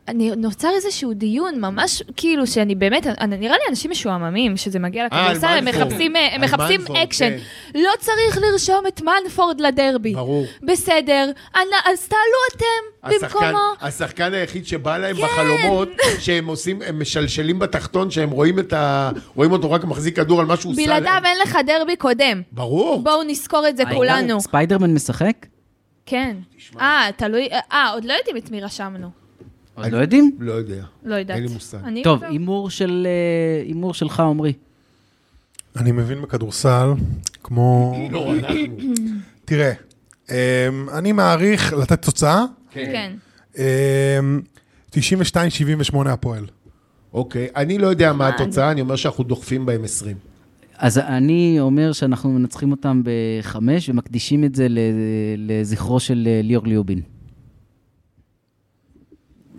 Speaker 3: אני נוצר איזשהו דיון ממש, כאילו, שאני באמת, אני- נראה לי אנשים משועממים, שזה מגיע
Speaker 2: אה, על
Speaker 3: לכדורסל, הם
Speaker 2: מנפורד.
Speaker 3: מחפשים, אה, הם
Speaker 2: על
Speaker 3: מחפשים
Speaker 2: מנפורד,
Speaker 3: אקשן.
Speaker 2: כן.
Speaker 3: לא צריך לרשום את מנפורד לדרבי.
Speaker 2: ברור.
Speaker 3: בסדר, אנ- אז תעלו אתם
Speaker 2: השחקן,
Speaker 3: במקומו. כן.
Speaker 2: השחקן היחיד שבא להם בחלומות, שהם עושים, הם משלשלים בתחתון, שהם רואים את ה... רואים אותו רק מחזיק כדור על מה שהוא עושה
Speaker 3: בלעדיו
Speaker 2: להם.
Speaker 3: אין לך דרבי קודם.
Speaker 2: ברור.
Speaker 3: בואו נזכור את זה
Speaker 4: העיקר,
Speaker 3: כולנו.
Speaker 4: ספיידרמן משחק?
Speaker 3: כן. אה, תלוי, אה, עוד לא יודעים את מי רשמנו.
Speaker 4: עוד לא יודעים?
Speaker 2: לא יודע.
Speaker 3: לא יודעת.
Speaker 2: אין לי מושג.
Speaker 3: אני
Speaker 4: טוב,
Speaker 3: כבר-
Speaker 4: הימור של, אה, הימור שלך, עמרי.
Speaker 6: אני מבין בכדורסל, כמו...
Speaker 2: לא, אנחנו.
Speaker 6: תראה, אמ, אני מעריך לתת תוצאה,
Speaker 3: כן.
Speaker 6: אמ, 92-78 הפועל.
Speaker 2: אוקיי, אני לא יודע מה התוצאה, אני אומר שאנחנו דוחפים בהם 20.
Speaker 4: אז אני אומר שאנחנו מנצחים אותם בחמש ומקדישים את זה ל- לזכרו של אה, ליאור ליובין.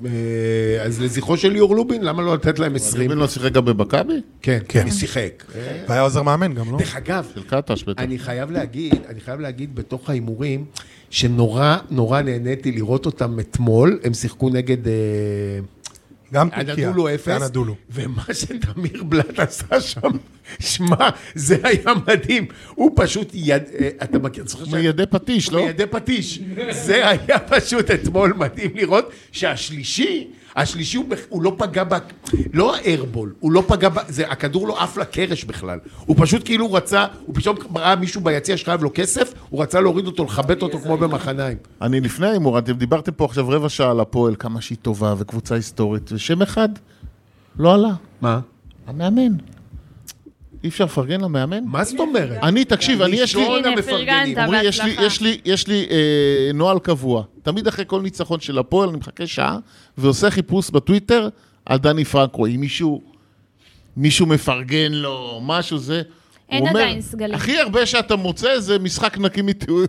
Speaker 2: אה, אז לזכרו של ליאור לובין, למה לא לתת להם 20?
Speaker 5: ריבלין לא שיחק גם במכבי?
Speaker 2: כן,
Speaker 6: כן.
Speaker 2: הוא שיחק. אה,
Speaker 6: והיה עוזר מאמן גם, לא?
Speaker 2: דרך אגב,
Speaker 5: של קטש בטח.
Speaker 2: אני חייב להגיד, אני חייב להגיד בתוך ההימורים, שנורא נורא נהניתי לראות אותם אתמול, הם שיחקו נגד... אה,
Speaker 6: גם טורקיה.
Speaker 2: הנדולו אפס.
Speaker 6: הנדולו.
Speaker 2: ומה שתמיר בלאט עשה שם, שמע, זה היה מדהים. הוא פשוט יד... אה, אתה מכיר, זוכר
Speaker 5: הוא מידי פטיש, לא?
Speaker 2: מידי פטיש. זה היה פשוט אתמול מדהים לראות שהשלישי, השלישי הוא, בכ- הוא לא פגע ב... לא הארבול, הוא לא פגע ב... זה, הכדור לא עף לקרש בכלל. הוא פשוט כאילו רצה, הוא פתאום ראה מישהו ביציע שחייב לו כסף, הוא רצה להוריד אותו, לכבט אותו כמו במחניים.
Speaker 5: אני לפני ההימור, אתם דיברתם פה עכשיו רבע שעה על הפועל, כמה שהיא טובה וקבוצה היסטורית, ושם אחד לא עלה,
Speaker 2: מה?
Speaker 5: המאמן. אי אפשר לפרגן למאמן?
Speaker 2: מה זאת אומרת?
Speaker 5: אני, תקשיב, אני יש לי...
Speaker 2: ראשון
Speaker 3: הנה,
Speaker 2: המפרגנים.
Speaker 3: פרגנת.
Speaker 5: עמרי, יש לי,
Speaker 3: בהצלחה.
Speaker 5: יש לי, יש לי אה, נוהל קבוע. תמיד אחרי כל ניצחון של הפועל, אני מחכה שעה ועושה חיפוש בטוויטר על דני פרנקו. אם מישהו, מישהו מפרגן לו, משהו זה...
Speaker 3: אין
Speaker 5: הוא
Speaker 3: עדיין סגלים.
Speaker 5: הכי הרבה שאתה מוצא זה משחק נקי, מטעו...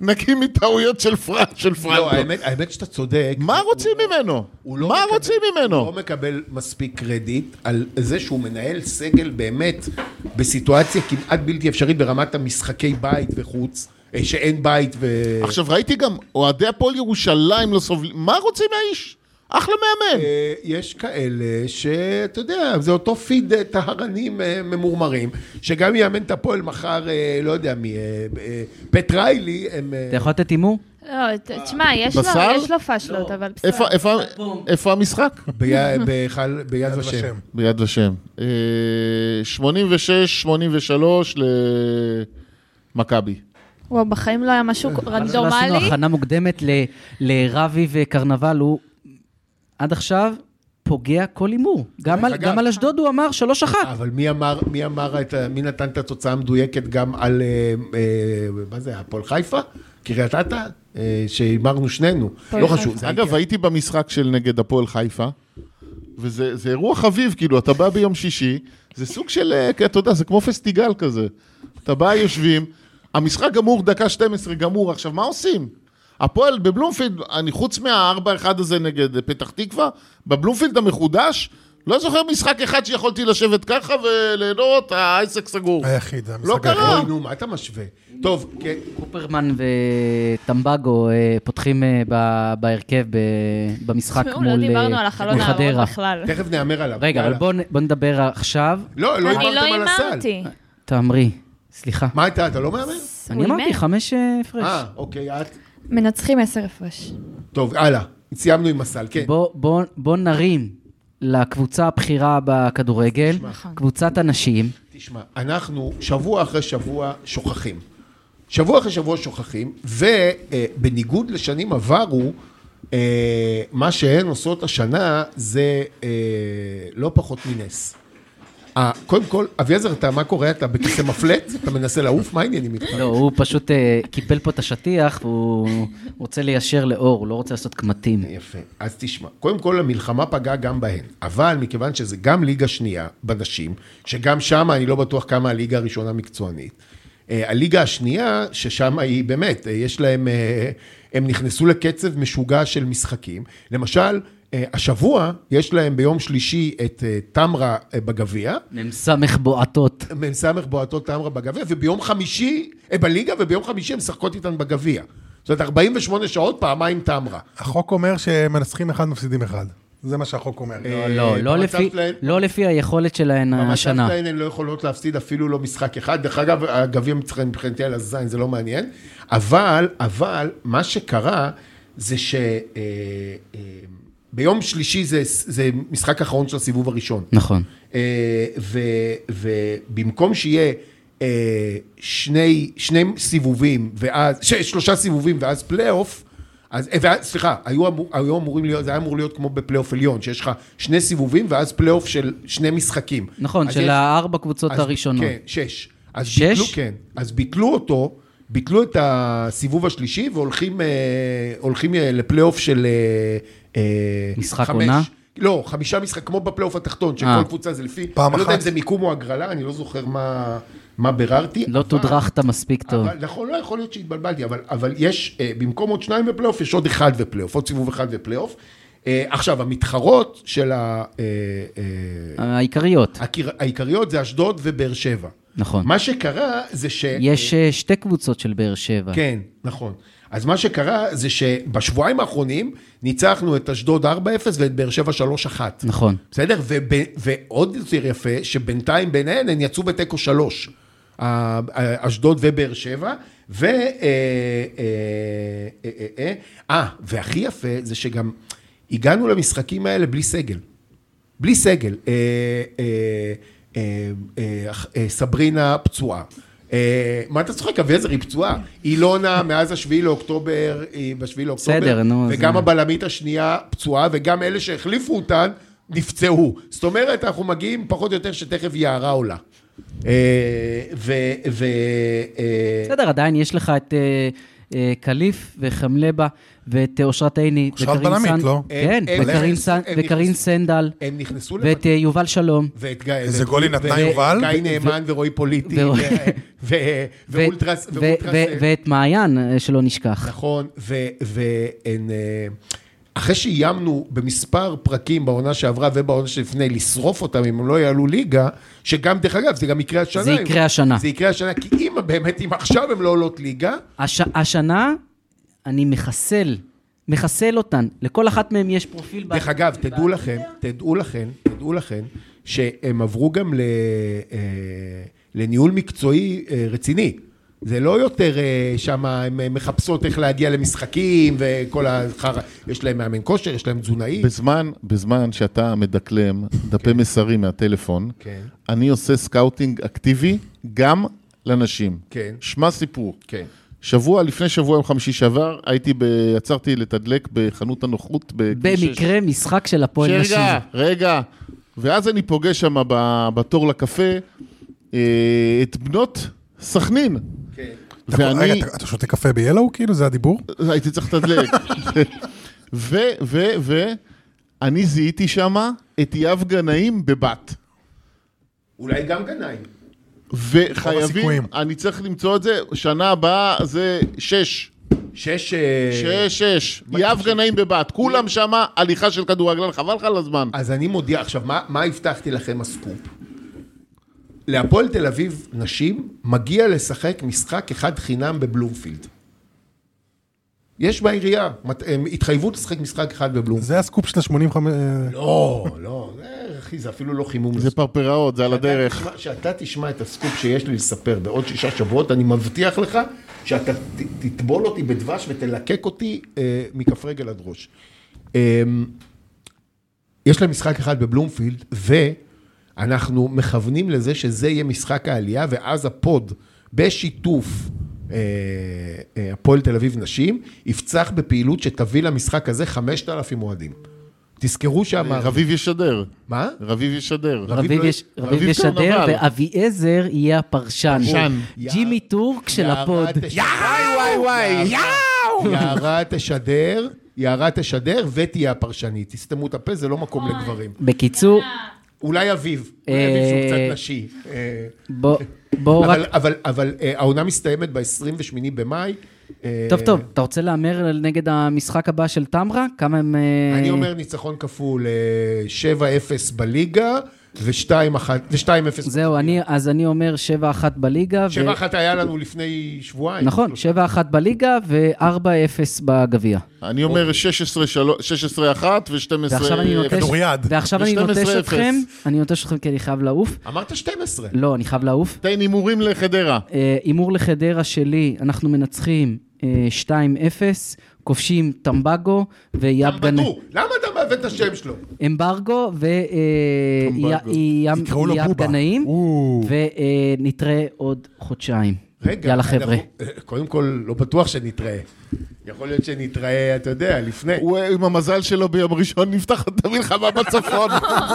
Speaker 5: נקי מטעויות של, פרנ... של פרנקו.
Speaker 2: לא, האמת, האמת שאתה צודק.
Speaker 5: מה רוצים ממנו?
Speaker 2: הוא לא
Speaker 5: מה
Speaker 2: מקבל-
Speaker 5: רוצים
Speaker 2: הוא לא
Speaker 5: ממנו?
Speaker 2: מקבל מספיק קרדיט על זה שהוא מנהל סגל באמת בסיטואציה כמעט בלתי אפשרית ברמת המשחקי בית וחוץ, אה, שאין בית ו...
Speaker 5: עכשיו, ראיתי גם אוהדי הפועל ירושלים לא סובלים. מה רוצים מהאיש? אחלה מאמן.
Speaker 2: אה, יש כאלה שאתה יודע, זה אותו פיד אה, טהרנים אה, ממורמרים, שגם יאמן את הפועל מחר, אה, לא יודע מי, אה, אה, פטריילי, הם... אה,
Speaker 4: אתה יכול לתת הימור?
Speaker 3: לא, ת- תשמע, יש לו-
Speaker 5: בשר?
Speaker 3: יש לו פשלות, אבל בסדר.
Speaker 5: איפה, איפה, איפה המשחק?
Speaker 2: בי- בהיכל- ביד
Speaker 6: יד
Speaker 2: ושם.
Speaker 6: ושם.
Speaker 5: ביד ושם. אה, 86-83 למכבי.
Speaker 3: וואו, בחיים לא היה משהו
Speaker 4: אה, לא עשינו
Speaker 3: רנדומלי. לא
Speaker 4: הכנה מוקדמת ל- לרבי וקרנבל, הוא עד עכשיו פוגע כל הימור. גם על-
Speaker 2: אגב.
Speaker 4: גם על אשדוד הוא אמר שלוש אחת.
Speaker 2: אבל מי אמר, מי אמר, את, ה- מי נתן את התוצאה המדויקת גם על, אה, אה, מה זה, הפועל חיפה? קריית אתא? אה, שהימרנו שנינו.
Speaker 3: הפועל
Speaker 2: לא
Speaker 3: חיפה.
Speaker 2: חשוב. זה
Speaker 5: אגב, הייתי במשחק של נגד הפועל חיפה, וזה זה אירוע חביב, כאילו, אתה בא ביום שישי, זה סוג של, אה, אתה יודע, זה כמו פסטיגל כזה. אתה בא, יושבים, המשחק גמור, דקה 12 גמור, עכשיו, מה עושים? הפועל בבלומפילד, אני חוץ מה-4-1 הזה נגד אה, פתח תקווה, בבלומפילד המחודש, לא זוכר משחק אחד שיכולתי לשבת ככה וליהנות, העסק סגור.
Speaker 6: היחיד, זה
Speaker 5: לא
Speaker 6: המשחק
Speaker 5: קרה.
Speaker 6: היחיד.
Speaker 2: אוי, נו, מה אתה משווה? טוב, כן,
Speaker 4: קופרמן וטמבגו אה, פותחים אה, ב- בהרכב ב- במשחק
Speaker 3: תשמעו,
Speaker 4: מול
Speaker 3: לא
Speaker 4: אה,
Speaker 3: דיברנו על החלון
Speaker 4: מול חדרה.
Speaker 3: הארוך בכלל.
Speaker 2: תכף נאמר עליו.
Speaker 4: רגע, אבל
Speaker 2: יאללה.
Speaker 4: בואו נ- בואו נדבר עכשיו.
Speaker 2: כן, לא, לא
Speaker 3: אני לא
Speaker 2: הימרתם על הסל.
Speaker 3: הימרתי.
Speaker 4: תאמרי, סליחה.
Speaker 2: מה הייתה, אתה לא מהמר?
Speaker 4: אני
Speaker 3: הוא
Speaker 4: אמרתי
Speaker 3: הימר.
Speaker 4: חמש אה, הפרש.
Speaker 2: אה, אוקיי, את.
Speaker 3: מנצחים עשר הפרש.
Speaker 2: טוב, הלאה. סיימנו עם הסל, כן.
Speaker 4: בוא- בוא- בוא נרים לקבוצה הבכירה בכדורגל, קבוצת הנשים.
Speaker 2: תשמע, אנחנו שבוע אחרי שבוע שוכחים. שבוע אחרי שבוע שוכחים, ובניגוד לשנים עברו, אה, מה שהן עושות השנה זה אה, לא פחות מנס. אה, קודם כל, אביעזר, אתה, מה קורה? אתה בכיסא מפלט? אתה מנסה לעוף? מה העניינים איתך?
Speaker 4: לא, הוא פשוט אה, קיפל פה את השטיח, והוא רוצה ליישר לאור, הוא לא רוצה לעשות קמטים.
Speaker 2: יפה. אז תשמע, קודם כל המלחמה פגעה גם בהן, אבל מכיוון שזה גם ליגה שנייה בנשים, שגם שם אני לא בטוח כמה הליגה הראשונה מקצוענית. אה, הליגה השנייה, ששם היא אה, באמת, אה, יש להם, אה, הם נכנסו לקצב משוגע של משחקים. למשל, אה, השבוע יש להם ביום שלישי את אה, טמרה אה, בגביע,
Speaker 4: מ"ס בועטות.
Speaker 2: מ"ס בועטות טמרה בגביע, וביום חמישי, אה, בליגה, וביום חמישי הם משחקות איתן בגביע. זאת אומרת, 48 שעות, פעמיים טמרה.
Speaker 6: החוק אומר שמנצחים אחד, מפסידים אחד. זה מה שהחוק אומר.
Speaker 2: אה,
Speaker 4: לא, לא
Speaker 2: במצב
Speaker 4: לפי-
Speaker 2: שלהן-
Speaker 4: לא לפי היכולת שלהן השנה.
Speaker 2: במצב שלהן הן לא יכולות להפסיד אפילו לא משחק אחד. דרך אגב, הגביע מצחן מבחינתי על הזין, זה לא מעניין. אבל, אבל, מה שקרה זה ש... אה, אה, ביום שלישי זה, זה משחק אחרון של הסיבוב הראשון.
Speaker 4: נכון.
Speaker 2: אה, ו- ובמקום שיהיה אה, שני, שני סיבובים ואז, ש, שלושה סיבובים ואז פלייאוף, אז, אה, ואז, סליחה, היו, אמור, היו אמורים להיות, זה היה אמור להיות כמו בפלייאוף עליון, שיש לך שני סיבובים ואז פלייאוף של שני משחקים.
Speaker 4: נכון,
Speaker 2: אז
Speaker 4: של
Speaker 2: יש-
Speaker 4: הארבע קבוצות
Speaker 2: אז-
Speaker 4: הראשונות.
Speaker 2: כן, שש. אז
Speaker 4: שש?
Speaker 2: ביטלו, כן. אז ביטלו אותו, ביטלו את הסיבוב השלישי והולכים אה, הולכים, אה, לפלייאוף של... אה, אה,
Speaker 4: משחק
Speaker 2: חמש.
Speaker 4: עונה?
Speaker 2: לא, חמישה משחק, כמו בפלייאוף התחתון, שכל
Speaker 4: אה.
Speaker 2: קבוצה זה לפי...
Speaker 6: פעם
Speaker 2: אני לא יודע
Speaker 6: אחת.
Speaker 2: אם זה מיקום או הגרלה, אני לא זוכר מה, מה ביררתי.
Speaker 4: לא
Speaker 2: אבל-
Speaker 4: תודרכת מספיק טוב.
Speaker 2: אבל נכון, לא יכול להיות שהתבלבלתי, אבל, אבל יש, אה, במקום עוד שניים בפלייאוף, יש עוד אחד בפלייאוף, עוד סיבוב אחד בפלייאוף. אה, עכשיו, המתחרות של ה... אה, אה,
Speaker 4: העיקריות,
Speaker 2: הקיר- העיקריות זה אשדוד ובאר שבע.
Speaker 4: נכון.
Speaker 2: מה שקרה זה ש...
Speaker 4: יש אה, שתי קבוצות של באר שבע.
Speaker 2: כן, נכון. אז מה שקרה זה שבשבועיים האחרונים ניצחנו את אשדוד 4-0 ואת באר שבע 3-1.
Speaker 4: נכון.
Speaker 2: בסדר? וב, ועוד יותר יפה, שבינתיים ביניהן הן יצאו בתיקו 3. אשדוד ובאר שבע, ו... אה, אה, אה, אה, אה, אה, והכי יפה זה שגם הגענו למשחקים האלה בלי סגל. בלי סגל. אה, אה, אה, אה, אה, סברינה פצועה. אה, מה אתה צוחק? אביעזר היא פצועה. אילונה מאז השביעי לאוקטובר, היא בשביעי לאוקטובר.
Speaker 4: בסדר, נו, זה-
Speaker 2: וגם הבלמית השנייה פצועה, וגם אלה שהחליפו אותן נפצעו. זאת אומרת, אנחנו מגיעים פחות או יותר שתכף יערה עולה. אה, ו... ו... אה,
Speaker 4: בסדר, עדיין יש לך את אה, אה, קליף וחמלבה ואת אה, אושרת עיני.
Speaker 6: אושרת
Speaker 4: וקרין
Speaker 6: בלמית,
Speaker 4: סנ-
Speaker 6: לא?
Speaker 4: כן,
Speaker 2: הם-
Speaker 4: וקרין
Speaker 2: הם-
Speaker 4: סנ-
Speaker 2: הם
Speaker 4: וקרין
Speaker 2: נכנסו-
Speaker 4: סנדל
Speaker 2: הם נכנסו
Speaker 4: ואת אה, יובל שלום.
Speaker 2: ואת גיא...
Speaker 6: איזה
Speaker 2: ואת-
Speaker 6: גול היא נתנה,
Speaker 2: ו-
Speaker 6: יובל?
Speaker 2: גיא נאמן ורועי פוליטי.
Speaker 4: ו-
Speaker 2: ו- ו-
Speaker 4: ו-
Speaker 2: ואולטרס...
Speaker 4: ו-
Speaker 2: ואולטרס-
Speaker 4: ו- ואת מעיין, אה, שלא נשכח.
Speaker 2: נכון, ו- והן... אה, אחרי שאיימנו במספר פרקים בעונה שעברה ובעונה שלפני לשרוף אותם אם הם לא יעלו ליגה, שגם, דרך אגב, זה גם יקרה השנה.
Speaker 4: זה יקרה השנה.
Speaker 2: זה יקרה השנה, כי אם באמת, אם עכשיו הן לא עולות ליגה,
Speaker 4: הש- השנה אני מחסל, מחסל אותן. לכל אחת מהן יש פרופיל.
Speaker 2: דרך
Speaker 4: ב-
Speaker 2: אגב, תדעו לכם, תדעו לכם, תדעו לכם, שהם עברו גם ל- אה, לניהול מקצועי אה, רציני. זה לא יותר שם, הן מחפשות איך להגיע למשחקים וכל החרא. יש להם מאמן כושר, יש להם תזונאי.
Speaker 5: בזמן, בזמן שאתה מדקלם דפי מסרים מהטלפון,
Speaker 2: כן.
Speaker 5: אני עושה סקאוטינג אקטיבי גם לנשים.
Speaker 2: כן.
Speaker 5: שמע סיפור.
Speaker 2: כן.
Speaker 5: שבוע, לפני שבוע, יום חמישי שעבר, הייתי, ב... יצרתי לתדלק בחנות הנוחות. בכביש שש.
Speaker 4: במקרה משחק של הפועל נשים.
Speaker 5: רגע, רגע. ואז אני פוגש שם ב- בתור לקפה אה, את בנות סכנין.
Speaker 2: כן.
Speaker 6: אתה- רגע,
Speaker 5: ואני
Speaker 6: אתה- אתה שותה קפה ב-Yellow, כאילו? זה הדיבור?
Speaker 5: הייתי צריך לתדלק. ו, ו, ו, אני זיהיתי שם את יהב גנאים בבת.
Speaker 2: אולי גם גנאים.
Speaker 5: וחייבים,
Speaker 6: הסיכויים.
Speaker 5: אני צריך למצוא את זה, שנה הבאה זה שש.
Speaker 2: שש... אה,
Speaker 5: שש, שש. יהב גנאים בבת. כולם שמה הליכה של כדורגלן, חבל לך על הזמן.
Speaker 2: אז אני מודיע, עכשיו, מה, מה הבטחתי לכם הסקופ? להפועל תל אביב נשים מגיע לשחק משחק אחד חינם בבלומפילד. יש בעירייה מת- הם- התחייבות לשחק משחק אחד בבלומפילד.
Speaker 6: זה הסקופ של אה, ה-85...
Speaker 2: לא, לא, זה, אחי, זה אפילו לא חימום.
Speaker 5: זה פרפראות,
Speaker 2: אה,
Speaker 5: זה על הדרך.
Speaker 2: שאתה תשמע- שאתה תשמע את הסקופ שיש לי לספר בעוד שישה שבועות, אני מבטיח לך שאתה ת- תטבול אותי בדבש ותלקק אותי אה, מכף רגל עד ראש. אה, יש להם משחק אחד בבלומפילד, ואנחנו מכוונים לזה שזה יהיה משחק העלייה, ואז הפוד, בשיתוף אה, אה, הפועל תל אביב נשים, יפצח בפעילות שתביא למשחק הזה 5,000 אוהדים. תזכרו שהמערב...
Speaker 5: רביב ישדר.
Speaker 2: מה?
Speaker 5: רביב ישדר.
Speaker 2: רביב
Speaker 4: אה, רביב
Speaker 2: לא-
Speaker 4: יש-
Speaker 5: רביב
Speaker 4: רביב ישדר,
Speaker 5: קרנבל.
Speaker 4: ואביעזר יהיה הפרשן.
Speaker 5: פרשן.
Speaker 4: ג'ימי טורק של הפוד.
Speaker 2: וואי וואי וואי. יאו! יערה תשדר, יערה תשדר ותהיה הפרשנית. תסתמו את הפה, זה לא מקום לגברים.
Speaker 4: בקיצור,
Speaker 2: אולי אביב. אולי אביב שהוא
Speaker 4: אה,
Speaker 2: קצת נשי. אה,
Speaker 4: בוא- בואו רק...
Speaker 2: אבל- אבל- אבל אה, העונה מסתיימת ב-28 במאי. אה,
Speaker 4: טוב, טוב, אתה רוצה להמר על- נגד המשחק הבא של טמרה? כמה הם... אה,
Speaker 2: אני אומר ניצחון כפול, אה, 7-0 בליגה ו-2-1, ו-2-0.
Speaker 4: זהו, אני, אז אני אומר 7-1 בליגה. ו-
Speaker 2: 7-1 היה לנו לפני שבועיים.
Speaker 4: נכון, 7-1 בליגה ו-4-0 בגביע.
Speaker 5: אני אומר 16 שלוש- 16 אחת ו-12...
Speaker 4: ועכשיו אני נוטש...
Speaker 6: כדוריד.
Speaker 4: ועכשיו אני
Speaker 5: ו- 12-0.
Speaker 4: נוטש אתכם, אני נוטש אתכם כי אני חייב לעוף.
Speaker 2: אמרת 12.
Speaker 4: לא, אני חייב לעוף.
Speaker 5: תן הימורים לחדרה.
Speaker 4: אה, הימור לחדרה שלי, אנחנו מנצחים אה, 2-0, כובשים טמבגו ויאב גני...
Speaker 2: בטור, למה אתה מעוות את השם שלו?
Speaker 4: אמברגו אה, ויאב
Speaker 6: יקראו לו בובה.
Speaker 4: גנאים,
Speaker 6: או.
Speaker 4: ונתראה אה, עוד חודשיים.
Speaker 2: רגע,
Speaker 4: יאללה חבר'ה.
Speaker 2: אנחנו- קודם כל, לא בטוח שנתראה. יכול להיות שנתראה, אתה יודע, לפני.
Speaker 5: הוא אה, עם המזל שלו ביום ראשון נפתחת המלחמה בצפון.
Speaker 2: [laughs]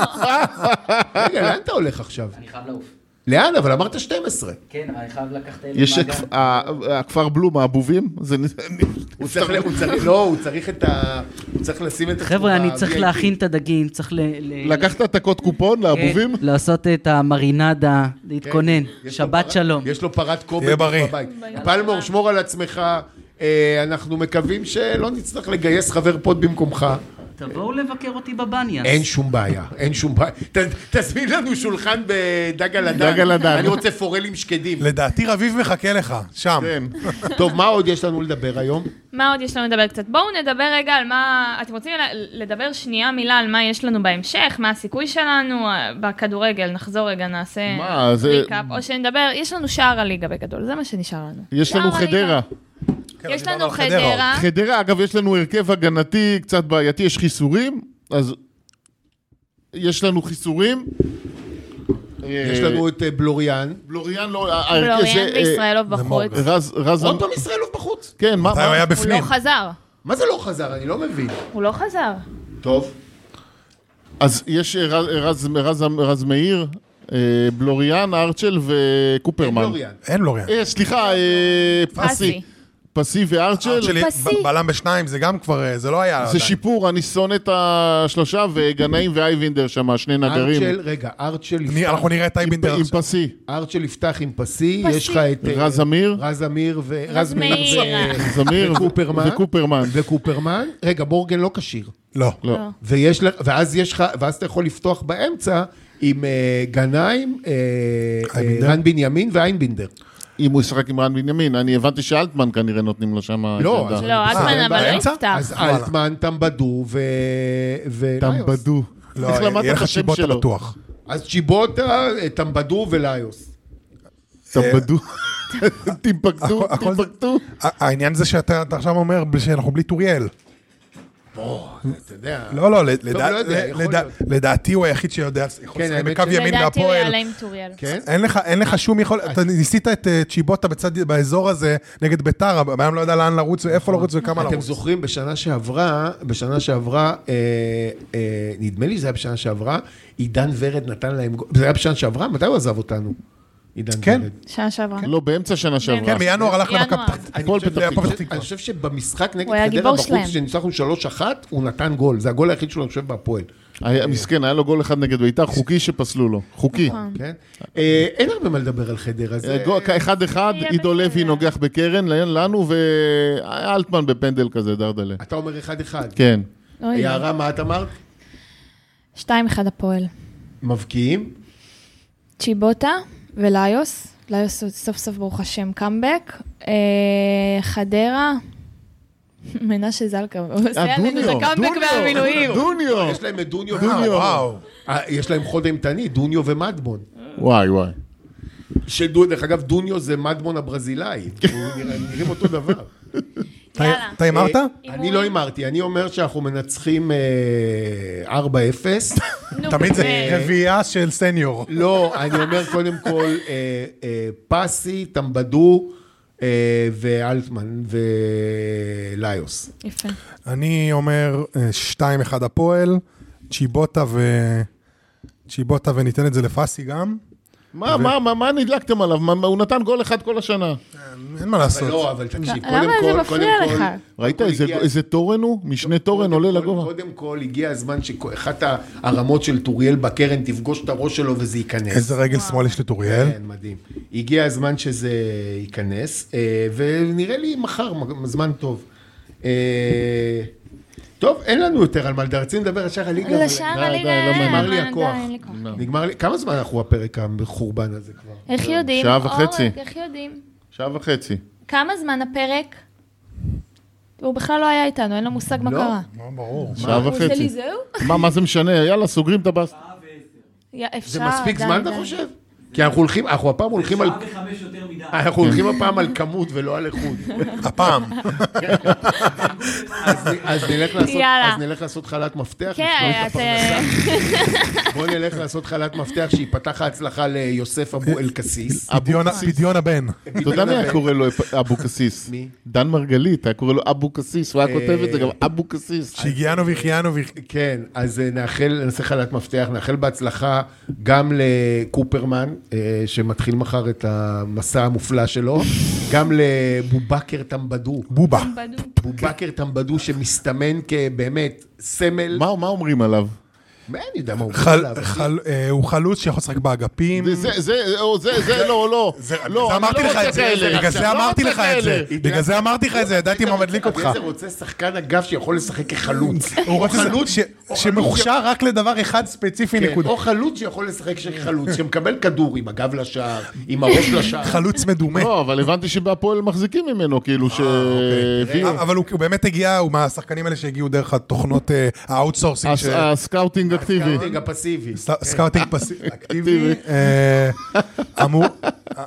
Speaker 2: רגע, לאן אתה הולך עכשיו?
Speaker 4: אני חייב לעוף.
Speaker 2: לאן? אבל אמרת 12.
Speaker 4: כן, אבל אני חייב לקחת את
Speaker 5: יש הכפ- ה- הכפר בלום, האבובים? זה נ-
Speaker 2: הוא צריך, הוא צריך, לא, הוא צריך את ה... הוא צריך לשים את
Speaker 4: חבר'ה,
Speaker 2: עצמו
Speaker 4: אני
Speaker 2: ב-
Speaker 4: צריך
Speaker 2: אה, VIP.
Speaker 4: להכין את הדגים, צריך ל... ל-
Speaker 5: לקחת העתקות קופון לאבובים?
Speaker 4: כן, לעשות את המרינדה, להתכונן.
Speaker 2: כן, יש לו
Speaker 4: שבת
Speaker 2: פרת-
Speaker 4: שלום.
Speaker 2: יש לו פרת קובץ
Speaker 6: תהיה בריא.
Speaker 2: בבית. פלמור, שמור על עצמך. אה, אנחנו מקווים שלא נצטרך לגייס חבר פוד במקומך.
Speaker 4: תבואו לבקר אותי בבניאס.
Speaker 2: אין שום בעיה, אין שום בעיה. ת- תזמין לנו שולחן בדג על הדג.
Speaker 5: דג על הדג.
Speaker 2: אני רוצה פורלים שקדים.
Speaker 6: לדעתי רביב מחכה לך, שם.
Speaker 5: כן.
Speaker 2: טוב, מה עוד יש לנו לדבר היום?
Speaker 3: מה עוד יש לנו לדבר קצת? בואו נדבר רגע על מה... אתם רוצים ל- לדבר שנייה מילה על מה יש לנו בהמשך, מה הסיכוי שלנו אה, בכדורגל, נחזור רגע, נעשה
Speaker 5: מה, זה-
Speaker 3: ריקאפ, או שנדבר, יש לנו שער הליגה בגדול, זה מה שנשאר לנו.
Speaker 5: יש לנו
Speaker 3: שער הליגה.
Speaker 5: חדרה.
Speaker 6: כן,
Speaker 3: יש
Speaker 6: דיברנו
Speaker 3: לנו
Speaker 6: על חדרה.
Speaker 3: חדרה.
Speaker 5: חדרה, אגב, יש לנו הרכב הגנתי קצת בעייתי, יש חיסורים, אז יש לנו חיסורים.
Speaker 2: יש לנו את אה, בלוריאן.
Speaker 5: בלוריאן לא... ה- ההרכב
Speaker 3: בלוריאן
Speaker 5: זה, אה,
Speaker 3: וישראלוב בחוץ.
Speaker 6: מורגן.
Speaker 5: רז, רז...
Speaker 2: עוד פעם ישראלוב בחוץ.
Speaker 5: כן, מה...
Speaker 6: מתי הוא
Speaker 5: מה-
Speaker 6: היה
Speaker 3: הוא לא
Speaker 6: בפנים?
Speaker 3: חזר.
Speaker 2: מה זה לא חזר? אני לא מבין.
Speaker 3: הוא לא חזר.
Speaker 2: טוב.
Speaker 5: אז יש אה, רז, אה, רז, אה, רז, אה, רז מאיר, אה, בלוריאן, ארצ'ל וקופרמן.
Speaker 2: בלוריאן.
Speaker 6: אין לוריאן.
Speaker 5: אה, סליחה, אה,
Speaker 3: פסי.
Speaker 5: פסי. פסי וארצ'ל.
Speaker 6: שלי
Speaker 3: פסי.
Speaker 6: ב- בלם בשניים, זה גם כבר, אה, זה לא היה.
Speaker 5: אה, זה
Speaker 6: עדיין.
Speaker 5: שיפור, אני שונא את השלושה, וגנאים ואייבינדר שם, שני נגרים.
Speaker 2: ארצ'ל, רגע, ארצ'ל
Speaker 6: אני-
Speaker 2: יפתח,
Speaker 6: אנחנו נראה את טייבינדר
Speaker 5: עם
Speaker 6: עכשיו.
Speaker 5: פסי.
Speaker 2: ארצ'ל יפתח עם פסי,
Speaker 3: פסי.
Speaker 2: יש לך את... אה,
Speaker 5: רז אמיר,
Speaker 2: רז אמיר ו... רז מאיר
Speaker 3: מאיר.
Speaker 2: ו-
Speaker 5: זמיר
Speaker 2: וקופרמן.
Speaker 5: וקופרמן.
Speaker 2: וקופרמן. רגע, בורגן לא כשיר.
Speaker 6: לא.
Speaker 5: לא.
Speaker 3: לא.
Speaker 2: ויש לך, ואז יש לך, ואז אתה יכול לפתוח באמצע עם אה, גנאים, אה, אה,
Speaker 6: אייבינדר.
Speaker 2: רן בנימין ואיינבינדר.
Speaker 5: אם הוא ישחק עם רן בנימין, אני הבנתי שאלטמן כנראה נותנים לו שם... את
Speaker 2: לא,
Speaker 5: העמדה.
Speaker 2: אז-
Speaker 3: לא, אטמן אבל לא
Speaker 6: באמצע?
Speaker 3: יפתח.
Speaker 2: אז
Speaker 6: וואלה.
Speaker 2: אלטמן, טמבדו ו... ו- ליוס.
Speaker 5: טמבדו.
Speaker 6: לא,
Speaker 5: איך למדת
Speaker 6: יהיה
Speaker 5: את
Speaker 6: לך
Speaker 5: השם
Speaker 6: שיבוט
Speaker 5: שלו?
Speaker 6: בטוח.
Speaker 2: אז צ'יבוטה, אה, טמבדו וליוס. אה,
Speaker 5: טמבדו. טימפקטו,
Speaker 6: הכל- הכל זה-
Speaker 5: טימפקטו.
Speaker 6: ה- העניין זה שאתה אתה עכשיו אומר שאנחנו בלי טוריאל.
Speaker 2: אתה יודע.
Speaker 6: לא, לא, לדע-
Speaker 2: לא יודע, יכול
Speaker 6: לדע-
Speaker 2: להיות.
Speaker 6: לדעתי הוא היחיד שיודע, יכול
Speaker 2: כן,
Speaker 6: לשחק
Speaker 2: האמת
Speaker 6: בקו
Speaker 2: ש-
Speaker 6: ימין
Speaker 3: לדעתי הוא
Speaker 6: והפועל.
Speaker 3: יעלה עם טוריאל.
Speaker 6: [laughs]
Speaker 2: כן?
Speaker 6: אין לך, אין לך שום יכול, אתה ניסית את אה, צ'יבוטה בצד, באזור הזה נגד ביתר, הבעיה לא ידע לאן לרוץ, ואיפה לרוץ וכמה
Speaker 2: אתם
Speaker 6: לרוץ.
Speaker 2: זוכרים בשנה שעברה, בשנה שעברה, אה, אה, נדמה לי שזה היה בשנה שעברה, עידן ורד נתן להם, גול. זה היה בשנה שעברה? מתי הוא עזב אותנו? עידן
Speaker 6: כן.
Speaker 2: ורד.
Speaker 3: שנה שעברה.
Speaker 5: לא, באמצע שנה שעברה.
Speaker 6: כן, בינואר הלך
Speaker 3: ינואר.
Speaker 6: למכבי פתח
Speaker 2: אני
Speaker 5: הפועל
Speaker 2: חושב-
Speaker 5: פתח
Speaker 2: אני חושב-
Speaker 6: תקווה.
Speaker 2: אני חושב שבמשחק נגד
Speaker 3: הוא היה
Speaker 2: חדרה
Speaker 3: גיבור
Speaker 2: בחוץ,
Speaker 3: שלהם.
Speaker 2: שניצחנו 3-1, הוא נתן גול. זה הגול היחיד שלו, אני חושב, בהפועל.
Speaker 5: היה- מסכן, היה לו גול אחד נגד ביתר, חוקי שפסלו לו. חוקי.
Speaker 3: נכון.
Speaker 2: כן? אה, אין הרבה מה לדבר על חדרה. זה-
Speaker 5: אה, גול- אחד אחד,
Speaker 3: יהיה
Speaker 5: עידו
Speaker 3: בסדר.
Speaker 5: לוי נוגח בקרן לנו ואלטמן בפנדל כזה, דרדלה.
Speaker 2: אתה אומר 1-1.
Speaker 5: כן.
Speaker 3: אוי,
Speaker 2: יערה, מה את אמרת?
Speaker 3: שתיים אחד הפועל.
Speaker 2: מבקיעים?
Speaker 3: צ'יבוטה וליוס. ליוס הוא סוף סוף ברוך השם קאמבק. אה, חדרה. מנשה זלקה, הוא
Speaker 2: אה,
Speaker 3: עושה עלינו את
Speaker 5: אה, דוניו,
Speaker 3: הקאמבק
Speaker 5: דוניו,
Speaker 3: והמילואים.
Speaker 5: דוניו.
Speaker 2: יש להם את דוניו.
Speaker 5: דוניו.
Speaker 6: וואו.
Speaker 2: אה, יש להם חוד אימתני, דוניו ומדמון.
Speaker 5: וואי וואי.
Speaker 2: שדו, דרך אגב, דוניו זה מדמון הברזילאי. [laughs] הוא נראה- הם נראים אותו דבר.
Speaker 6: אתה-
Speaker 3: יאללה. אה,
Speaker 6: אתה הימרת?
Speaker 2: אני לא הימרתי, אני אומר שאנחנו מנצחים אה, 4-0. [laughs]
Speaker 3: נו,
Speaker 6: תמיד זה
Speaker 3: באמת.
Speaker 6: רביעייה של סניור.
Speaker 2: לא, אני אומר קודם כל, אה, אה, פסי, טמבדו אה, ואלטמן וליוס.
Speaker 3: יפה.
Speaker 6: אני אומר אה, 2-1 הפועל, צ'יבוטה ו... צ'יבוטה וניתן את זה לפאסי גם,
Speaker 5: מה, מה, מה, מה נדלקתם עליו? מה, מה, הוא נתן גול אחד כל השנה.
Speaker 6: אין מה לעשות.
Speaker 2: לא, אבל תקשיב,
Speaker 3: למה
Speaker 2: קודם
Speaker 3: זה
Speaker 2: כל,
Speaker 3: מפריע
Speaker 2: קודם
Speaker 3: לך?
Speaker 2: כל...
Speaker 5: ראית
Speaker 2: הוא
Speaker 5: איזה-
Speaker 2: הגיע-
Speaker 5: איזה תורן הוא?
Speaker 6: לא,
Speaker 5: משנה תורן עולה
Speaker 2: קודם כל-
Speaker 5: לגובה.
Speaker 2: קודם כל, הגיע הזמן שאחת הרמות של טוריאל בקרן תפגוש את הראש שלו וזה ייכנס.
Speaker 6: איזה רגל שמאל יש לטוריאל?
Speaker 2: כן, מדהים. הגיע הזמן שזה ייכנס, אה, ונראה לי מחר, מ- זמן טוב. אה, טוב, אין לנו יותר על מה לדבר, רצינו לדבר על שער הליגה. אבל-
Speaker 3: לשער
Speaker 5: די,
Speaker 3: הליגה,
Speaker 5: די, לא
Speaker 3: אין,
Speaker 2: נגמר
Speaker 3: אבל
Speaker 2: לי
Speaker 3: די,
Speaker 2: הכוח.
Speaker 3: אין לי כוח.
Speaker 2: נגמר לי, כמה זמן אנחנו הפרק המחורבן הזה כבר?
Speaker 3: איך יודעים?
Speaker 5: אה, שעה
Speaker 3: אורן,
Speaker 5: וחצי.
Speaker 3: איך יודעים?
Speaker 5: שעה וחצי.
Speaker 3: כמה זמן הפרק? הוא בכלל לא היה איתנו, אין לו מושג מה
Speaker 2: לא.
Speaker 3: קרה.
Speaker 6: לא, ברור.
Speaker 5: שעה
Speaker 3: הוא שלי
Speaker 5: וחצי.
Speaker 3: זהו?
Speaker 5: מה, מה זה משנה? יאללה, סוגרים את הבאסט.
Speaker 3: יא, אפשר,
Speaker 2: זה מספיק
Speaker 3: די,
Speaker 2: זמן,
Speaker 3: די.
Speaker 2: אתה חושב? כי אנחנו הולכים, אנחנו הפעם הולכים על...
Speaker 7: וחמש יותר מדי.
Speaker 2: אנחנו הולכים הפעם על כמות ולא על איכות.
Speaker 6: הפעם.
Speaker 2: אז נ- אז נלך לעשות-
Speaker 3: [laughs] יאללה.
Speaker 2: אז נלך לעשות חל"ת מפתח.
Speaker 3: כן,
Speaker 2: נפתור את
Speaker 3: את...
Speaker 2: הפרנסה. בוא נלך לעשות חל"ת מפתח שייפתח ההצלחה ליוסף [laughs] אבו אלקסיס.
Speaker 6: פדיון- פדיון הבן.
Speaker 5: אתה יודע מי היה קורא לו אבוקסיס?
Speaker 2: מי?
Speaker 5: דן מרגלית, היה קורא לו אבוקסיס, הוא היה
Speaker 6: אה,
Speaker 5: כותב את זה גם אבוקסיס.
Speaker 6: שהגיענו והחיינו והח-
Speaker 2: כן, אז אה, נאחל, נעשה חל"ת מפתח, נאחל בהצלחה גם לקופרמן, אה, שמתחיל מחר את המסע המופלא שלו, גם לבובקר טמבדו.
Speaker 6: בובה.
Speaker 3: כן, אה,
Speaker 2: בובקר טמבדו שמסתמן כבאמת סמל.
Speaker 5: מה מה אומרים עליו?
Speaker 2: מה אני יודע מה הוא
Speaker 6: חל-
Speaker 2: עליו.
Speaker 6: חל- אה, הוא חלוץ שיכול לשחק באגפים.
Speaker 5: זה, זה, זה, או זה, זה, לא, לא.
Speaker 6: זה-
Speaker 5: לא,
Speaker 6: זה
Speaker 5: אני
Speaker 6: אמרתי
Speaker 5: לא
Speaker 6: לך
Speaker 5: רוצה
Speaker 6: את זה,
Speaker 5: כאלה.
Speaker 6: בגלל זה
Speaker 5: לא
Speaker 6: אמרתי
Speaker 5: רוצה
Speaker 6: לך את זה,
Speaker 5: כאלה.
Speaker 6: בגלל זה אמרתי לך את זה, ידעתי מה מדליק אותך. כן,
Speaker 2: אביעזר רוצה שחקן אגף שיכול לשחק
Speaker 6: [laughs]
Speaker 2: כחלוץ.
Speaker 6: הוא רוצה חלוץ ש- שמוכשר רק לדבר אחד ספציפי,
Speaker 2: כן,
Speaker 6: נקודה.
Speaker 2: או חלוץ שיכול לשחק כחלוץ, שמקבל כדור עם הגב לשער, עם הראש לשער.
Speaker 6: חלוץ מדומה.
Speaker 5: לא, אבל הבנתי שבהפועל מחזיקים ממנו,
Speaker 6: אה,
Speaker 5: כאילו
Speaker 6: אוקיי.
Speaker 5: שהביאו.
Speaker 6: אבל הוא הוא באמת הגיע, הוא מהשחקנים האלה שהגיעו דרך התוכנות אה, האאוטסורסינג,
Speaker 5: הס- הסקאוטינג אקטיבי.
Speaker 2: קארטינג הפסיבי.
Speaker 5: [laughs]
Speaker 6: סקאוטינג פס- אקטיבי. אה, אמור,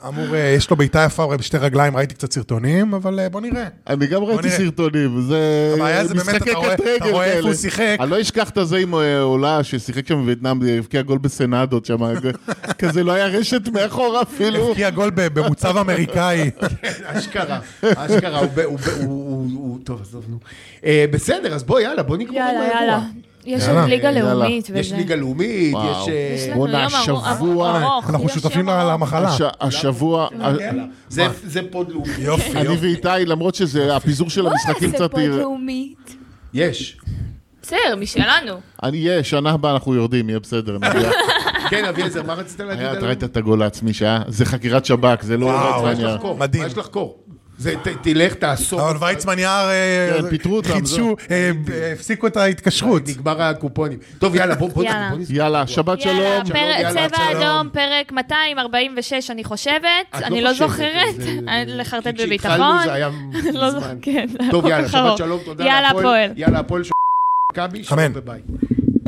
Speaker 6: אמור, אה, יש לו בעיטה יפה, הוא בשתי רגליים, ראיתי קצת סרטונים, אבל אה, בוא נראה.
Speaker 5: אני גם ראיתי
Speaker 6: נראה.
Speaker 5: סרטונים, זה
Speaker 6: הבעיה זה באמת, אתה
Speaker 5: משחקי
Speaker 6: רואה-
Speaker 5: קט
Speaker 6: אתה
Speaker 5: רגל
Speaker 6: רואה איפה
Speaker 5: כאלה.
Speaker 6: הוא שיחק.
Speaker 5: אני לא אשכח את הזה עם אה, עולה ששיחק שם בווייטנאם, הבקיע גול בסנדות שם, [laughs] כזה לא היה רשת מאחור אפילו.
Speaker 6: הבקיע גול ב- במוצב אמריקאי.
Speaker 2: כן, אשכרה, אשכרה, הוא ב- הוא ב- הוא- הוא- הוא... טוב, עזוב, נו. אה, בסדר, אז בוא, יאללה, בוא נגמור עם
Speaker 3: יאללה,
Speaker 2: האירוע.
Speaker 3: יאללה. יש
Speaker 6: יאללה.
Speaker 3: עוד ליגה
Speaker 5: יאללה.
Speaker 3: לאומית וזה.
Speaker 2: יש ליגה נכון. לאומית,
Speaker 5: וואו.
Speaker 2: יש... אה,
Speaker 3: יש לנו
Speaker 5: בואנה,
Speaker 3: יום ארוך-
Speaker 5: השבוע-
Speaker 3: ארוך.
Speaker 6: אה, אנחנו
Speaker 3: יש
Speaker 6: שותפים
Speaker 3: יום ארוך.
Speaker 6: למחלה.
Speaker 5: הש- השבוע,
Speaker 3: כן,
Speaker 2: זה- זה פוד לאומי.
Speaker 6: יופי,
Speaker 5: אני
Speaker 6: יופי.
Speaker 5: ואיתי, למרות שזה, הפיזור של
Speaker 3: בוא
Speaker 5: המשחקים
Speaker 3: נעשה
Speaker 5: קצת...
Speaker 3: פה לאומית.
Speaker 2: יש.
Speaker 3: בסדר, משלנו.
Speaker 5: אני אהיה, שנה הבאה אנחנו יורדים, יהיה
Speaker 3: [laughs]
Speaker 5: בסדר. נגיע.
Speaker 2: כן, אביעזר, מה רצית להגיד?
Speaker 5: היה,
Speaker 2: על-
Speaker 5: אה, אתה ראית את הגול העצמי שהיה? זה חקירת שב"כ, זה לא...
Speaker 6: וואו,
Speaker 2: מה יש
Speaker 5: רצוניה.
Speaker 2: לחקור?
Speaker 6: מדהים.
Speaker 2: מה יש לחקור? זה, ת- תלך, תאסור.
Speaker 6: לא, אבל ויצמן יער, אה,
Speaker 5: כן, פיטרו אותם,
Speaker 6: חידשו, אה, אה, הפסיקו את ההתקשרות.
Speaker 2: נגמר הקופונים. טוב, יאללה, בוא בוא-
Speaker 3: יאללה.
Speaker 2: בוא נסגור.
Speaker 5: יאללה, שבת
Speaker 3: יאללה,
Speaker 5: שלום.
Speaker 3: פרק-
Speaker 2: יאללה,
Speaker 3: צבע
Speaker 2: שלום.
Speaker 3: אדום, פרק 246, אני חושבת.
Speaker 2: את
Speaker 3: אני לא
Speaker 2: חושבת,
Speaker 3: זוכרת.
Speaker 2: זה-
Speaker 3: לחרטט
Speaker 2: כי
Speaker 3: בביטחון.
Speaker 2: כשהתחלנו זה היה
Speaker 3: [laughs] לא
Speaker 2: מזמן.
Speaker 3: זוכרת, כן. זה היה
Speaker 2: טוב,
Speaker 3: כל
Speaker 2: יאללה,
Speaker 3: כך
Speaker 2: שבת
Speaker 3: ארוך.
Speaker 2: שלום, תודה.
Speaker 3: יאללה,
Speaker 2: להפועל.
Speaker 3: הפועל.
Speaker 2: יאללה, הפועל ש... מכבי, שלום
Speaker 6: אמן.
Speaker 2: וביי.